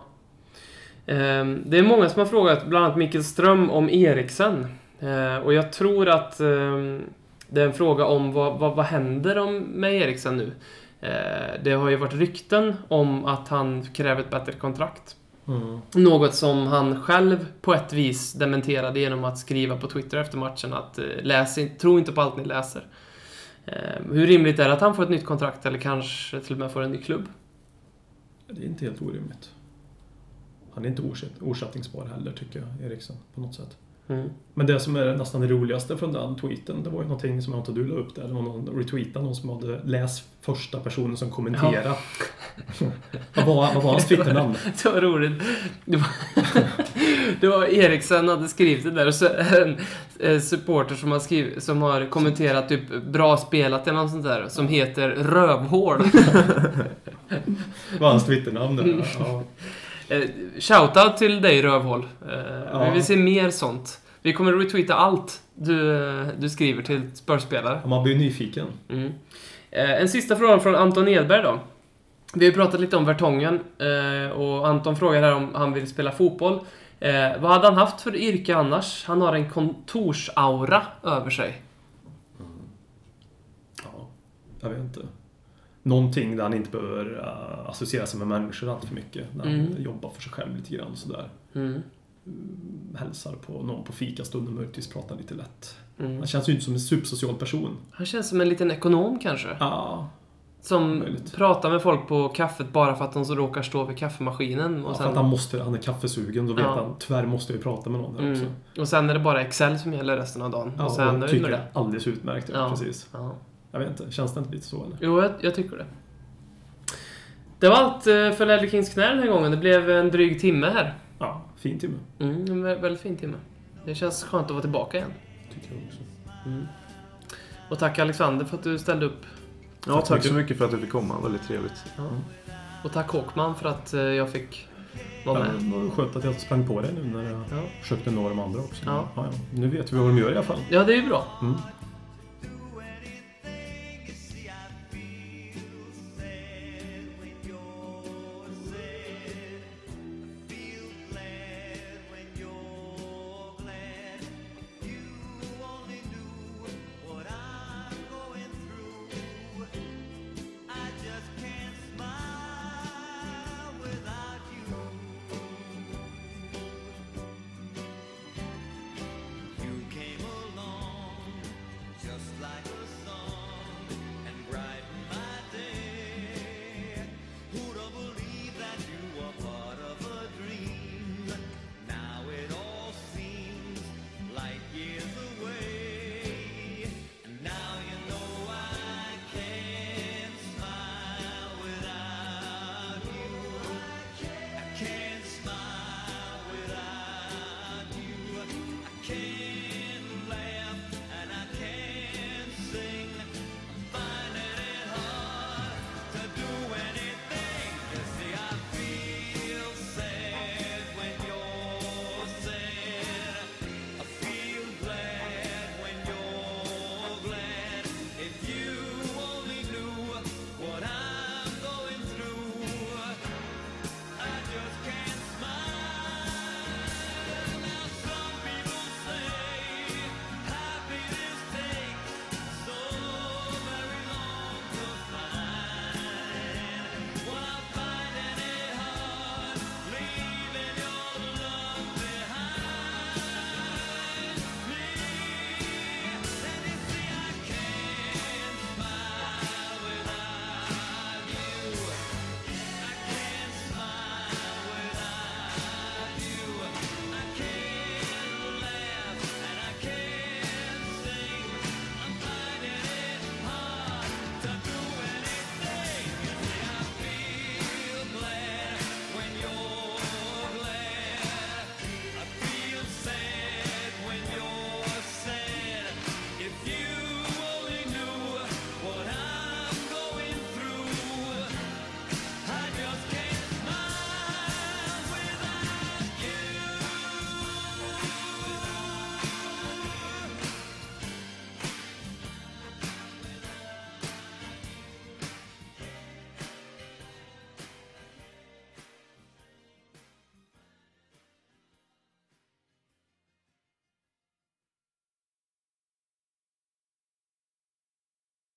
Speaker 4: Ehm, Det är många som har frågat, bland annat Mikael Ström, om Eriksen. Eh, Och jag tror att ehm, det är en fråga om vad, vad, vad händer om, med Eriksen nu? Eh, Det har ju varit rykten om att han kräver ett bättre kontrakt.
Speaker 3: Mm.
Speaker 4: Något som han själv på ett vis dementerade genom att skriva på Twitter efter matchen att eh, läs, in- tro inte på allt ni läser. Eh, Hur rimligt är det att han får ett nytt kontrakt eller kanske till och med får en ny klubb?
Speaker 3: Det är inte helt orimligt. Han är inte orsät- ersättningsbar heller tycker jag, Eriksson, på något sätt.
Speaker 4: Mm.
Speaker 3: Men det som är nästan det roligaste från den tweeten, det var ju någonting som jag inte du la upp där. Det var någon retweetade någon som hade läst första personen som kommenterade. vad, var, vad var hans twitternamn?
Speaker 4: Det var roligt. Det var, det var Eriksen hade skrivit det där och så är det en eh, supporter som har, skrivit, som har kommenterat typ bra spelat eller något sånt där som heter Rövhål.
Speaker 3: Vad var hans twitternamn? Där? Ja.
Speaker 4: Eh, Shoutout till dig Rövhål. Eh,
Speaker 3: Ja.
Speaker 4: Vi vill se mer sånt. Vi kommer retweeta allt du, eh, du skriver till spörspelare.
Speaker 3: Ja, Man blir ju nyfiken.
Speaker 4: Mm. Eh, en sista fråga från Anton Edberg då. Vi har ju pratat lite om Vertongen eh, och Anton frågar här om han vill spela fotboll. Eh, vad hade han haft för yrke annars? Han har en kontorsaura över sig.
Speaker 3: Ja, jag vet inte. Någonting där han inte behöver eh, associera sig med människor allt för mycket. Där
Speaker 4: Mm.
Speaker 3: han jobbar för sig själv lite grann sådär.
Speaker 4: Mm.
Speaker 3: Hälsar på någon på fikastunden möjligtvis, pratar lite lätt.
Speaker 4: Mm.
Speaker 3: Han känns ju inte som en supersocial person.
Speaker 4: Han känns som en liten ekonom kanske.
Speaker 3: Ja,
Speaker 4: Som
Speaker 3: möjligt.
Speaker 4: pratar med folk på kaffet bara för att de så råkar stå vid kaffemaskinen. Och
Speaker 3: för att
Speaker 4: sen,
Speaker 3: han, måste, han är kaffesugen, då vet
Speaker 4: Ja.
Speaker 3: han tyvärr måste jag ju prata med någon här
Speaker 4: mm.
Speaker 3: också.
Speaker 4: och sen är det bara Excel som gäller resten av dagen.
Speaker 3: Ja,
Speaker 4: och så är han nöjd
Speaker 3: tycker
Speaker 4: med
Speaker 3: det
Speaker 4: det.
Speaker 3: är alldeles utmärkt. Ja.
Speaker 4: Ja.
Speaker 3: Precis.
Speaker 4: Ja.
Speaker 3: Jag vet inte, känns det inte lite så eller?
Speaker 4: Jo, jag, jag tycker det. Det var allt eh, för Ledley Kings knä den här gången. Det blev en dryg timme här.
Speaker 3: Ja, fin timme.
Speaker 4: Mm, en vä- väldigt fin timme. Det känns skönt att vara tillbaka igen.
Speaker 3: Tycker jag också.
Speaker 4: Och tack Alexander för att du ställde upp.
Speaker 5: Ja, tack, så mycket för att jag fick komma. Väldigt trevligt.
Speaker 4: Och tack Håkman för att eh, jag fick vara
Speaker 3: Ja,
Speaker 4: med.
Speaker 3: det var skönt att jag sprang på dig nu när jag
Speaker 4: Ja,
Speaker 3: försökte nå de andra också.
Speaker 4: Ja.
Speaker 3: Nu vet vi vad de gör i alla fall.
Speaker 4: ja det är ju bra.
Speaker 3: Mm.